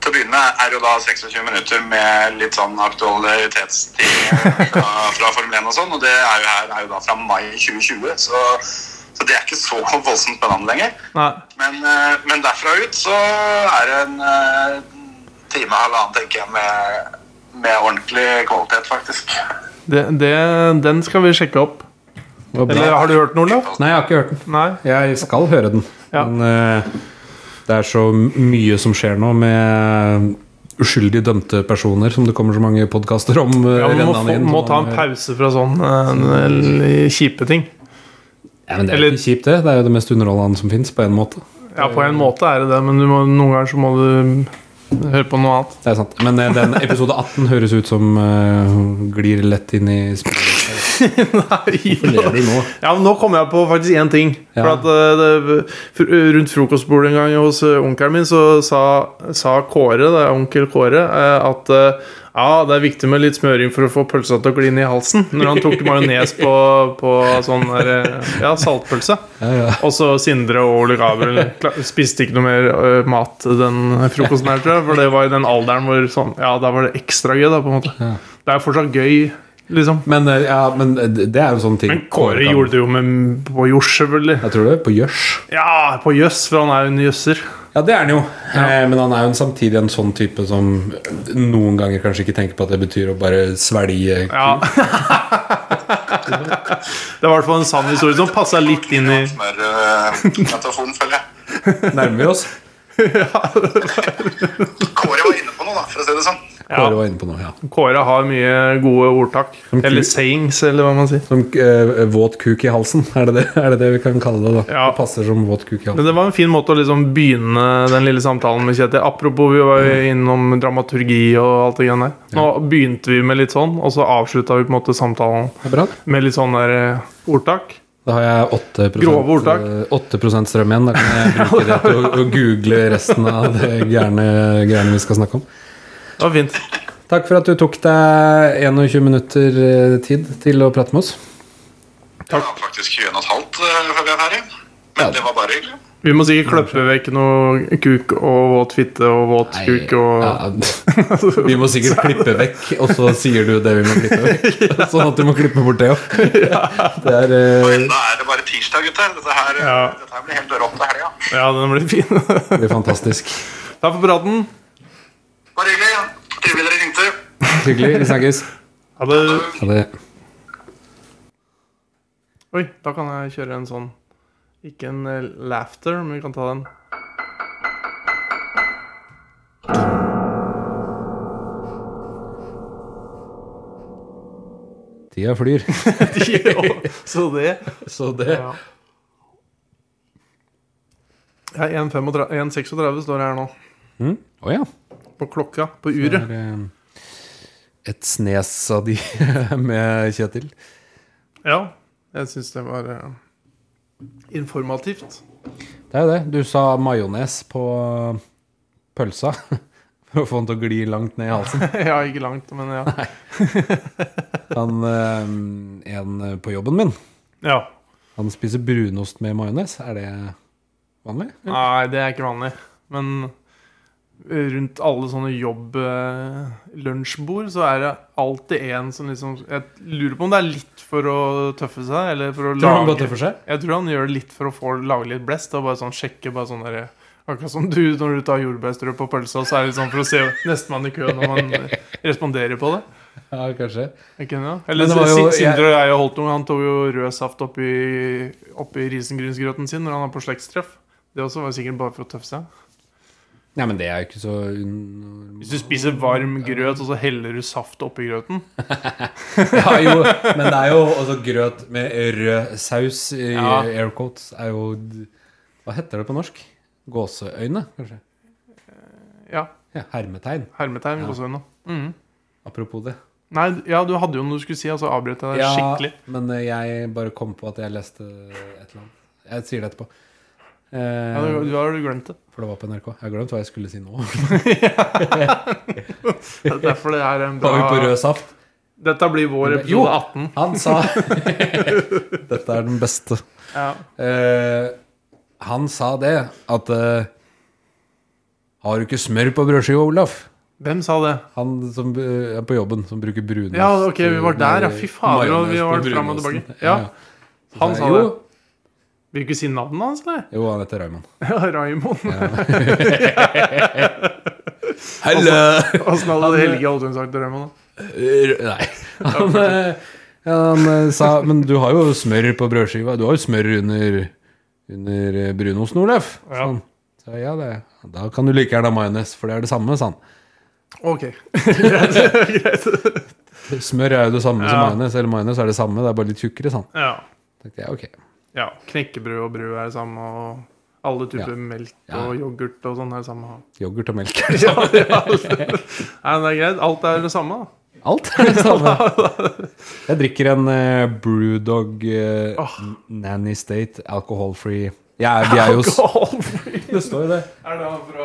til å begynne med er jo da 26 minutter med litt sånn aktualitetsting eh, fra, fra Formel 1 og sånn, og det er jo her er jo da fra mai 2020, så, så det er ikke så voldsomt spennende lenger. Nei. Men, eh, men derfra ut så er det en eh, time og halvannen, tenker jeg, med, med ordentlig kvalitet, faktisk. Det, det, den skal vi sjekke opp. Det var bra. Eller har du hørt den, Olav? Nei, jeg har ikke hørt den. Nei? Jeg skal høre den. Ja. Men eh, det er så mye som skjer nå med uskyldig dømte personer, som det kommer så mange podkaster om. eh, Ja, man må, rennende få, inn, må så ta man- en pause fra sånn eh, kjipe ting. Ja, men det er jo eller- ikke kjipt, det. Det er jo det mest underholdende som fins, på en måte. Ja, på en måte er det det, men du må, noen ganger så må du høre på noe annet. Det er sant. Men eh, den episode 18 høres ut som eh, hun glir lett inn i spillet. Ler du nå? Ja, men nå kom jeg på faktisk én ting. For Ja. at eh, det, fr- eh, Rundt frokostbordet en gang hos eh, onkelen min, så sa, sa Kåre, det er onkel Kåre, eh, at eh, ja, det er viktig med litt smøring for å få pølsa til å gli inn i halsen. Når han tok majones på, på sånn der, eh, ja, saltpølse. Ja, ja. Og så Sindre og Ole Gabriel kla- spiste ikke noe mer ø, mat den frokosten her, tror jeg. For det var i den alderen hvor sånn Ja, da var det ekstra gøy, da, på en måte. Det er fortsatt gøy, liksom. Men, eh, ja, men det det er jo sånne ting Men Kåre kan- gjorde det jo med på Jors, selvfølgelig. Jeg tror det. På gjørs. Ja, på jøss, for han er jo en jøsser. Ja, det er han jo. Eh, Men han er jo en samtidig en sånn type som noen ganger kanskje ikke tenker på at det betyr å bare svelge Ja. det var i hvert fall en sann historie som passa litt inn i Smørmetaforen, eh, føler jeg. Nærmer vi oss? Kåre var inne på noe, da, for å si det sånn. Kåre var inne på noe, ja. Kåre har mye gode ordtak. Som ku- Eller sayings, eller hva man sier. Som eh, våt kuk i halsen, er det det, er det, det vi kan kalle det? da? Ja. Det passer som våt kuk i halsen. Men det var en fin måte å liksom begynne den lille samtalen med Kjetil. Apropos, vi var jo innom dramaturgi og alt det greiene der. Nå begynte vi med litt sånn, og så avslutta vi på en måte samtalen Det er bra. det. med litt sånn der eh, ordtak. Da har jeg 8, Grove ordtak. eh, 8 strøm igjen. Da kan jeg bruke det til å, å google resten av det gærne greiene vi skal snakke om. Det var fint. Takk for at du tok deg 21 minutter eh, tid til å prate med oss. Det var faktisk 21,5 eh, før vi er ferdig. Men Ja. det var bare hyggelig. Vi må sikkert kløppe vekk noe kuk og våt fitte og våt kuk og ja, vi må sikkert klippe vekk, og så sier du det vi må klippe vekk. Sånn at du må klippe bort det òg. Det er Og eh, enda er det bare tirsdag, gutter. Dette her, eh, Ja. dette her blir helt rått til helga. Ja, den blir fin. Takk det er fantastisk. for praten. Bare hyggelig. ja. Trivelig dere ringte. Hyggelig. Vi snakkes. Ha det. Ha det. Oi, da kan jeg kjøre en sånn Ikke en eh, laughter, men vi kan ta den. Tida flyr. Ja, Så det Så det Ja. Ja, 1,35 1,36 står det her nå. Mm. Å ja. På klokka. På Det uret. er eh, et snes av de med Kjetil. Ja. Jeg syns det var eh, informativt. Det er jo det. Du sa majones på eh, pølsa for å få den til å gli langt ned i halsen. ja, ikke langt, men ja. Han, eh, en på jobben min, ja. han spiser brunost med majones. Er det vanlig? Nei, det er ikke vanlig. Men rundt alle sånne jobb-lunsjbord så er det alltid en som liksom Jeg lurer på om det er litt for å tøffe seg, eller for å Tror du han bare lage tøffer seg? Jeg tror han gjør det litt for å få lage litt blest. Og bare sånn sjekke bare sånn der, Akkurat som du når du tar jordbærstrø på pølsa, så er det sånn for å se nestemann i køen om han eh, responderer på det. Ja, kanskje. Ikke sant? Men Eller det var jo- Sin- Sindre og jeg og Holtung, han tok jo rød saft oppi, oppi risengrynsgrøten sin når han var på slektstreff. Det også var sikkert bare for å tøffe seg. Nei, men det er jo ikke så un- Hvis du spiser varm grøt, og så heller du saft oppi grøten ja, jo, Men det er jo også grøt med rød saus i Ja. air quotes. Er jo Hva heter det på norsk? Gåseøyne, kanskje? Ja, Ja, hermetegn. hermetegn. gåseøyne. Mhm. Apropos det. Nei, ja, du hadde jo noe du skulle si, og så avbrøt jeg deg skikkelig. men eh, jeg bare kom på at jeg leste et eller annet. Jeg sier det etterpå. Eh, Ja, du, du har du glemt det. For det var på NRK. Jeg har glemt hva jeg skulle si nå. Det er derfor det er en Var vi på bra rød saft? Dette blir vår episode Jo. 18. Han sa Dette er den beste. Ja. Eh, han sa det at eh, Har du ikke smør på brødskiva, Olaf? Hvem sa det? Han som eh, er på jobben, som bruker brunost Ja, ok, vi var der, ja. Fy fader, majones vi har på vært frem og brunosten. tilbake. Ja, Så han jeg, sa jo, det. Vil du ikke si navnet hans, eller? Jo, han heter Raymond. Ja, Raymond. Hello! Åssen hadde Helge Holtung sagt til Raymond? da? Eh, R- Nei. Han, eh, han eh, sa Men du har jo smør på brødskiva. Du har jo smør under, under eh, brunosten, Olaf. sa Ja. han. Så jeg, ja, det. Da kan du like gjerne ha majones, for det er det samme, sa han. Ok. Smør er jo det samme som Ja. majones, eller majones er det samme, det er bare litt tjukkere, sa han. Ja. Tenkte jeg, ok. ja. Knekkebrød og brød er det samme, og alle typer Ja. melk Ja. og yoghurt og sånn er det samme. Yoghurt og melk. Ja, det er alt. Nei, men det er greit. Alt er det samme, da. Alt er det samme. Jeg drikker en eh, Brewdog eh, Nanny State alcohol-free. Ja, vi er jo s- Alkoholfri. Det står jo det. Er det han fra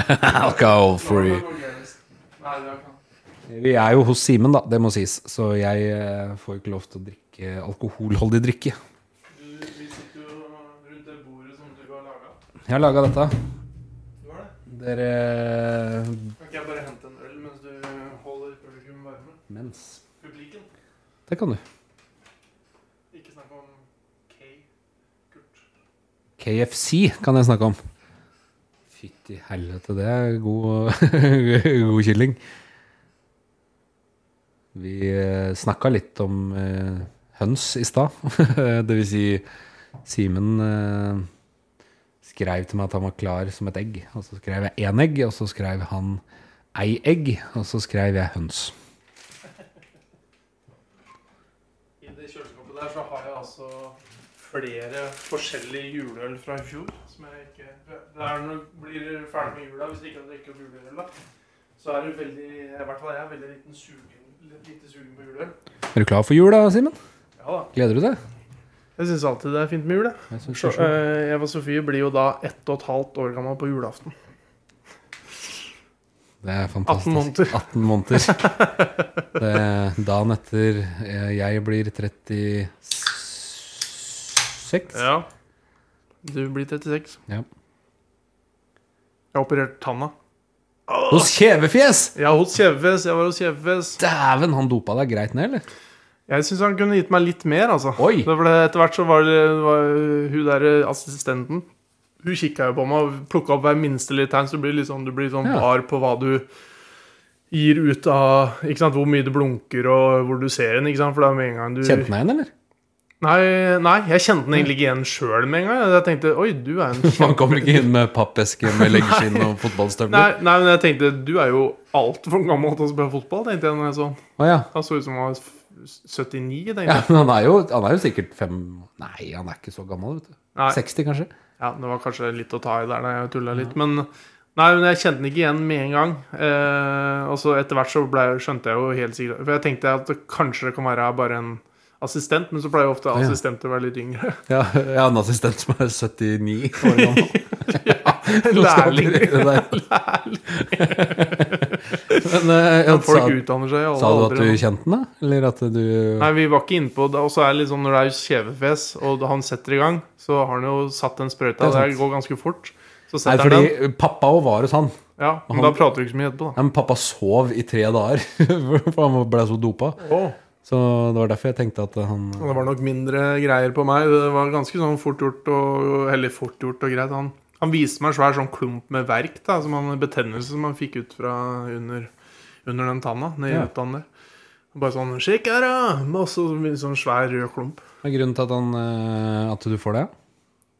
Alcohol-free. Nei, det er ikke han. Vi er jo hos Simen, da, det må sies. Så jeg eh, får jo ikke lov til å drikke alkoholholdig drikke. Du- Vi sitter jo rundt det bordet som du har laga. Jeg har laga dette. Du har det? Dere Kan ikke jeg bare hente en øl mens du holder publikum varme? Mens. Publikum? Det kan du. Ikke snakk om K. Kurt. KFC kan jeg snakke om. Fytti helvete, det er god, god kylling. Vi eh, snakka litt om eh, høns i stad. det vil si, Simen eh, skrev til meg at han var klar som et egg. Og så skrev jeg én egg, og så skrev han ei egg, og så skrev jeg høns. I det kjøleskapet der så har jeg altså flere forskjellige juleøl fra i fjor. Som jeg ikke Det er når du blir ferdig med jula, hvis du ikke har drukket opp juleøl, da, så er det veldig I hvert fall jeg er veldig liten sugen, litt lite sugen på juleøl. Er du klar for jul, da, Simen? Ja da. Gleder du deg? Jeg syns alltid det er fint med jul, jeg. Jeg synes Så, det er så- eh, Eva Sofie blir jo da ett og et halvt år gammel på julaften. Det er 18 fantastisk. måneder. 18 måneder. Det, dagen etter eh, jeg blir 36. Ja. Du blir 36. Ja. Jeg har operert tanna. Hos kjevefjes! Ja, hos Kjevefes. Jeg var hos Kjevefes. Dæven, han dopa deg greit ned, eller? Jeg syns han kunne gitt meg litt mer, altså. Oi! Det ble, etter hvert så var det var, hun der eh, assistenten Hun kikka jo på meg og plukka opp hver minste lille tegn, så du blir litt sånn, du blir sånn Ja. var på hva du gir ut av Ikke sant, hvor mye det blunker, og hvor du ser den, ikke sant, for det er med en gang du Kjente han igjen, eller? Nei, nei, jeg kjente den egentlig ikke igjen sjøl med en gang. Jeg tenkte oi, du er en Han kom ikke inn med pappeske med leggskinn og Nei, fotballstøvler? nei, men jeg tenkte du er jo altfor gammel til å spille fotball, tenkte jeg. når jeg så Han Å ja. Han så ut som han var 79, tenkte ja jeg. men han er, jo, han er jo sikkert fem Nei, han er ikke så gammel, vet du. Nei. 60, kanskje? Ja, det var kanskje litt å ta i der da jeg tulla litt, men Nei, men jeg kjente den ikke igjen med en gang. Eh, og så etter hvert så ble, skjønte jeg jo helt sikkert For jeg tenkte at det, kanskje det kan være bare en assistent, men så pleier jo ofte ja. assistenter å være litt yngre. Ja, jeg har en assistent som er 79 år gammel. lærling. Lærling. Men eh, ja, Men folk sa, utdanner seg i alle sa du at aldre. du nå. kjente den, da? Eller at du Nei, vi var ikke innpå det. Og så er det litt sånn når det er kjevefjes, og han setter i gang, så har han jo satt den sprøyta. Det er Det, sant. går ganske fort. Så Nei, setter han fordi den. pappa òg var hos han. Ja, men han- da prater du ikke så mye etterpå, da. Nei, men pappa sov i tre dager, for han ble så dopa. Åh. Så det var derfor jeg tenkte at han Og det var nok mindre greier på meg. Det var ganske sånn fort gjort og Eller fort gjort og greit. Han, han viste meg en svær sånn klump med verk, da, som han, betennelse som han fikk ut fra under, under den tanna. Nedi Ja. ja. der. Og Bare sånn 'Sjekk her, da!' Og så en sånn svær rød klump. Hva er grunnen til at, han, eh, at du får det?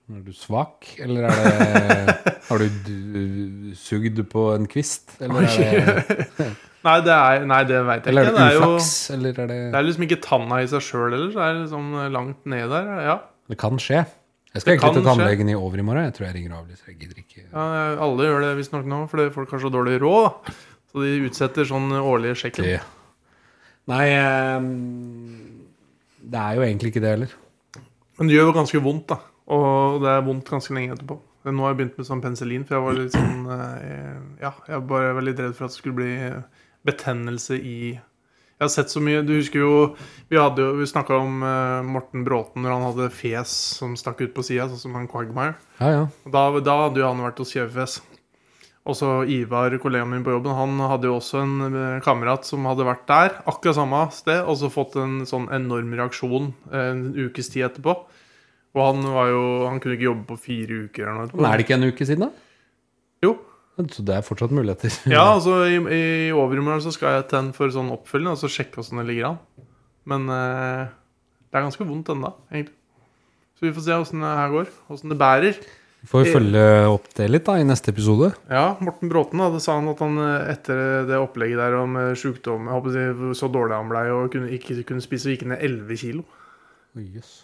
Er du svak, eller er det Har du d- sugd på en kvist? Eller er det, Nei, det, er- nei, det veit jeg eller er ikke. det Det er, jo, uflaks? Eller er det det er liksom ikke tanna i seg sjøl heller. så Det er liksom langt ned der. Ja. Det kan skje. Jeg skal Det egentlig kan skje. til tannlegen i overmorgen. Jeg tror jeg ringer og avlyser. Jeg gidder ikke. ja alle gjør det visstnok nå, fordi folk har så dårlig råd. da. Så de utsetter sånn årlige sjekken. Det. Nei eh, Det er jo egentlig ikke det heller. Men det gjør jo ganske vondt, da. Og det er vondt ganske lenge etterpå. Men Nå har jeg begynt med sånn penicillin, for jeg var litt sånn eh, Ja, jeg bare var litt redd for at det skulle bli betennelse i Jeg har sett så mye Du husker jo Vi, hadde jo- vi snakka om eh, Morten Bråten når han hadde fjes som stakk ut på sida, sånn som han Quagmire. Ja, ja. Og Da, da hadde jo han vært hos Kjevefes. Også Ivar, kollegaen min på jobben, han hadde jo også en eh, kamerat som hadde vært der, akkurat samme sted, og så fått en sånn enorm reaksjon eh, en ukes tid etterpå. Og han var jo Han kunne ikke jobbe på fire uker eller noe. etterpå. Men er det ikke en uke siden, da? Jo. Så det er fortsatt muligheter. Ja, altså i, i overmorgen så skal jeg til en for sånn oppfølging og så sjekke hvordan det ligger an. Men eh, det er ganske vondt ennå, egentlig. Så vi får se åssen det her går. Åssen det bærer. Får vi følge opp det litt da i neste episode. Ja, Morten Bråten hadde sa han at han eh, etter det opplegget der om eh, sjukdom jeg håper å si, hvor Så dårlig han blei og kunne, ikke kunne spise og gikk ned 11 kilo.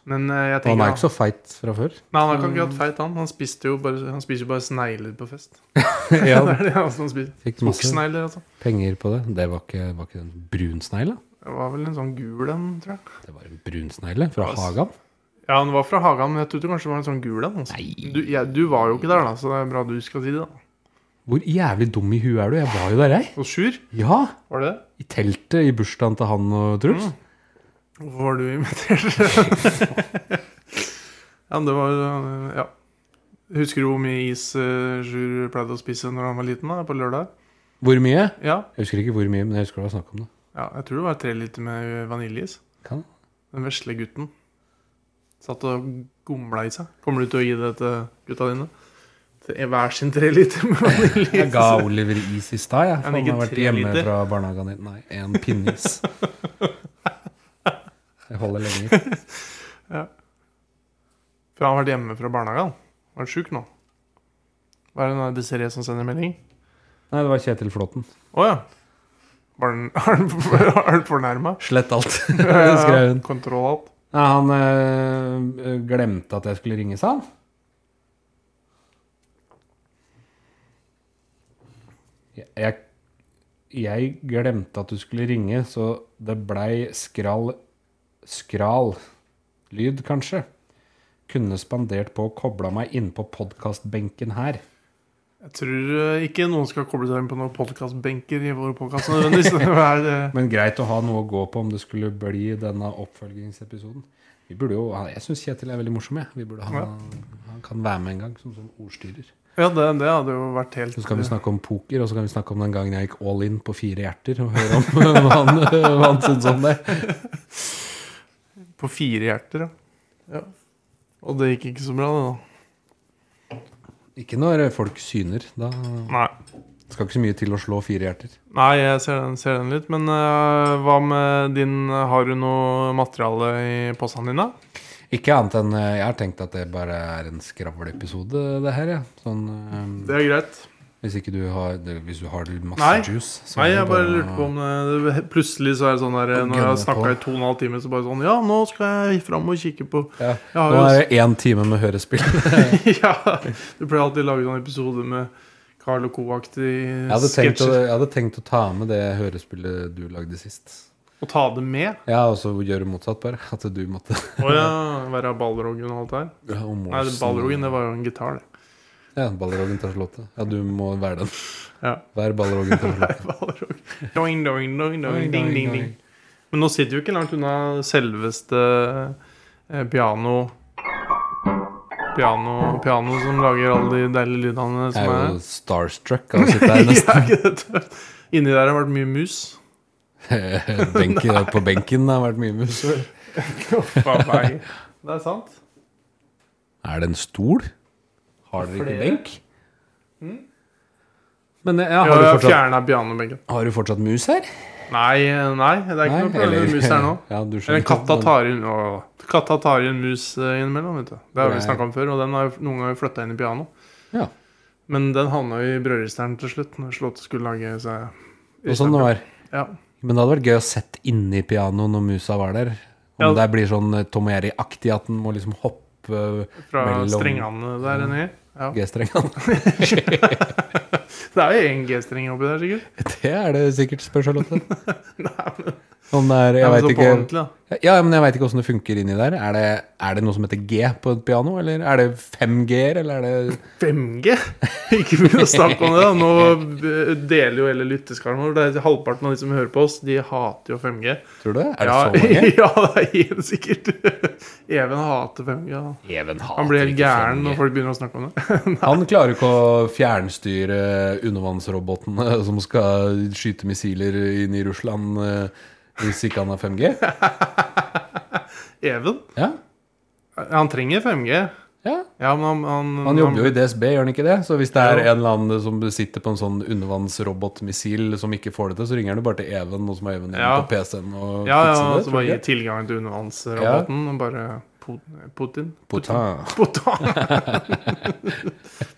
Men eh, jeg Han tenker er ikke så feit fra før. Nei, han er ikke akkurat feit, han. Han, spiste jo bare, han spiser jo bare snegler på fest. ja, det er det eneste han spiser. Fikk masse Buksnegler, altså. penger på det. Det var ikke, var ikke en brunsnegle. Det var vel en sånn gul en, tror jeg. Det var en brunsnegle fra Ja, s- Hagan. Ja, han var fra Hagan, men jeg trodde kanskje det var en sånn gul en. Altså. Nei. Du, ja, du var jo ikke der, da, så det er bra du skal si det. da. Hvor jævlig dum i huet er du? Jeg var jo der, jeg. Og Sjur, Ja! var det det? I teltet i bursdagen til han og Truls. Hvorfor var du invitert? ja, men det var øh, Ja. Husker du hvor mye is øh, Sjur pleide å spise når han var liten? da, På lørdag? Hvor mye? Ja. Jeg husker ikke hvor mye, men jeg husker det var snakk om det. ja, jeg tror det var tre liter med vaniljeis. Kan. Den vesle gutten satt og gomla i seg. Kommer du til å gi det til gutta dine? Til Hver sin tre liter med Jeg ga vaniljeis. Oliver is i stad, jeg. Han for Han gikk har vært tre hjemme liter. fra barnehagen din. Nei, en pinneis. Jeg holder lenger. For han har vært hjemme fra barnehagen. Han er sjuk nå. Hva er det nå, Desiree som sender melding? Nei, det var Kjetil Flåten. Å ja. Var den, er den- er den fornærma? Slett alt, skrev hun. Kontroll alt. Nei, han eh, glemte at jeg skulle ringe, sa han. Jeg, jeg, jeg glemte at du skulle ringe, så det blei skral Skral lyd, kanskje. Kunne spandert på å koble meg innpå podkastbenken her. Jeg tror eh, ikke noen skal koble seg inn på noen podkastbenker i vår podkast nødvendigvis. Det er, eh, Men greit å ha noe å gå på om det skulle bli denne oppfølgingsepisoden. Vi burde jo, ha- Jeg syns Kjetil er veldig morsom. Jeg. Vi burde ha, Ja. Han kan være med en gang som sånn ordstyrer. Ja, det, det hadde jo vært helt Så kan vi snakke om poker, og så kan vi snakke om den gangen jeg gikk all in på fire hjerter. Og høre om hva han, hva han syns om det. På fire hjerter, ja. ja. Og det gikk ikke så bra, det, Ikke når folk syner. Da da. Nei. skal ikke så mye til å slå fire hjerter. Nei, jeg ser den, ser den litt. Men eh, hva med din Har du noe materiale i postene dine? Ikke annet enn eh, Jeg har tenkt at det bare er en skravleepisode, det her. Ja. Sånn, eh, Det er greit. hvis ikke du har det, Hvis du har masse Nei. juice. så Nei, er det jeg bare lurte på om eh, det, Plutselig så er det sånn der eh, Når jeg har Gønne snakka på. i to og en halv time, så bare sånn Ja, nå skal jeg fram og kikke på ja. Jeg har Nå jo er det én time med hørespill. ja, Du pleier alltid å lage sånn episode med Carl og Co-aktig Jeg hadde, tenkt å, sketsjer. jeg hadde tenkt å ta med det hørespillet du lagde sist. Og ta det med. Ja, og så gjøre motsatt, bare. At du måtte Å ja. Være Balrogen og alt det her. Nei, det- Balrogen, det var jo en gitar, det. Ja, Balrogen tar slottet. Ja, du må være den. Ja. Vær Balrogen tar slottet. Balrog. Doing, doing, doing, doing, ding, ding, ding. Men nå sitter vi ikke langt unna selveste eh, piano Piano, piano som lager alle de deilige lydene Jeg som er er jo starstruck av å sitte her Ja, ikke det tøft? Inni der har det vært mye mus. nesten. Benken, på benken har vært mye mus. Faen meg. Det er sant. Er det en stol? Har dere ikke Flere? benk? Men ja, Jeg har, har du jo fortsatt, fjerna pianobenken. har du fortsatt mus her? Nei, nei, det er ikke noe problem med mus her nå. Ja, du Eller skjønner. katta Men- tar inn å, Katta tar inn mus eh, innimellom, vet du. Det har Nei. vi snakka om før, og den har jo noen ganger flytta inn i piano. Ja. Men den havna jo i brødristeren til slutt, når Slåtte skulle lage seg Og sånn det var. Ja. Men det hadde vært gøy å sette inni pianoet når musa var der. Om Ja. det blir sånn eh, Tom og Jerry-aktig at den må liksom hoppe Fra Mellom- strengene der nedi. Ja. G-strengene. Det er jo én G-streng oppi der, sikkert. Det er det sikkert, spør Charlotte. Nei, men, Om det er, Ja, jeg men vet så på ikke ordentlig, da. Ja, men jeg veit ikke åssen det funker inni der. Er det, er det noe som heter G på et piano, eller er det 5G-er, eller er det 5G? Ikke begynn å snakke om det. da Nå eh, deler jo hele lytteskaren vår. Det er Halvparten av de som hører på oss, de hater jo 5G. Tror du det? Er det ja, så mange? ja, det er helt sikkert. Even hater 5G. da. Even Han blir helt gæren når folk begynner å snakke om det. Han klarer ikke å fjernstyre undervannsrobotene som skal skyte missiler inn i Russland eh, hvis ikke han har 5G. Even? Ja, Han trenger 5G. ja. Ja, men han, han, Han jobber jo i DSB, gjør han ikke det? Så hvis det er Jo. en eller annen som sitter på en sånn undervannsrobotmissil som ikke får det til, så ringer han jo bare til Even, og så må Even inn Ja. på PC-en og Ja, ja, fikse det. så tror bare du gi ikke? tilgang til undervannsroboten. Og bare Putin Putin? Potin. Potet.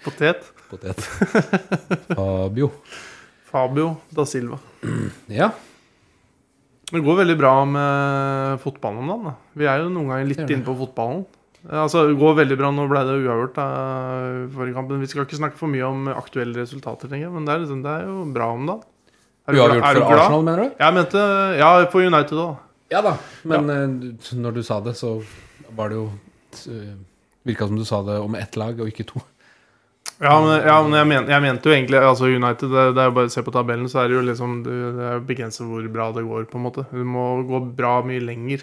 Potet. Potet. Fabio. Fabio da Silva. Ja. Det går veldig bra med fotballen om dagen. da. Vi er jo noen ganger litt Det gjør det. inne på fotballen. Eh, Altså, det går veldig bra. Nå ble det uavgjort da, forrige kamp. Men Vi skal ikke snakke for mye om aktuelle resultater, tenker jeg. Men det er, liksom, det er jo bra om dagen. Er du gla- Uavgjort er du for glad? Arsenal, mener du? Jeg mente Ja, for United òg. Ja da. Men eh, du- når du sa det, så var det jo eh, Virka som du sa det om ett lag og ikke to. Ja, men, ja, men jeg, men, jeg mente jo egentlig Altså United, det, det er jo bare å se på tabellen, så er det jo liksom Det det er begrenset hvor bra det går, på en måte. Det må gå bra mye lenger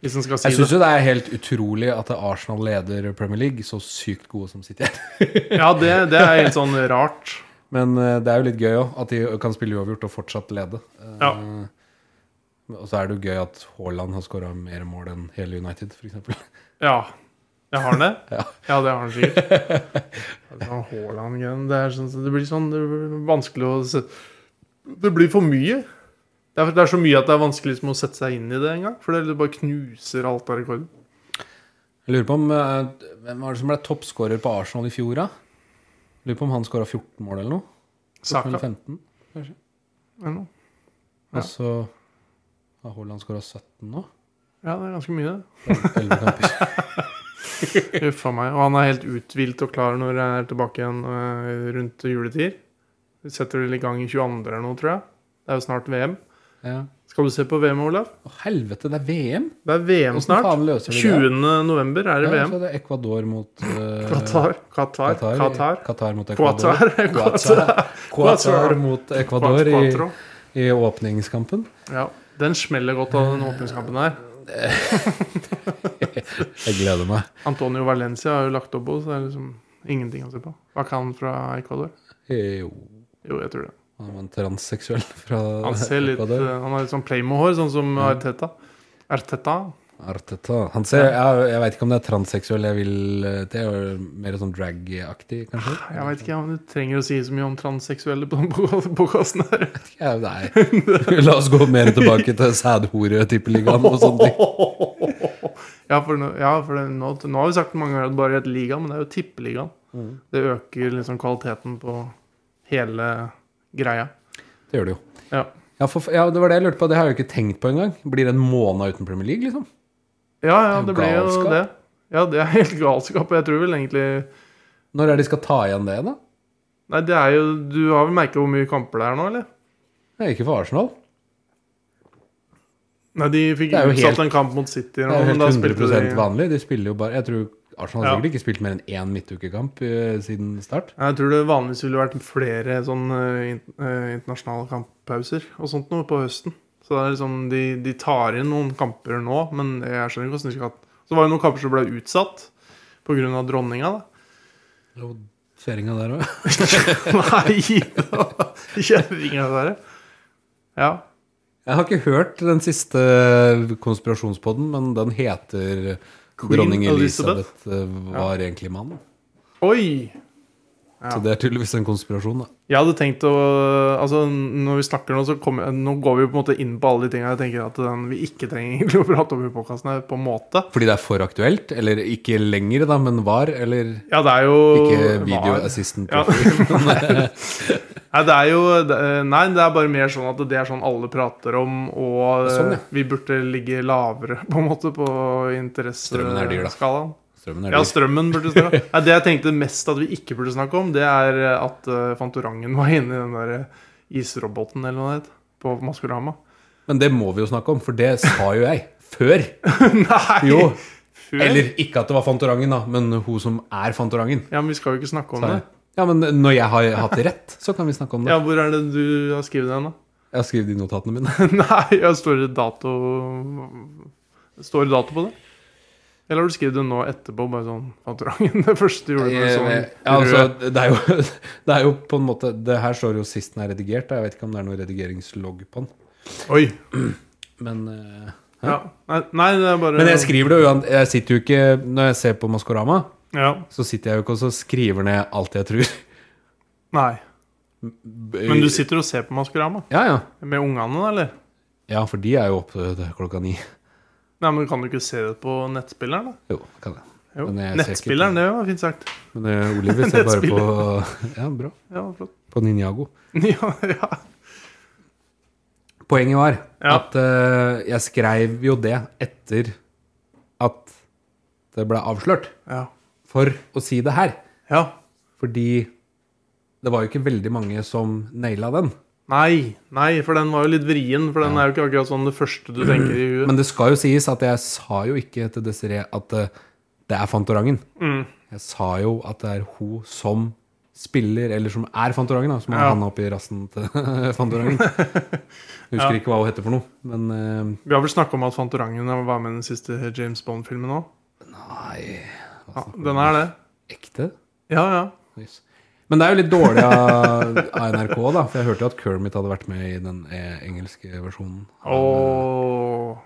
hvis en skal si Jeg det. syns jo det er helt utrolig at Arsenal leder Premier League, så sykt gode som City er. Ja, det, det er helt sånn rart. Men eh, det er jo litt gøy òg, at de kan spille uavgjort og fortsatt lede. Eh, Ja. Og så er det jo gøy at Haaland har skåra mer mål enn hele United, f.eks. Ja. Jeg har den det? Ja. ja, det har han sikkert. Det er sånn Haaland-greiene. Det, er sånn, det blir sånn det blir vanskelig å se. Det blir for mye. Det er, det er så mye at det er vanskelig liksom, å sette seg inn i det engang. For det, det bare knuser alt av rekorder. Jeg lurer på om eh, Hvem var det som ble toppskårer på Arsenal i fjor, da? Jeg Lurer på om han skåra 14 mål eller noe? Saka 2015. eller noe. Ja. Og så har Haaland skåra 17 nå. Ja, det er ganske mye, det. Elleve kamper. Huff a meg. Og han er helt uthvilt og klar når jeg er tilbake igjen eh, rundt juletider. Vi setter vel i gang i 22. eller noe, tror jeg. Det er jo snart VM. Ja. Skal du se på VM, Olav? Å, helvete, det er VM! Det er VM Hvordan snart. faen løser de det? 20. november er det Ja, VM. så det er Ecuador mot eh, Qatar. Qatar. Qatar, Qatar. Qatar mot Ecuador. Qatar. Qatar. Qatar mot Ecuador i, Quattro. i åpningskampen. Ja. Den smeller godt av den åpningskampen her. Jeg gleder meg. Antonio Valencia har jo lagt opp også, så det er liksom ingenting å se på. Hva kan han fra Ecuador? Jo, Jo, jeg tror det. han var en transseksuell fra Han ser litt eh, Ecuador. Han har litt sånn Playmo-hår, sånn som Arteta. Arteta? Arteta. Han ser, jeg, jeg veit ikke om det er transseksuell. Jeg vil eh, Det er jo mer sånn drag-aktig, kanskje. Jeg veit ikke, han trenger å si så mye om transseksuelle på den podkasten her. Ja, nei. La oss gå mer tilbake til sædhore-tippeligaen og sånne ting. Ja, for, nå, ja, for det, nå, nå har vi sagt mange ganger at bare het liga, men det er jo tippeligaen. Mm. Det øker liksom kvaliteten på hele greia. Det gjør det jo. Ja. Ja, for, ja, det var det jeg lurte på. Det har jeg jo ikke tenkt på engang. Blir det en måned uten Premier League, liksom? Ja, ja, det Det er jo ble jo galskap. det. Ja, det er helt galskap. Og jeg tror vel egentlig Når er det de skal ta igjen det, da? Nei, det er jo Du har vel merka hvor mye kamper det er nå, eller? Det er ikke for Arsenal. Nei, de fikk Det er jo utsatt helt- en kamp mot City. Det nå, er jo men da helt spilte 100 de- vanlig. De spiller jo bare Jeg tror Arsenal har Ja. sikkert ikke spilt mer enn én midtukekamp eh, siden start. Jeg tror det vanligvis ville vært flere sånn eh, in- eh, internasjonale kamppauser og sånt noe på høsten. Så det er liksom de, de tar inn noen kamper nå, men jeg skjønner ikke hvordan de skal Så var det noen kamper som ble utsatt pga. dronninga, da. Kjøringa der òg. Nei! Kjerringa der. Ja. Jeg har ikke hørt den siste konspirasjonspodden, men den heter Queen Dronning Elizabeth. Elisabeth eh, var egentlig mann. Oi! Så det er tydeligvis en konspirasjon, da. Jeg hadde tenkt å Altså, når vi snakker nå, så kommer Nå går vi jo på en måte inn på alle de tingene jeg tenker at den vi ikke trenger egentlig å prate om i podkasten her, på en måte. Fordi det er for aktuelt? Eller ikke lenger, da, men var? Eller Ja, det er jo ikke video Var- assistant? Ja. Nei, det er jo det- Nei, det er bare mer sånn at det er sånn alle prater om, og Sånn, ja. eh, vi burde ligge lavere, på en måte, på Strømmen er dyr, da. interesseskalaen. Strømmen er Ja, dyr. strømmen burde snakke om. Nei, det jeg tenkte mest at vi ikke burde snakke om, det er eh, at eh, Fantorangen var inne i den der eh, isroboten eller noe det het, på Maskorama. Men det må vi jo snakke om, for det sa jo jeg før. Nei! Jo. Før. Eller ikke at det var Fantorangen, da, men hun som er Fantorangen. Ja, men vi skal jo ikke snakke om sa det. jeg. Ja, men når jeg har hatt rett, så kan vi snakke om det. Ja, hvor er det du har skrevet den, da? Jeg har skrevet i notatene mine. Nei, ja, står det dato Står det dato på det? Eller har du skrevet det nå etterpå, bare sånn Fantorangen? Det første du gjorde med sånn Ja, rød- altså, det, er jo, det er jo på en måte Det her står jo sist den er redigert. da. Jeg vet ikke om det er noe redigeringslogg på den. Oi! Men, eh, Ja. Nei, nei, det er bare men jeg skriver det jo uan- Jeg sitter jo ikke Når jeg ser på Maskorama, Ja. så sitter jeg jo ikke og så skriver ned alt jeg tror. Nei. Men du sitter og ser på Maskorama? Ja, ja. Med ungene, da, eller? Ja, for de er jo oppe til klokka ni. Nei, men Kan du ikke se det på nettspilleren? da? Jo, kan jeg. Jo. Men jeg ser ikke Nettspilleren, det var fint sagt. Men eh, Oliver ser bare på Ja, bra. Ja, flott. På Ninjago. Ja, ja. Poenget var Ja. at eh, jeg skrev jo det etter at det ble avslørt, ja. for å si det her. ja. Fordi det var jo ikke veldig mange som naila den. Nei, nei, for den var jo litt vrien. For den er jo ikke akkurat sånn det første du tenker i huet. Men det skal jo sies at jeg sa jo ikke til Desiree at eh, det er Fantorangen. Mm. Jeg sa jo at det er hun som spiller, eller som er Fantorangen, da, som har Ja. handa oppi rassen til Fantorangen. Jeg husker ikke hva hun heter for noe, men eh, Vi har vel snakka om at Fantorangen var med i den siste James Bond-filmen òg. eh, Nei, Ja, den er det. ekte? Ja, ja. Yes. Men det er jo litt dårlig av, av NRK, da. For jeg hørte jo at Kermit hadde vært med i den eh, engelske versjonen. Og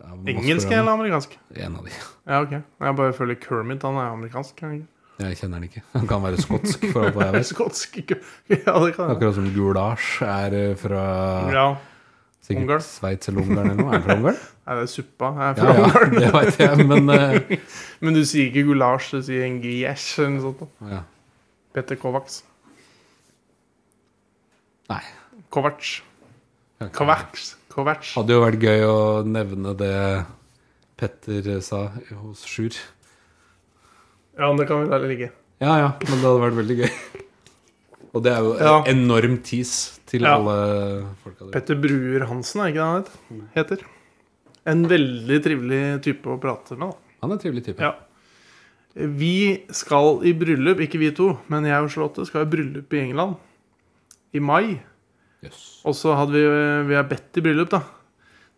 Av Maskorama. Engelsk eller amerikansk? En av de. Ja, ok. Jeg bare føler Kermit han er amerikansk. er han ikke? Jeg kjenner den ikke. Han kan være skotsk, for alt hva jeg vet. Skotsk ikke- Ja, det kan jeg. Akkurat som Gulasj er eh, fra Ja. Ungarn. sikkert Sveits eller Ungarn eller noe. Er han fra Ungarn? Er det suppa? Jeg er Ja, fra ja, Ungarn. det veit jeg, men eh, Men du sier ikke gulasj, du sier en griesh eller noe sånt. da. ja. Petter Kovacs. Nei. Kovac. kan ikke- Kovacs. Kovac. Hadde jo vært gøy å nevne det Petter sa hos Sjur. Ja, men det kan vi la ligge. Ja, ja, men det hadde vært veldig gøy. Og det er jo en Ja. enorm tease til Ja. alle folka der. Petter Bruer Hansen, er ikke det han het- heter? En veldig trivelig type å prate med, da. Han er en trivelig type. Ja. Vi skal i bryllup, ikke vi to, men jeg og Charlotte skal i bryllup i England. I mai. Jøss. Og så hadde vi, eh, vi har bedt i bryllup, da.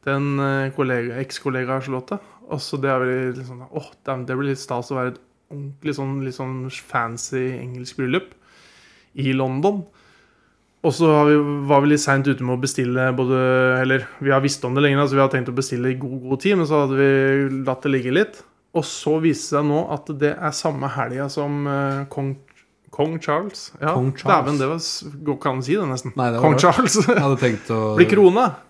Til en kollega- ekskollega av Charlotte. Og så det er vel litt sånn Åh, damn, det blir litt stas å være et ordentlig sånn, litt sånn fancy engelsk bryllup i London. Og så har vi, var vi litt seint ute med å bestille både Eller vi har visst om det lenge, da, så vi har tenkt å bestille i god, god tid, men så hadde vi latt det ligge litt. Og så viser det seg nå at det er samme helga som eh, kong, kong Charles. Ja, Kong Charles. Dæven, det var, s- går ikke an å si det, nesten. Nei, det var kong rart. Charles. Jeg hadde tenkt å Blir krona. Altså,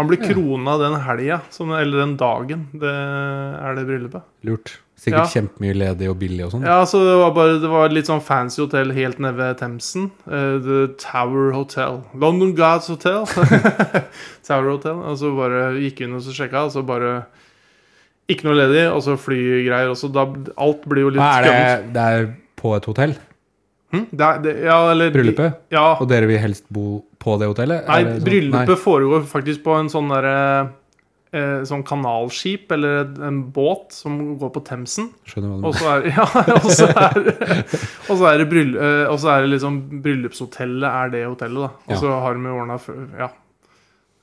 Han blir krona den helga, som- eller den dagen, det er det bryllupet. Lurt. Sikkert Ja. kjempemye ledig og billig og sånn. Ja, så det var, bare, det var litt sånn fancy hotell helt nede ved Themsen. Eh, The Tower Hotel. London Gods Hotel. Tower Hotel. Og så bare gikk vi inn og så sjekka, og så bare Ikke noe ledig, og så flygreier. Og så da Alt blir jo litt Hva er det, skummelt. det er på et hotell? Hm? Det er- det- ja, eller Bryllupet? Ja. Og dere vil helst bo på det hotellet? Nei, Er det sånn- bryllupet Nei. foregår faktisk på en sånn derre eh, Sånn kanalskip eller en båt som går på Themsen. Skjønner hva du Og mener. så er, ja, og så er, og så er det, bryll, eh, og så er det liksom bryllupshotellet er det hotellet, da. Og Ja. så har de jo ordna ja,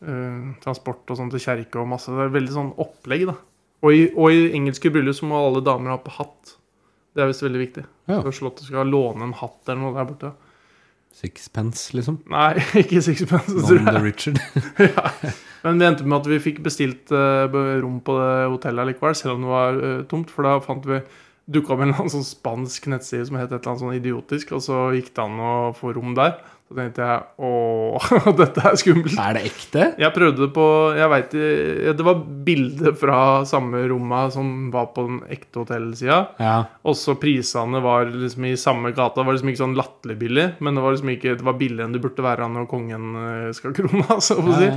eh, transport og sånn til kjerke og masse. Det er veldig sånn opplegg, da. Og i, og i engelske bryllup så må alle damer ha på hatt. Det er visst veldig viktig. Ja. Så Slottet skal låne en hatt eller noe der borte. Sixpence, liksom. Nei, ikke sixpence, tror Non jeg. the Richard. Men vi endte med at vi fikk bestilt eh, be- rom på det hotellet likevel, selv om det var eh, tomt. For da fant vi dukka opp en eller annen sånn spansk nettside som het et eller annet sånn idiotisk, og så gikk det an å få rom der. Så tenkte jeg åh, dette er skummelt. er det ekte? Jeg prøvde på jeg vet, eh, Det var bilde fra samme romma som var på den ekte hotellsida. Ja. Også prisene var liksom i samme gata. Det var liksom ikke sånn latterlig billig, men det var liksom ikke, det var billigere enn det burde være når kongen eh, skal krone. Så å si.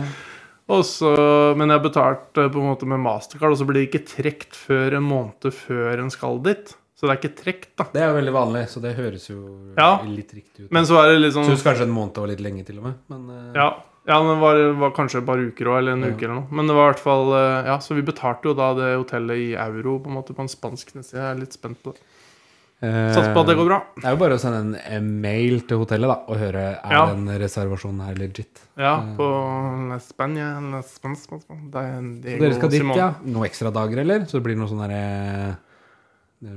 Og så- men jeg har betalt eh, på en måte med mastercard, og så blir det ikke trekt før en måned før en skal dit. Så det er ikke trekt, da. Det er jo veldig vanlig, så det høres jo Ja. litt riktig ut. Men så er det litt jeg sånn syns kanskje en måned var litt lenge, til og med. Men eh, Ja, ja men det var, var kanskje et par uker òg, eller en Ja. uke eller noe. Men det var i hvert fall eh, Ja, så vi betalte jo da det hotellet i euro, på en måte, på en spansk nettside. Jeg er litt spent på det. eh, Satser på at det går bra. Det er jo bare å sende en eh, mail til hotellet da, og høre er Ja. den reservasjonen her legit. Ja, Eh. på La Spania La Span- Span- Span- Det er Diego Dere skal dit, Simon. ja? Noen ekstra dager, eller? Så det blir noe sånn derre eh,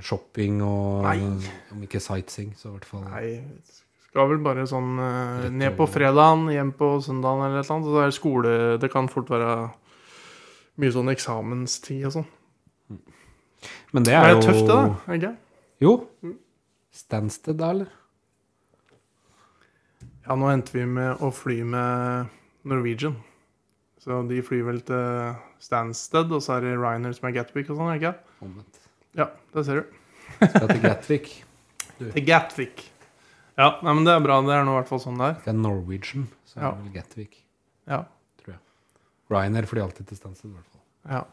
shopping og Nei. Om ikke sightseeing, så i hvert fall Nei, skal vel bare sånn eh, Rett ned på over. fredagen, hjem på søndagen eller et eller annet. Så det er skole Det kan fort være mye sånn eksamenstid og sånn. Men Det det er er jo tøft, det, da. er det Ikke? Jo. Stansted, da, eller? Ja, nå endte vi med å fly med Norwegian. Så de flyr vel til Stansted, og så er det Ryanair som er Gatwick og sånn, er det ikke? Omvendt. Ja, det ser du. Skal til Gatwick. Til Gatwick. Ja, nei, men det er bra. Det er nå i hvert fall sånn det er. Det er Norwegian, så er Ja. det vel Gatwick. Ja. Ryanair flyr alltid til Stansted, i hvert fall. ja.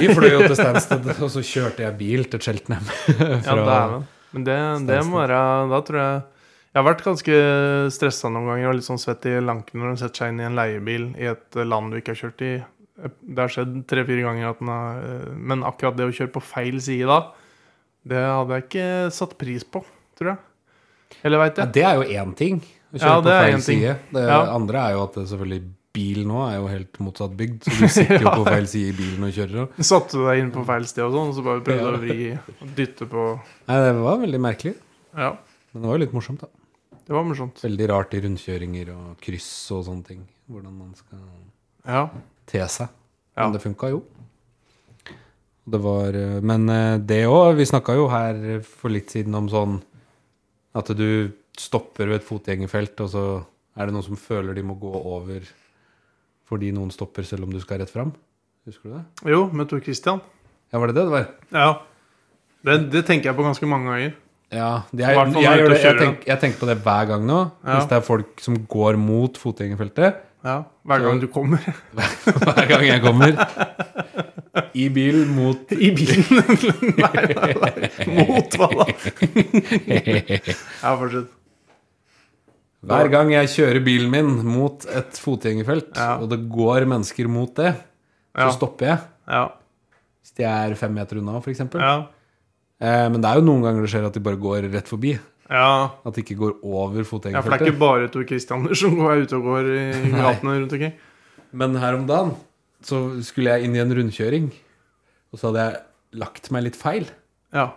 Vi fløy jo til Stansted, og så kjørte jeg bil til Cheltenham. Ja, dæven. Men det, det må være Da tror jeg Jeg har vært ganske stressa noen ganger og litt sånn svett i lanken når du setter seg inn i en leiebil i et eh, land du ikke har kjørt i. Det har skjedd tre-fire ganger at den har eh, Men akkurat det å kjøre på feil side da, det hadde jeg ikke satt pris på, tror jeg. Eller veit Ja, jeg. det er jo én ting. Å kjøre Ja, på det er feil én ting. side. Det Ja. andre er jo at det selvfølgelig bil nå er jo helt motsatt bygd. Så du sitter jo på feil side i bilen og kjører. og- Satte du deg inn på feil sted og sånn, og så bare prøvde du å vri og dytte på Nei, det var veldig merkelig. Ja, Men det var jo litt morsomt, da. det var morsomt. Veldig rart i rundkjøringer og kryss og sånne ting. Hvordan man skal Ja. te seg. Ja. Men det funka jo. Det var eh, Men eh, det òg Vi snakka jo her for litt siden om sånn at du stopper ved et fotgjengerfelt, og så er det noen som føler de må gå over fordi noen stopper selv om du skal rett fram. Husker du det? Jo, med Tor Christian. Ja, var det det det var? Ja. Det, det tenker jeg på ganske mange ganger. Ja, jeg, I hvert jeg, fall når du er ute gjør det, og jeg, kjører, tenk, jeg tenker på det hver gang nå. Ja. Hvis det er folk som går mot fotgjengerfeltet. Ja, Hver gang du kommer. Hver gang jeg kommer. I bil mot I bilen! nei, nei, nei. Mot hva da? Ja, fortsett. Hver gang jeg kjører bilen min mot et fotgjengerfelt, Ja. og det går mennesker mot det, så Ja. stopper jeg. Ja. Hvis de er fem meter unna, f.eks. eksempel ja. Eh, men det er jo noen ganger det skjer at de bare går rett forbi. ja. At de ikke går over Ja, for det er fotgjengerfeltet. ikke bare Tor Christianer som går ute og går i gatene rundt omkring. Men her om dagen så skulle jeg inn i en rundkjøring, og så hadde jeg lagt meg litt feil. Ja.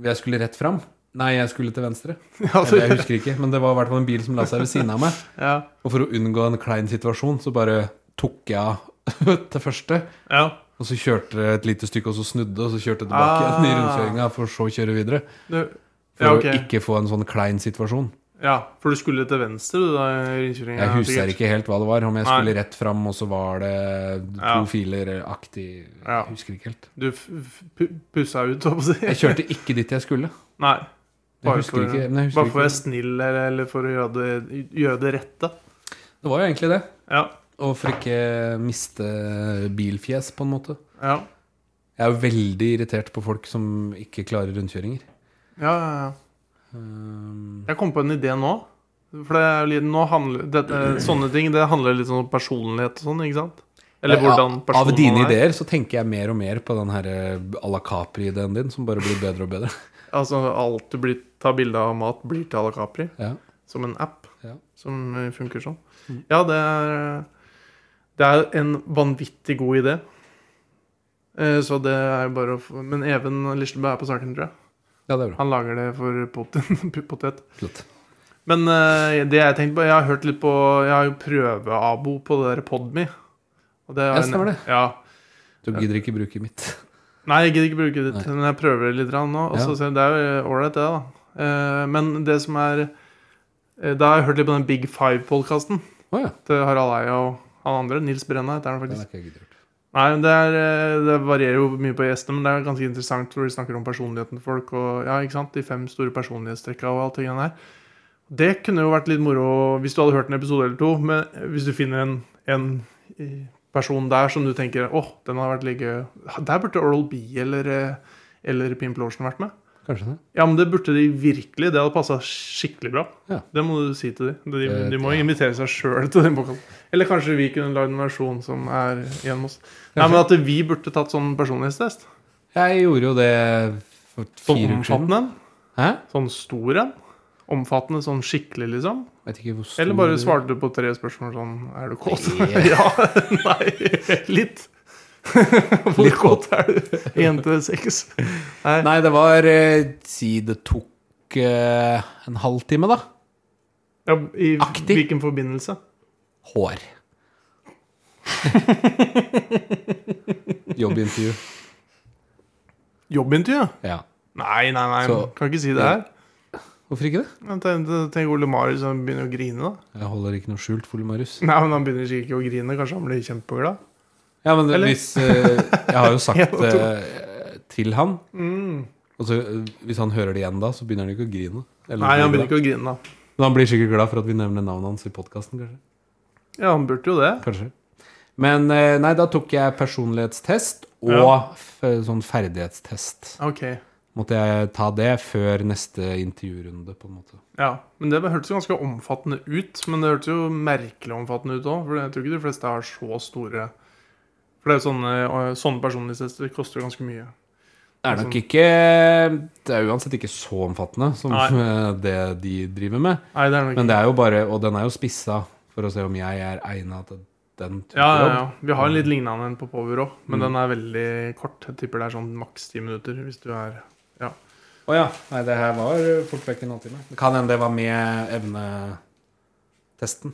Jeg skulle rett fram. Nei, jeg skulle til venstre. Ja, Eller jeg du, husker ikke, men det var i hvert fall en bil som la seg ved siden av meg. ja, Og for å unngå en klein situasjon, så bare tok jeg av til første. ja. Og så kjørte det et lite stykke, og så snudde, og så kjørte tilbake igjen i Ah. rundkjøringa, for så å kjøre videre. Du, For ja, ok. å ikke få en sånn klein situasjon. ja, for du skulle til venstre, du, da? i rundkjøringen, Jeg sikkert. husker ikke helt hva det var, om jeg Nei. skulle rett fram, og så var det to Ja. filer-aktig Ja. Jeg husker ikke helt. Du f- f- pu- pussa ut, holdt jeg på å Jeg si. kjørte ikke dit jeg skulle. Nei. Bare Jeg husker for- ikke, men Bare jeg for å husker være ikke. snill, eller, eller for å gjøre det, gjøre det rette. Det var jo egentlig det. Ja. Og for ikke miste bilfjes, på en måte. Ja. Jeg er jo veldig irritert på folk som ikke klarer rundkjøringer. Ja, ja, ja. Um, Jeg kom på en idé nå. For det er jo litt, nå handler, dette, sånne ting det handler litt sånn om personlighet og sånn, ikke sant? Eller hvordan Av personen dine man er. ideer så tenker jeg mer og mer på den her eh, à la Capri-ideen din, som bare blir bedre og bedre. Altså alt du blir, tar bilde av mat, blir til à la Capri. Ja. Som en app Ja. Mm. som eh, funker sånn. Ja, det er Det er en vanvittig god idé. Eh, Så det er jo bare å få Men Even Lislebø er på saken, tror jeg. Ja, det er bra. Han lager det for poten, potet. Absolutt. Men eh, det jeg tenkte på Jeg har hørt litt på Jeg har jo prøveabo på det der Podme. Og det er Ja, en- stemmer det. Ja. Du gidder ikke bruke mitt. Nei, jeg gidder ikke bruke det, Nei. men jeg prøver det litt grann nå. Og så Ja. ser jeg- det er jo ålreit, det, da. Eh, men det som er eh, Da har jeg hørt litt på den Big Five-podkasten Å ja. til Harald Eia og han andre. Nils Brenna heter han Det faktisk. har ikke jeg gidder gjort. Nei, men det, er, eh, det varierer jo mye på gjestene, men det er ganske interessant hvor de snakker om personligheten til folk. og ja, ikke sant, De fem store personlighetstrekka og alt det greiene her. Det kunne jo vært litt moro hvis du hadde hørt en episode eller to. Men eh, hvis du finner en, en eh, person der som du tenker åh, den har vært litt gøy Der burde Oral B eller, eh, eller Pimp Lorsen vært med. Kanskje det. Ja, men det burde de virkelig. Det hadde passa skikkelig bra. Ja. Det må du si til dem. De, Eh, de må ja. invitere seg sjøl til den boka. Eller kanskje vi kunne lagd en versjon som er igjen med oss. Nei, men at vi burde tatt sånn personlighetstest. Jeg gjorde jo det for Sånn fire uker siden. omfattende en. Hæ? Sånn stor en. Omfattende sånn skikkelig, liksom. Vet ikke hvor stor Eller bare svarte du på tre spørsmål sånn Er du kåt? Nei. ja. Nei. Litt. Hvor Litt kåt er du? Én til seks. Nei. Nei, det var eh, Si det tok eh, en halvtime, da. Ja, I Aktig. hvilken forbindelse? Hår. Jobbintervju. Jobbintervju? Ja. Nei, nei, nei. Så- kan ikke si det her. Hvorfor ikke det? Men Tenk, tenk Ole Marius han begynner å grine, da. Jeg holder ikke noe skjult, Ole Marius. Nei, men Han begynner sikkert ikke å grine. Kanskje han blir kjempeglad. Ja, men det, Eller? hvis eh, Jeg har jo Ja, sagt to. eh, til han Mm. Og så eh, hvis han hører det igjen da, så begynner han ikke å grine. Eller Nei, han blir begynner glad. ikke å grine, da. Men han blir sikkert glad for at vi nevner navnet hans i podkasten, kanskje. Ja, han burde jo det. kanskje. Men eh, nei, da tok jeg personlighetstest og Ja. f sånn ferdighetstest. Ok, Måtte jeg ta det før neste intervjurunde, på en måte. ja. Men det hørtes jo ganske omfattende ut. Men det hørtes jo merkelig omfattende ut òg, for jeg tror ikke de fleste har så store For det er jo sånne, og sånne personlighetstester koster jo ganske mye. Det er nok ikke Det er uansett ikke så omfattende som Nei. eh, det de driver med. Nei, det er nok Men det er jo bare Og den er jo spissa for å se om jeg er egna til den type ja, ja, jobb. Mm. ja. Vi har en litt lignende en på Power òg, men den er veldig kort. Jeg tipper det er sånn maks ti minutter. hvis du er... Ja. Å ja. Nei, det her var fort vekk en halvtime. Det kan hende det var med evnetesten.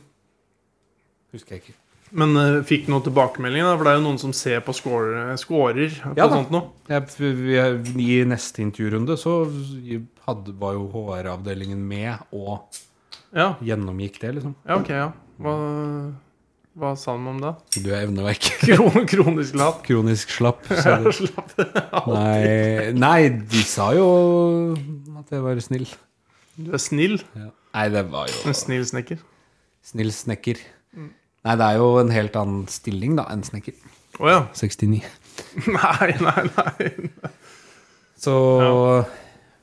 Husker jeg ikke. Men eh, fikk noen tilbakemeldinger, da? For det er jo noen som ser på scorer, scorer på Ja da. sånt noe. Jeg, vi- I neste intervjurunde så hadde, var jo HR-avdelingen med og Ja. gjennomgikk det, liksom. ja, ok, ja. Hva, Hva sa de om da? Du er evnevekk. Kron, kronisk lat. Kronisk slapp. sa Ja, de. slapp av. Nei, nei, de sa jo at jeg var snill. Du er snill. Nei, det var jo En snill snekker. snill snekker. Mm. Nei, det er jo en helt annen stilling da enn snekker. Å ja. 69. Nei, nei, nei. Så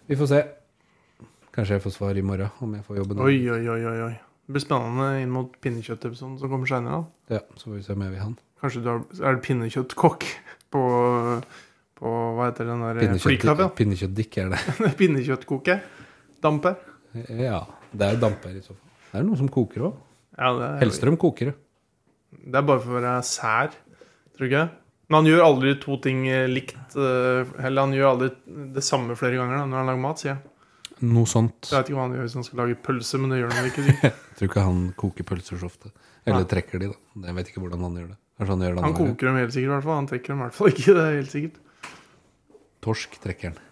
vi får se. Kanskje jeg får svar i morgen om jeg får jobben. Oi, oi, oi, oi. oi. Det blir spennende inn mot pinnekjøttepisoden som kommer seinere. Ja, så får vi se om jeg vil ha den. Kanskje du har, er det pinnekjøttkokk på, på Hva heter den der Pinnekjøtt- flykaffen? Pinnekjøttdikk er det. Pinnekjøttkoker. Damper. Ja, det er jo damper i så fall. Det er noen som koker òg. Ja, det er, Hellstrøm koker det. det er bare for å være sær, tror ikke jeg. Men han gjør aldri to ting eh, likt. eh, Eller han gjør aldri det samme flere ganger da, når han lager mat, sier jeg. Noe sånt. Så Jeg vet ikke hva han gjør hvis han skal lage pølse, men det gjør han vel ikke. sikkert. Jeg tror ikke han koker pølser så ofte. Eller Nei. trekker de, da. Jeg vet ikke hvordan han gjør det. Kanskje han gjør det Han andre veien. koker dem helt sikkert, i hvert fall. Han trekker dem i hvert fall ikke. det er helt sikkert. Torsk trekker han.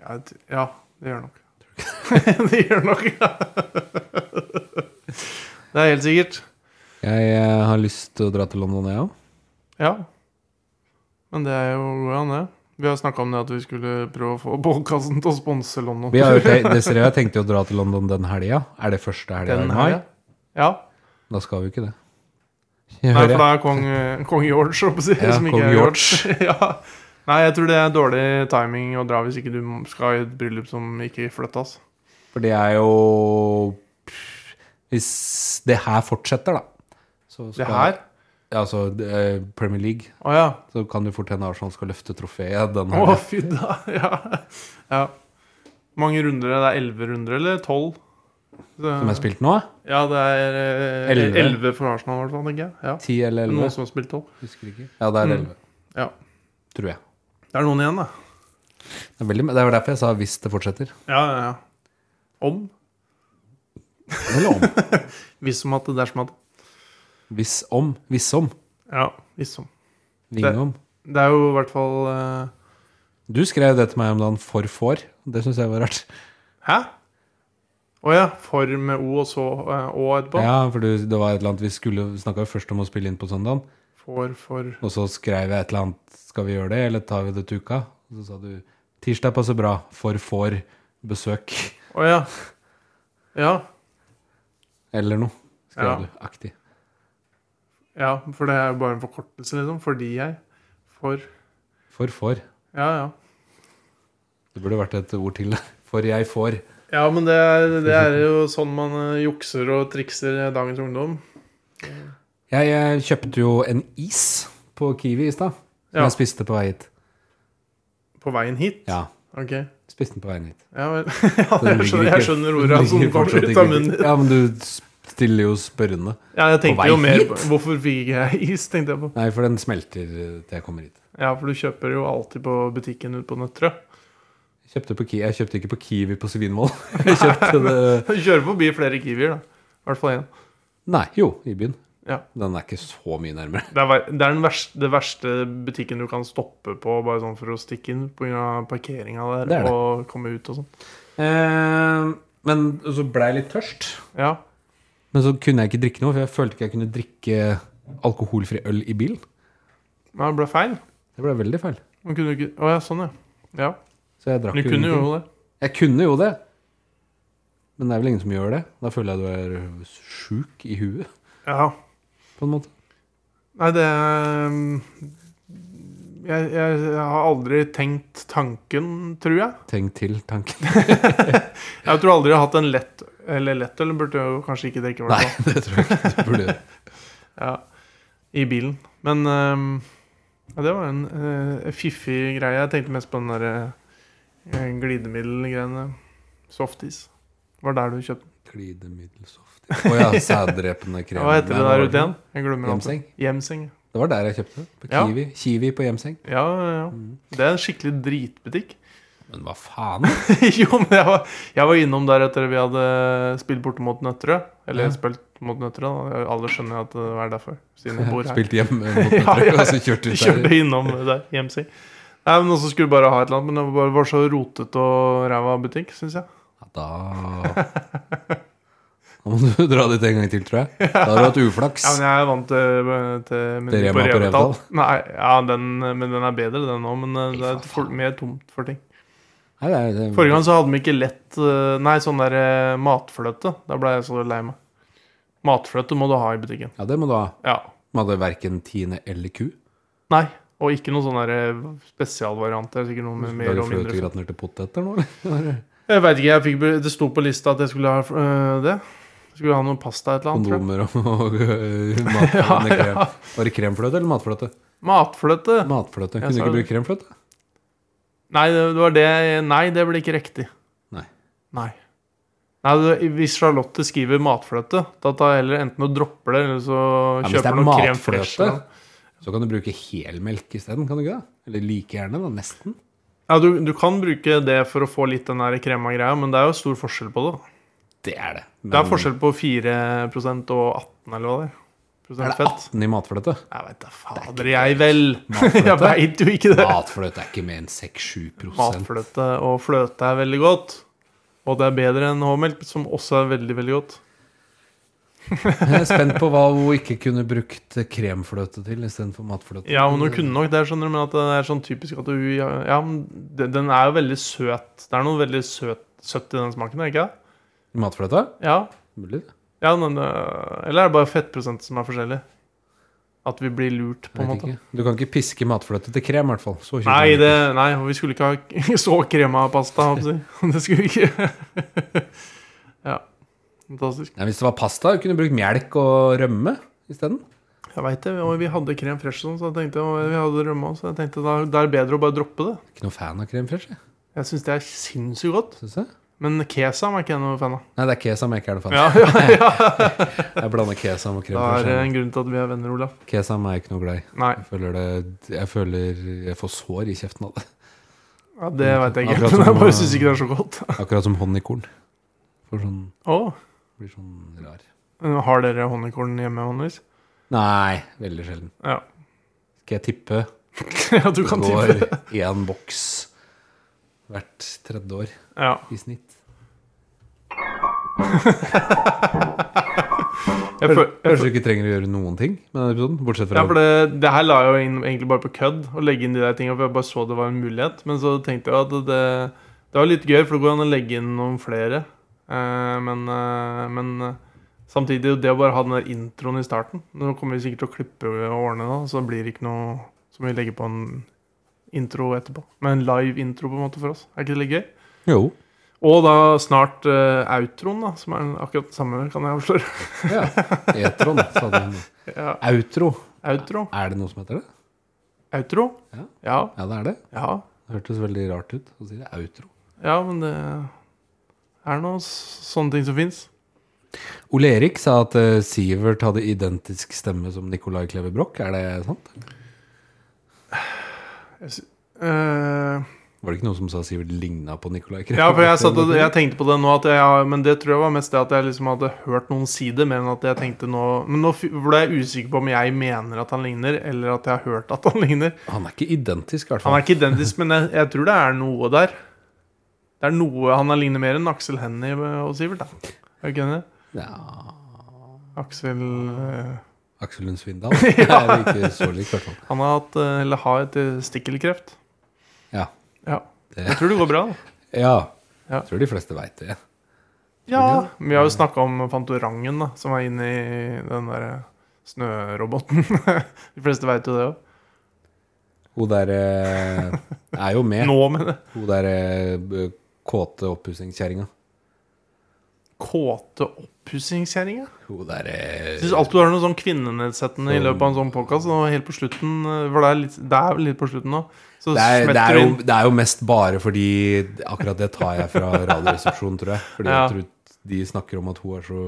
Ja, jeg t- ja det gjør han nok. det gjør han nok, ja. Det er helt sikkert. Jeg eh, har lyst til å dra til London, jeg òg. Ja. Men det er jo går an, det. Vi har snakka om det at vi skulle prøve å få bålkassen til å sponse London. Vi har jo te- Desiree og jeg tenkte jo å dra til London den helga. Er det første helga i Den mai? her, ja. Da skal vi jo ikke det. Nei, for Hører da jeg. er kong, eh, kong George, holdt på å si. Ja, som ikke kong er George. ja. Nei, jeg tror det er dårlig timing å dra hvis ikke du skal i et bryllup som ikke flyttes. For det er jo Hvis det her fortsetter, da så Det her? Ja, altså eh, Premier League. Å ja. Så kan det fort hende Arsenal skal løfte trofeet den Å, helga. fy da. Ja. ja. Mange runder? Det er elleve runder, eller tolv? som er spilt nå. Ja, det er eh, Elleve. elleve for Arsenal, i hvert fall. tenker jeg. Ja. 10 eller Noen 11. som har spilt tolv. Husker ikke. Ja, det er Mm. 11, Ja. tror jeg. Det er noen igjen, da. Det er, veldig, det er jo derfor jeg sa 'hvis det fortsetter'. Ja, ja, ja. Om. Eller om. Hvis som at det dersom at Hvis om. Hvis om. Ja, hvis som. Det- Vinge om. Det er jo i hvert fall eh, Du skrev det til meg om dagen for får. Det syns jeg var rart. Hæ? Å ja. For med O og så eh, Å etterpå. Ja, for du, det var et eller annet Vi skulle snakka jo først om å spille inn på søndagen, For, for og så skrev jeg et eller annet 'Skal vi gjøre det, eller tar vi det til uka?' Og så sa du 'Tirsdag passer bra. For får besøk'. Å ja. Ja. Eller noe, skrev Ja. du. Aktig. Ja, for det er jo bare en forkortelse, liksom. Fordi jeg. For For får. Ja, ja. Det burde vært et ord til. For jeg får. Ja, men det er, det er jo sånn man eh, jukser og trikser dagens ungdom. Jeg, eh, kjøpte jo en is på Kiwi i stad, som Ja. jeg spiste på vei hit. På veien hit. Ja, Ok. Ja, spiste den på veien hit. vel. Ja, Den jeg, ligger skjønner, ikke- jeg skjønner ordet den som ligger kommer fortsatt ut av ikke- munnen. Ja, men du stiller jo spørrende. Ja, jeg På tenkte vei jo mer hit? på Hvorfor fikk ikke jeg is, tenkte jeg på. Nei, for den smelter eh, til jeg kommer hit. Ja, for du kjøper jo alltid på butikken ute på Nøtterøy. Jeg kjøpte, på Ki jeg kjøpte ikke på Kiwi på Svinvoll. Jeg kjøpte det Du kjører forbi flere Kiwier, da. I hvert fall én. Nei, jo, i byen. Ja. Den er ikke så mye nærmere. Det er, ver- det er den verste, det verste butikken du kan stoppe på bare sånn for å stikke inn pga. parkeringa der Det er det. og komme ut og sånn. Eh, men så ble jeg litt tørst. Ja. Men så kunne jeg ikke drikke noe, for jeg følte ikke jeg kunne drikke alkoholfri øl i bilen. Men det ble feil. Det ble veldig feil. Man kunne jo ikke Å ja, sånn, ja. ja. Så jeg drakk Men Du kunne ingenting. jo det. Jeg kunne jo det. Men det er vel ingen som gjør det. Da føler jeg du er øh, sjuk i huet, Ja. på en måte. Nei, det um, jeg, jeg, jeg har aldri tenkt tanken, tror jeg. Tenk til tanken. Jeg tror aldri jeg har hatt en lett Eller lett eller burde jeg jo kanskje ikke drikke i Nei, hvert fall. det tror jeg ikke du burde gjøre. Ja, I bilen. Men um, ja, det var en eh, fiffig greie. Jeg tenkte mest på den derre uh, glidemiddelgreiene. Softis. Var der du kjøpte den. Glidemiddel softy. Å ja, sæddrepende krem. Hva heter det Nei, der var ute igjen? Jeg glemmer alltid. Hjemseng. Hjemseng. Det var der jeg kjøpte det. På Ja. Kiwi. Kiwi på Hjemseng. Mm. Ja, ja, ja. Det er en skikkelig dritbutikk. Men hva faen? jo, men jeg var, jeg var innom der etter vi hadde spilt borte mot Nøtterøy. Eller Ja. spilt mot Nøtterøy. da. Alle skjønner at det er derfor, siden jeg bor her. Spilte hjemme mot Ja, Nøtterøy, ja. og så kjørte Vi ut der. kjørte innom der, hjemsi. Nei, men også skulle vi bare ha et eller annet, men det var, var så rotete og ræva butikk, syns jeg. Ja, da Nå må du dra dit en gang til, tror jeg. Da har du hatt uflaks. Ja, men jeg er vant til, til menyen Til Rema på på Revetal. Revetal. Nei, ja, den, men den er bedre, den òg. Men eh, det er for, mer tomt for ting. Nei, det er, det, Forrige gang så hadde de ikke lett eh, Nei, sånn der eh, matfløte. Da ble jeg så lei meg. Matfløte må du ha i butikken. Ja, det må du ha. Ja. De hadde verken tiende eller ku. Nei. Og ikke noen sånn der spesialvariant. Det er sikkert noe med mer Lager og mindre sånn. fett. fløtegratinerte poteter nå, eller? Jeg vet ikke, jeg fikk, be- det sto på lista at jeg skulle ha øh, det. Jeg skulle ha noe pasta et eller annet. tror jeg. Kondomer og, og øh, matfløtende krem. Var det kremfløte eller matfløte? Matfløte. Matfløte. sa Kunne du ikke det. bruke kremfløte? Nei, det det var det Nei, det ble ikke riktig. Nei. Nei. Nei, det- Hvis Charlotte skriver matfløte, da tar jeg heller enten og dropper det, eller så Ja, hvis det kjøper er jeg noe matfløte, kremfløte. så kan du bruke helmelk isteden, kan du ikke det? Eller like gjerne, da. Nesten. Ja, du, du kan bruke det for å få litt den der krema greia, men det er jo stor forskjell på det. da. Det er det. Det er Men- forskjell på 4 og 18 eller hva det er. Er Prosent det fett. 18 i matfløte? Jeg veit da fader, jeg vel. jeg veit jo ikke det. Matfløte er ikke mer enn 6-7 prosent. Matfløte og fløte er veldig godt. Og det er bedre enn H-melk, som også er veldig veldig godt. Jeg er spent på hva hun ikke kunne brukt kremfløte til istedenfor matfløte. Ja, men Hun kunne nok det, skjønner du, men at det er sånn typisk at hun Ja, ja, men den den er jo veldig søt. Det er noe veldig søt, søtt i den smaken, er det ikke det? Matfløte? Ja. Mulig. det. ja men, øh, eller er det bare fettprosent som er forskjellig? At vi blir lurt, på en Jeg vet måte. ikke. Du kan ikke piske matfløte til krem, i hvert fall. Så tjukk er Nei, den det, ikke. nei, og vi skulle ikke ha så krema pasta, håper jeg. å si. Det skulle vi ikke. Ja. Fantastisk. Nei, hvis det var pasta, du kunne brukt melk og rømme isteden. Jeg veit det. Og vi hadde krem fresh, sånn, så jeg tenkte, og vi hadde rømme også, så jeg tenkte da, det er bedre å bare droppe det. Ikke noe fan av krem fresh, jeg. Jeg syns det er sinnssykt godt. Synes jeg. Men kesam er ikke jeg noe fan av. Nei, det er kesam jeg ikke er noe fan av. Ja, ja, ja. Jeg blander kesam og krem Det er fresh. en grunn til at vi er venner, Olaf. jeg. Kesam er jeg ikke noe glad i. Nei, Jeg føler, det, jeg føler jeg får sår i kjeften av det. ja, det veit jeg ikke. Akkurat som, Men jeg eh, bare syns ikke det er så godt. Akkurat som honningkorn. Får sånn, Å, blir sånn rar. har dere honningkorn hjemme, Hannes? Nei, veldig sjelden. Ja. Skal jeg tippe? ja, du kan Det tippe. går én boks hvert tredje år Ja. i snitt. Jeg føl- jeg føl- Kanskje du ikke trenger å gjøre noen ting med denne episoden? Bortsett fra Ja, for det, det her la jeg jo inn egentlig bare på kødd, å legge inn de der tinga, for jeg bare så det var en mulighet. Men så tenkte jeg at det, det var litt gøy, for det går an å legge inn noen flere. Eh, men eh, men eh, samtidig, det å bare ha den der introen i starten Nå kommer vi sikkert til å klippe og ordne da, så det blir ikke noe som vi legger på en intro etterpå. Men en live intro, på en måte, for oss. Er ikke det litt gøy? Jo. Og da snart eh, outroen, da, som er akkurat det samme, kan jeg avsløre. Ja. Etron, sa du. Ja, Outro. outro. Er det noe som heter det? Outro. Ja. Ja. Ja, det er det. ja. Det hørtes veldig rart ut å si det. Outro. Ja, men det er noen sånne ting som fins. Ole Erik sa at eh, Sivert hadde identisk stemme som Nicolai Kleve Broch. Er det sant? Var det ikke noen som sa Sivert ligna på Nicolai Kleve? ja, for jeg, satt og, jeg tenkte på det nå, at jeg, men det tror jeg var mest det at jeg liksom hadde hørt noen si det. Men at jeg tenkte nå Men nå f- ble jeg usikker på om jeg mener at han ligner, eller at jeg har hørt at han ligner. Han er ikke identisk, i hvert Han fall. er ikke identisk, men jeg, jeg tror det er noe der. Det er noe han har lignet mer enn Aksel Hennie eh, og Sivert. da. Er du ikke enig? Ja. Aksel eh, Aksel Lund Svindal er ikke så lik, i hvert fall. Han har hatt, eh, eller har et eh, stikkelkreft. Ja. Ja. Det- Jeg tror det går bra. da. Ja. Ja. Jeg tror de fleste veit det. Ja, vi har jo snakka om Fantorangen, da, som er inne i den der eh, snøroboten. De fleste veit jo det òg. Hun der eh, er jo med. Nå, mener jeg. Hun der eh, b- kåte oppussingskjerringa. Kåte oppussingskjerringa. Hun der eh, Syns alltid du har noe sånn kvinnenedssettende i løpet av en sånn podkast. Og helt på slutten, eh, for det er, litt, det er vel litt på slutten nå, så det er, det, smetter du er jo, inn det er jo mest bare fordi Akkurat det tar jeg fra Radioresepsjonen, tror jeg. Fordi Ja. jeg tror de snakker om at hun er så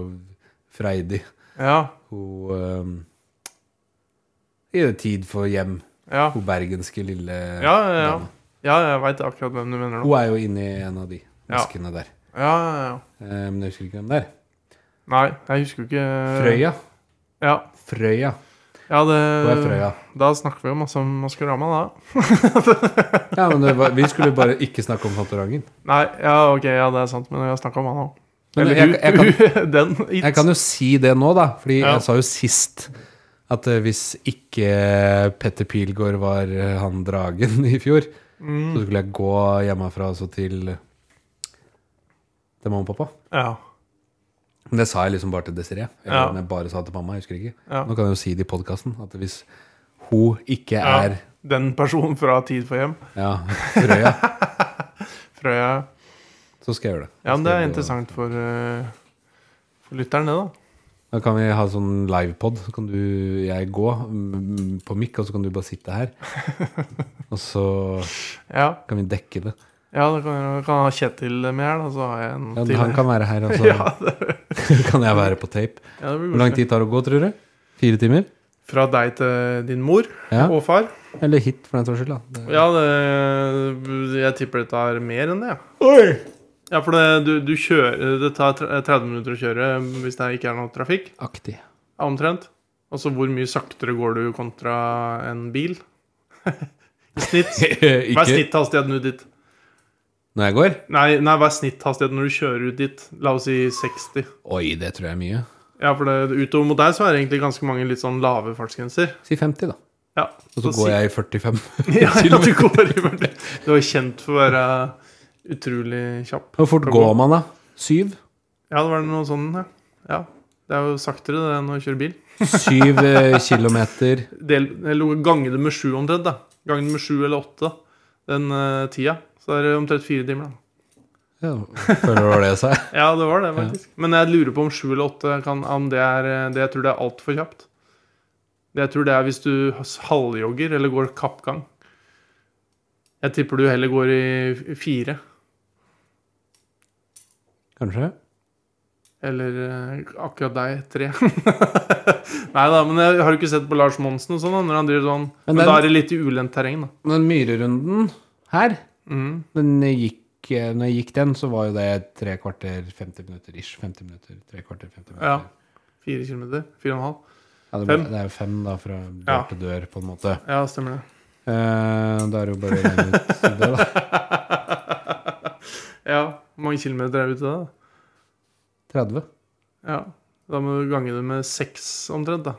freidig. Ja, Hun eh, I tid for hjem. ja, Hun bergenske lille ja. ja, ja. dama. ja jeg veit akkurat hvem du mener nå. Hun er jo inni en av de Ja. maskene der. Ja, ja, ja. Eh, men jeg husker ikke hvem det er. Nei, jeg husker jo ikke Frøya. Ja, Frøya. ja det, Hun er Frøya. Da snakker vi jo masse om Maskorama, da. Ja, men det var, vi skulle bare ikke snakke om Fantorangen. Nei, ja, ok, ja, det er sant, men jeg har snakka om han òg. Men Eller jeg, jeg, kan, u- den. It. jeg kan jo si det nå, da. Fordi Ja. jeg sa jo sist at eh, hvis ikke Petter Pilgaard var eh, han dragen i fjor, Mm. så skulle jeg gå hjemmefra altså til til mamma og pappa. Ja. Men det sa jeg liksom bare til Desiree. Eller Ja. om jeg bare sa det til mamma. jeg husker ikke Ja. Nå kan jeg jo si det i podkasten at hvis hun ikke ja. er Den personen fra Tid for hjem, ja, Frøya, tror jeg så skal jeg gjøre det. Ja, men det Så er skal interessant for, eh, for lytteren, det, da. jeg- Da kan vi ha sånn livepod. Så kan du, jeg gå mm, på mic, og så kan du bare sitte her. Og så Ja, kan vi dekke det. ja da kan jeg kan jeg ha Kjetil med her, da, så har jeg en Ja, til. han kan være her, og så Ja, det, kan jeg være på tape. ja, det blir Hvor lang koselig. tid tar det å gå, tror du? Fire timer? Fra deg til din mor Ja. og far. Eller hit, for den saks skyld. da. Det- Ja, det, jeg tipper det tar mer enn det. Ja. Ja, for det, du, du kjører, det tar tre- 30 minutter å kjøre eh, hvis det ikke er noe trafikk. Aktig. ja, Omtrent. Altså hvor mye saktere går du kontra en bil? I snitt. Hva er ikke snitthastigheten ut dit? når jeg går? Nei, nei, hva er snitthastigheten når du kjører ut dit? La oss si 60. Oi, det tror jeg er mye. Ja, for det, utover mot deg så er det egentlig ganske mange litt sånn lave fartsgrenser. Si 50, da. Ja, Og så går jeg i 45. Ja, ja, du går i hvert- Du er kjent for å være utrolig kjapp. Hvor fort går man, da? Syv? Ja, det var noe sånn, ja. ja. Det er jo saktere det enn å kjøre bil. Syv eh, kilometer. Del, eller gange det med sju omtrent, da. Gange det med sju eller åtte den eh, tida. Så er det omtrent fire timer, da. Ja, føler du hva det sa? Ja, det var det, faktisk. Men jeg lurer på om sju eller åtte kan om det er eh, det Jeg tror det er altfor kjapt. Det Jeg tror det er hvis du halvjogger eller går kappgang. Jeg tipper du heller går i f- fire. Kanskje? Eller eh, akkurat deg, tre. Nei da, men jeg har jo ikke sett på Lars Monsen og sånn da, når han driver sånn. Men Men, den- da er det litt i ulendt terreng, da. Den myrerunden her, Mhm. den gikk eh, Når jeg gikk den, så var jo det tre kvarter, 50 minutter ish. 50 minutter, tre kvarter, 50 minutter. Ja. Fire kilometer? Fire og en halv? Ja, det, ble, Fem. det er jo fem, da, fra dør Ja. til dør, på en måte. Ja, stemmer det. Eh, da er det jo bare å regne ut det, da. Ja, Hvor mange kilometer er vi til da? 30. Ja. Da må du gange det med seks omtrent, da.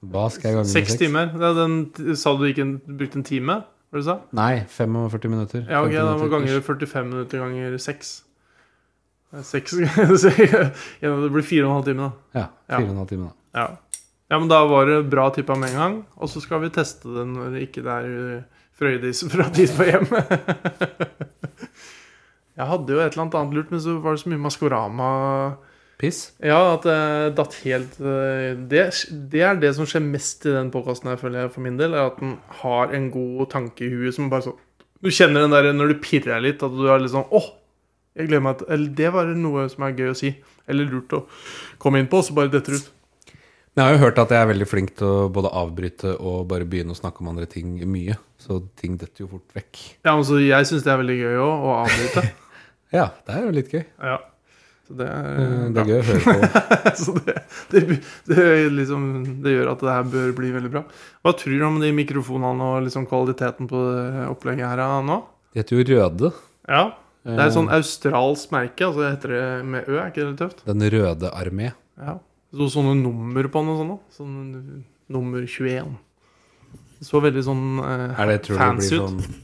Hva skal jeg gange med Seks timer. Det er den, sa du ikke en, brukte en time? Var det du sa? Nei, 45 minutter. Ja, ok, 50 da må minutter du gange ish. det 45 minutter ganger seks. Det er Seks så ja, Det blir fire og en halv time, da. Ja, Ja. fire og en halv time, da. Ja. ja, men da var det bra tippa med en gang. Og så skal vi teste det når det ikke er uh, Frøydis fra tid på hjem. Jeg hadde jo et eller annet annet lurt, men så var det så mye Maskorama Piss. Ja, at det datt helt eh, det, det er det som skjer mest i den podkasten her, føler jeg, for min del. Er at den har en god tanke i huet som bare sånn Du kjenner den der når du pirrer deg litt, at du er litt sånn Åh! Jeg gleder meg til Eller det var noe som er gøy å si. Eller lurt å komme inn på, og så bare detter ut. Men Jeg har jo hørt at jeg er veldig flink til å både avbryte og bare begynne å snakke om andre ting mye. Så ting detter jo fort vekk. Ja, men så jeg syns det er veldig gøy òg, å avbryte. Ja, det er jo litt gøy. ja. Så det er, Eh, Det er gøy å høre på. bra. så det, det, det, er liksom, det gjør at det her bør bli veldig bra. Hva tror du om de mikrofonene og liksom kvaliteten på det opplegget her ja, nå? De heter jo Røde. Ja. Det er et sånn Eh, australsk merke. Altså det heter det med Ø, er ikke det litt tøft? Den røde armé. Ja. Så sånne nummer på den og sånn. da. Sånn nummer 21. Det så veldig sånn eh, Er det, tror du det fancy blir ut. sånn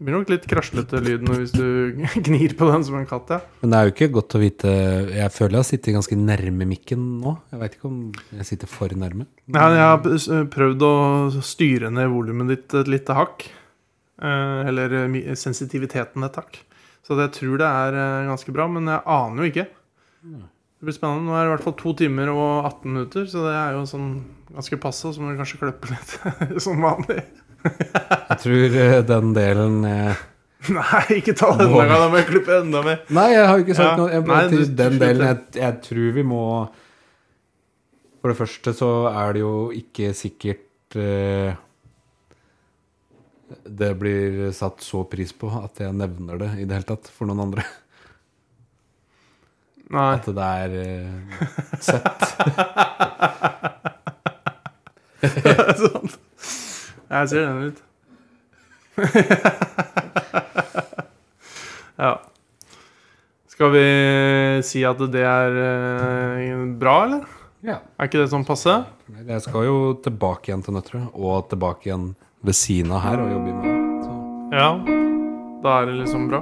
Det blir nok litt kraslete lyd nå hvis du gnir på den som en katt, ja. Men det er jo ikke godt å vite Jeg føler jeg sitter ganske nærme mikken nå. Jeg veit ikke om jeg sitter for nærme. Nei, jeg har p- s- prøvd å styre ned volumet ditt et lite hakk. Eh, Eller eh, mi- sensitiviteten et hakk. Så jeg tror det er eh, ganske bra, men jeg aner jo ikke. Det blir spennende. Nå er det i hvert fall to timer og 18 minutter, så det er jo sånn ganske passe. Så må du kanskje klippe litt som vanlig. Jeg tror eh, den delen eh, Nei, ikke ta denne gangen, da må jeg klippe enda mer. Nei, jeg har jo ikke sagt Ja. noe. Jeg, bare Nei, du- til den slutt, delen jeg, ja. jeg tror vi må For det første så er det jo ikke sikkert eh, det blir satt så pris på at jeg nevner det i det hele tatt for noen andre. Nei. At det er eh, sett. sånn. Jeg ser den ut. ja. Skal vi si at det er eh, bra, eller? Ja. Er ikke det sånn passe? Jeg skal jo tilbake igjen til Nøtterøy, og tilbake igjen ved siden av her og jobbe i morgen. Så- Ja. Da er det liksom bra.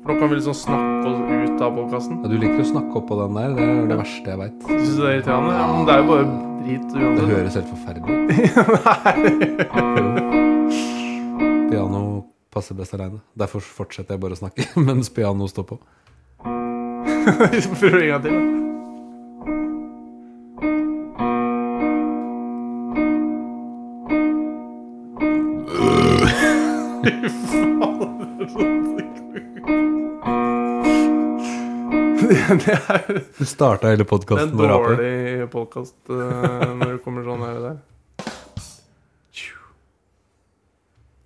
For nå kan vi liksom snakke oss ut av podkasten. Ja, du liker å snakke oppå den der. Det er det verste jeg veit. Syns du det er irriterende? Ja, men det er jo bare drit Det uansett. høres helt forferdelig ut. Piano passer best aleine. Derfor fortsetter jeg bare å snakke mens piano står på. Vi prøver en gang til. Fy faen, det er så sjukt. Det er Du starta hele det er en podkasten med å rape. dårlig podkast når det kommer sånn her og der.